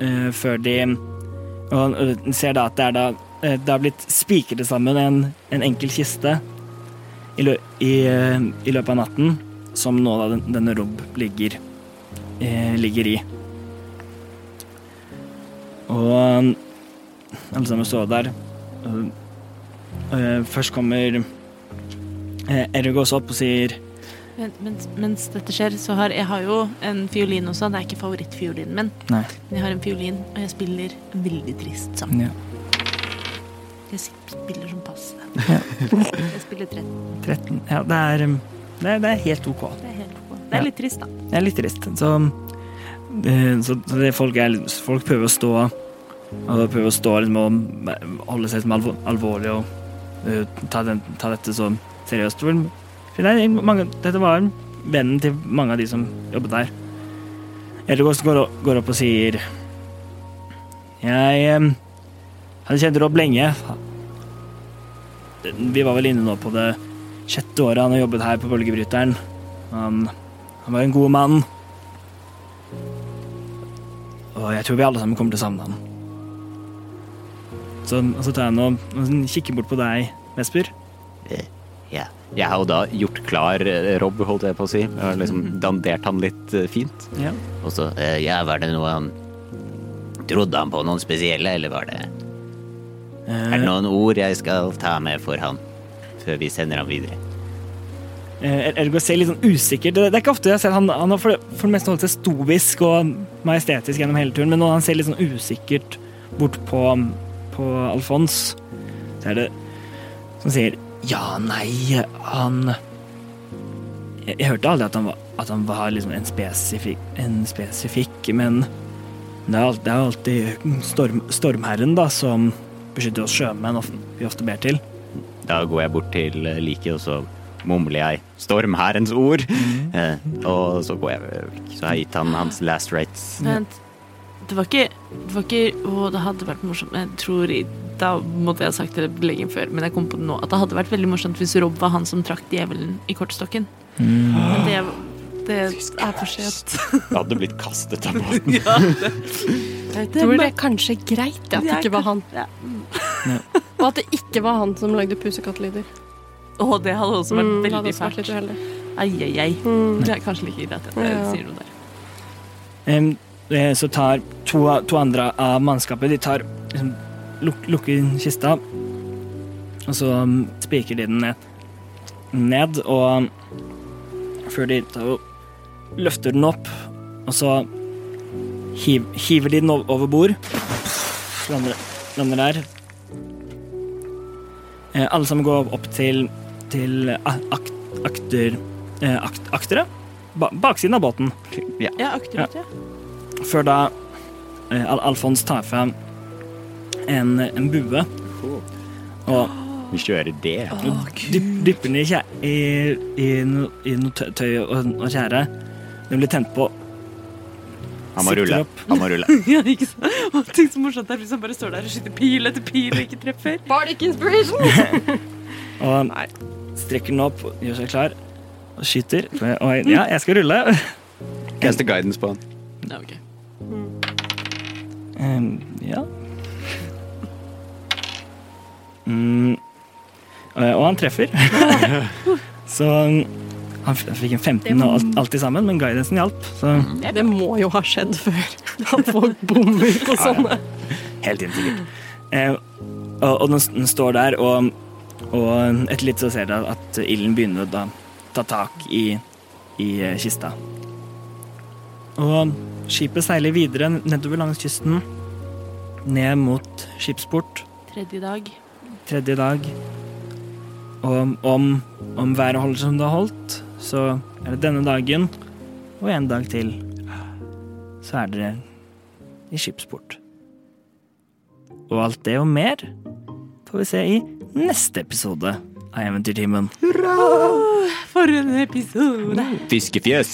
[SPEAKER 3] eh, før de Og og ser da at det er da eh, Det har blitt spikret sammen en, en enkel kiste i, lø, i, eh, i løpet av natten, som nå da den, denne Rob ligger, eh, ligger i. Og um, alle sammen står der. Og, eh, først kommer uh, Ergos opp og sier
[SPEAKER 6] Men, mens, mens dette skjer, så har jeg har jo en fiolin også. Det er ikke favorittfiolinen min,
[SPEAKER 3] Nei.
[SPEAKER 6] men jeg har en fiolin, og jeg spiller en veldig trist sang.
[SPEAKER 3] Ja.
[SPEAKER 6] Jeg spiller som passe.
[SPEAKER 3] Ja.
[SPEAKER 6] Jeg spiller 13.
[SPEAKER 3] 13. Ja, det er, um, det, er, det er helt OK.
[SPEAKER 6] Det er, helt ok. det
[SPEAKER 3] Ja.
[SPEAKER 6] er litt trist, da.
[SPEAKER 3] Det er litt trist. Så, um, eh, så, så det folk, er, folk prøver å stå og prøver å stå liksom, og holde seg som alvor, alvorlig og eh, ta, den, ta dette så seriøst. For, for det er mange, dette var vennen til mange av de som jobbet der. Elgås går, o- går opp og sier Jeg eh, hadde kjent Rob lenge. Vi var vel inne nå på det sjette året han har jobbet her på Bølgebryteren. Han han var en god mann. Og jeg tror vi alle sammen kommer til å savne ham. Så, og så tar jeg nå og kikker bort på deg, Vesper.
[SPEAKER 4] Ja. Jeg har jo da gjort klar eh, Rob, holdt jeg på å si. Jeg har liksom dandert han litt eh, fint.
[SPEAKER 3] Ja.
[SPEAKER 8] Og så, eh, ja, var det noe han Trodde han på noen spesielle, eller var det
[SPEAKER 3] Eh,
[SPEAKER 8] Er det noen ord jeg skal ta med for han før vi sender ham videre?
[SPEAKER 3] Ergo ser litt sånn usikker Det, det er ikke ofte jeg ser han, han har for det, for det meste holdt seg stoisk og majestetisk gjennom hele turen, men når han ser litt sånn usikkert bort på, på Alfons, så er det som sier Ja, nei, han Jeg, jeg hørte aldri at han var, at han var liksom en spesifikk, en spesifikk men det er, alt- det er alltid storm, stormherren da, som beskytter oss sjømenn, ofte, vi ofte ber til.
[SPEAKER 4] Da går jeg bort til eh, liket, og så mumler jeg 'Stormhærens ord'.
[SPEAKER 3] Mhm.
[SPEAKER 4] Eh, og så går jeg vekk. Så har jeg gitt han hans last rights.
[SPEAKER 6] Vent. Det var ikke, det var ikke Å, det hadde vært morsomt. Jeg tror i- Da måtte jeg ha sagt det lenge før, men jeg kom på det nå. At det hadde vært veldig morsomt hvis Rob var han som trakk djevelen i kortstokken. Men det, det er for sent.
[SPEAKER 4] Jeg hadde blitt kastet av båten.
[SPEAKER 5] Jeg
[SPEAKER 6] er
[SPEAKER 5] tror det
[SPEAKER 6] bare-
[SPEAKER 5] er kanskje greit at det ikke var han.
[SPEAKER 6] Ja.
[SPEAKER 5] Og at det ikke var han som lagde pusekattlyder.
[SPEAKER 6] Å, det hadde også vært
[SPEAKER 5] Mm, det hadde
[SPEAKER 6] veldig
[SPEAKER 5] også vært litt
[SPEAKER 6] fælt.
[SPEAKER 5] uheldig.
[SPEAKER 6] Ai, ai, ai.
[SPEAKER 5] Mm.
[SPEAKER 6] Det er kanskje like greit at jeg
[SPEAKER 5] Ja.
[SPEAKER 6] sier noe der.
[SPEAKER 3] Em, eh, Så tar to, to andre av mannskapet De tar liksom, luk, Lukker kista Og så mm, spiker de den ned, ned Og um, Før de tar, og løfter den opp Og så hiv, Hiver de den ov- over bord Lander, lander der Eh, Alle sammen går opp til Til a- akt, akter eh, akt, Aktere ba, Baksiden av båten
[SPEAKER 4] Ja.
[SPEAKER 6] Ja, akterut, ja.
[SPEAKER 3] før da eh, Al Alfons tar fram en, en bue og,
[SPEAKER 9] Vi kjører det.
[SPEAKER 3] Dyp, dypper den i, kjæ- i, i, no- i noe tø- tøy og, og tjære. Den blir tent på.
[SPEAKER 9] Han må
[SPEAKER 3] Sitter
[SPEAKER 9] rulle.
[SPEAKER 3] opp.
[SPEAKER 9] Han må rulle.
[SPEAKER 6] Ja, ikke sant? Og tenk så morsomt det er hvis han bare står der og skyter pil etter pil og ikke treffer.
[SPEAKER 5] Bardic inspiration!
[SPEAKER 3] Og
[SPEAKER 5] Nei.
[SPEAKER 3] strekker den opp, gjør seg klar og skyter. Og ja, jeg skal rulle.
[SPEAKER 9] Kaste guidance på han.
[SPEAKER 6] Ja, ok.
[SPEAKER 3] Um, ja. Mm. Eh, Og han treffer. Så um, han f- fikk en 15 og alt, alt i sammen, men guidancen hjalp. Så
[SPEAKER 5] Det må jo ha skjedd før. At folk bommer på sånne.
[SPEAKER 3] helt inn sikkert. Eh, og og den, s- den står der, og, og etter litt så ser dere at ilden begynner å da, ta tak i, i eh, kista. Og skipet seiler videre nedover langs kysten, ned mot skipsport.
[SPEAKER 6] Tredje dag.
[SPEAKER 3] tredje dag. Og om, om været holder som det har holdt, så er det denne dagen og en dag til. Så er dere i skipsport. Og alt det og mer får vi se i neste episode av Eventyrtimen.
[SPEAKER 6] For en episode!
[SPEAKER 9] Fiskefjøs.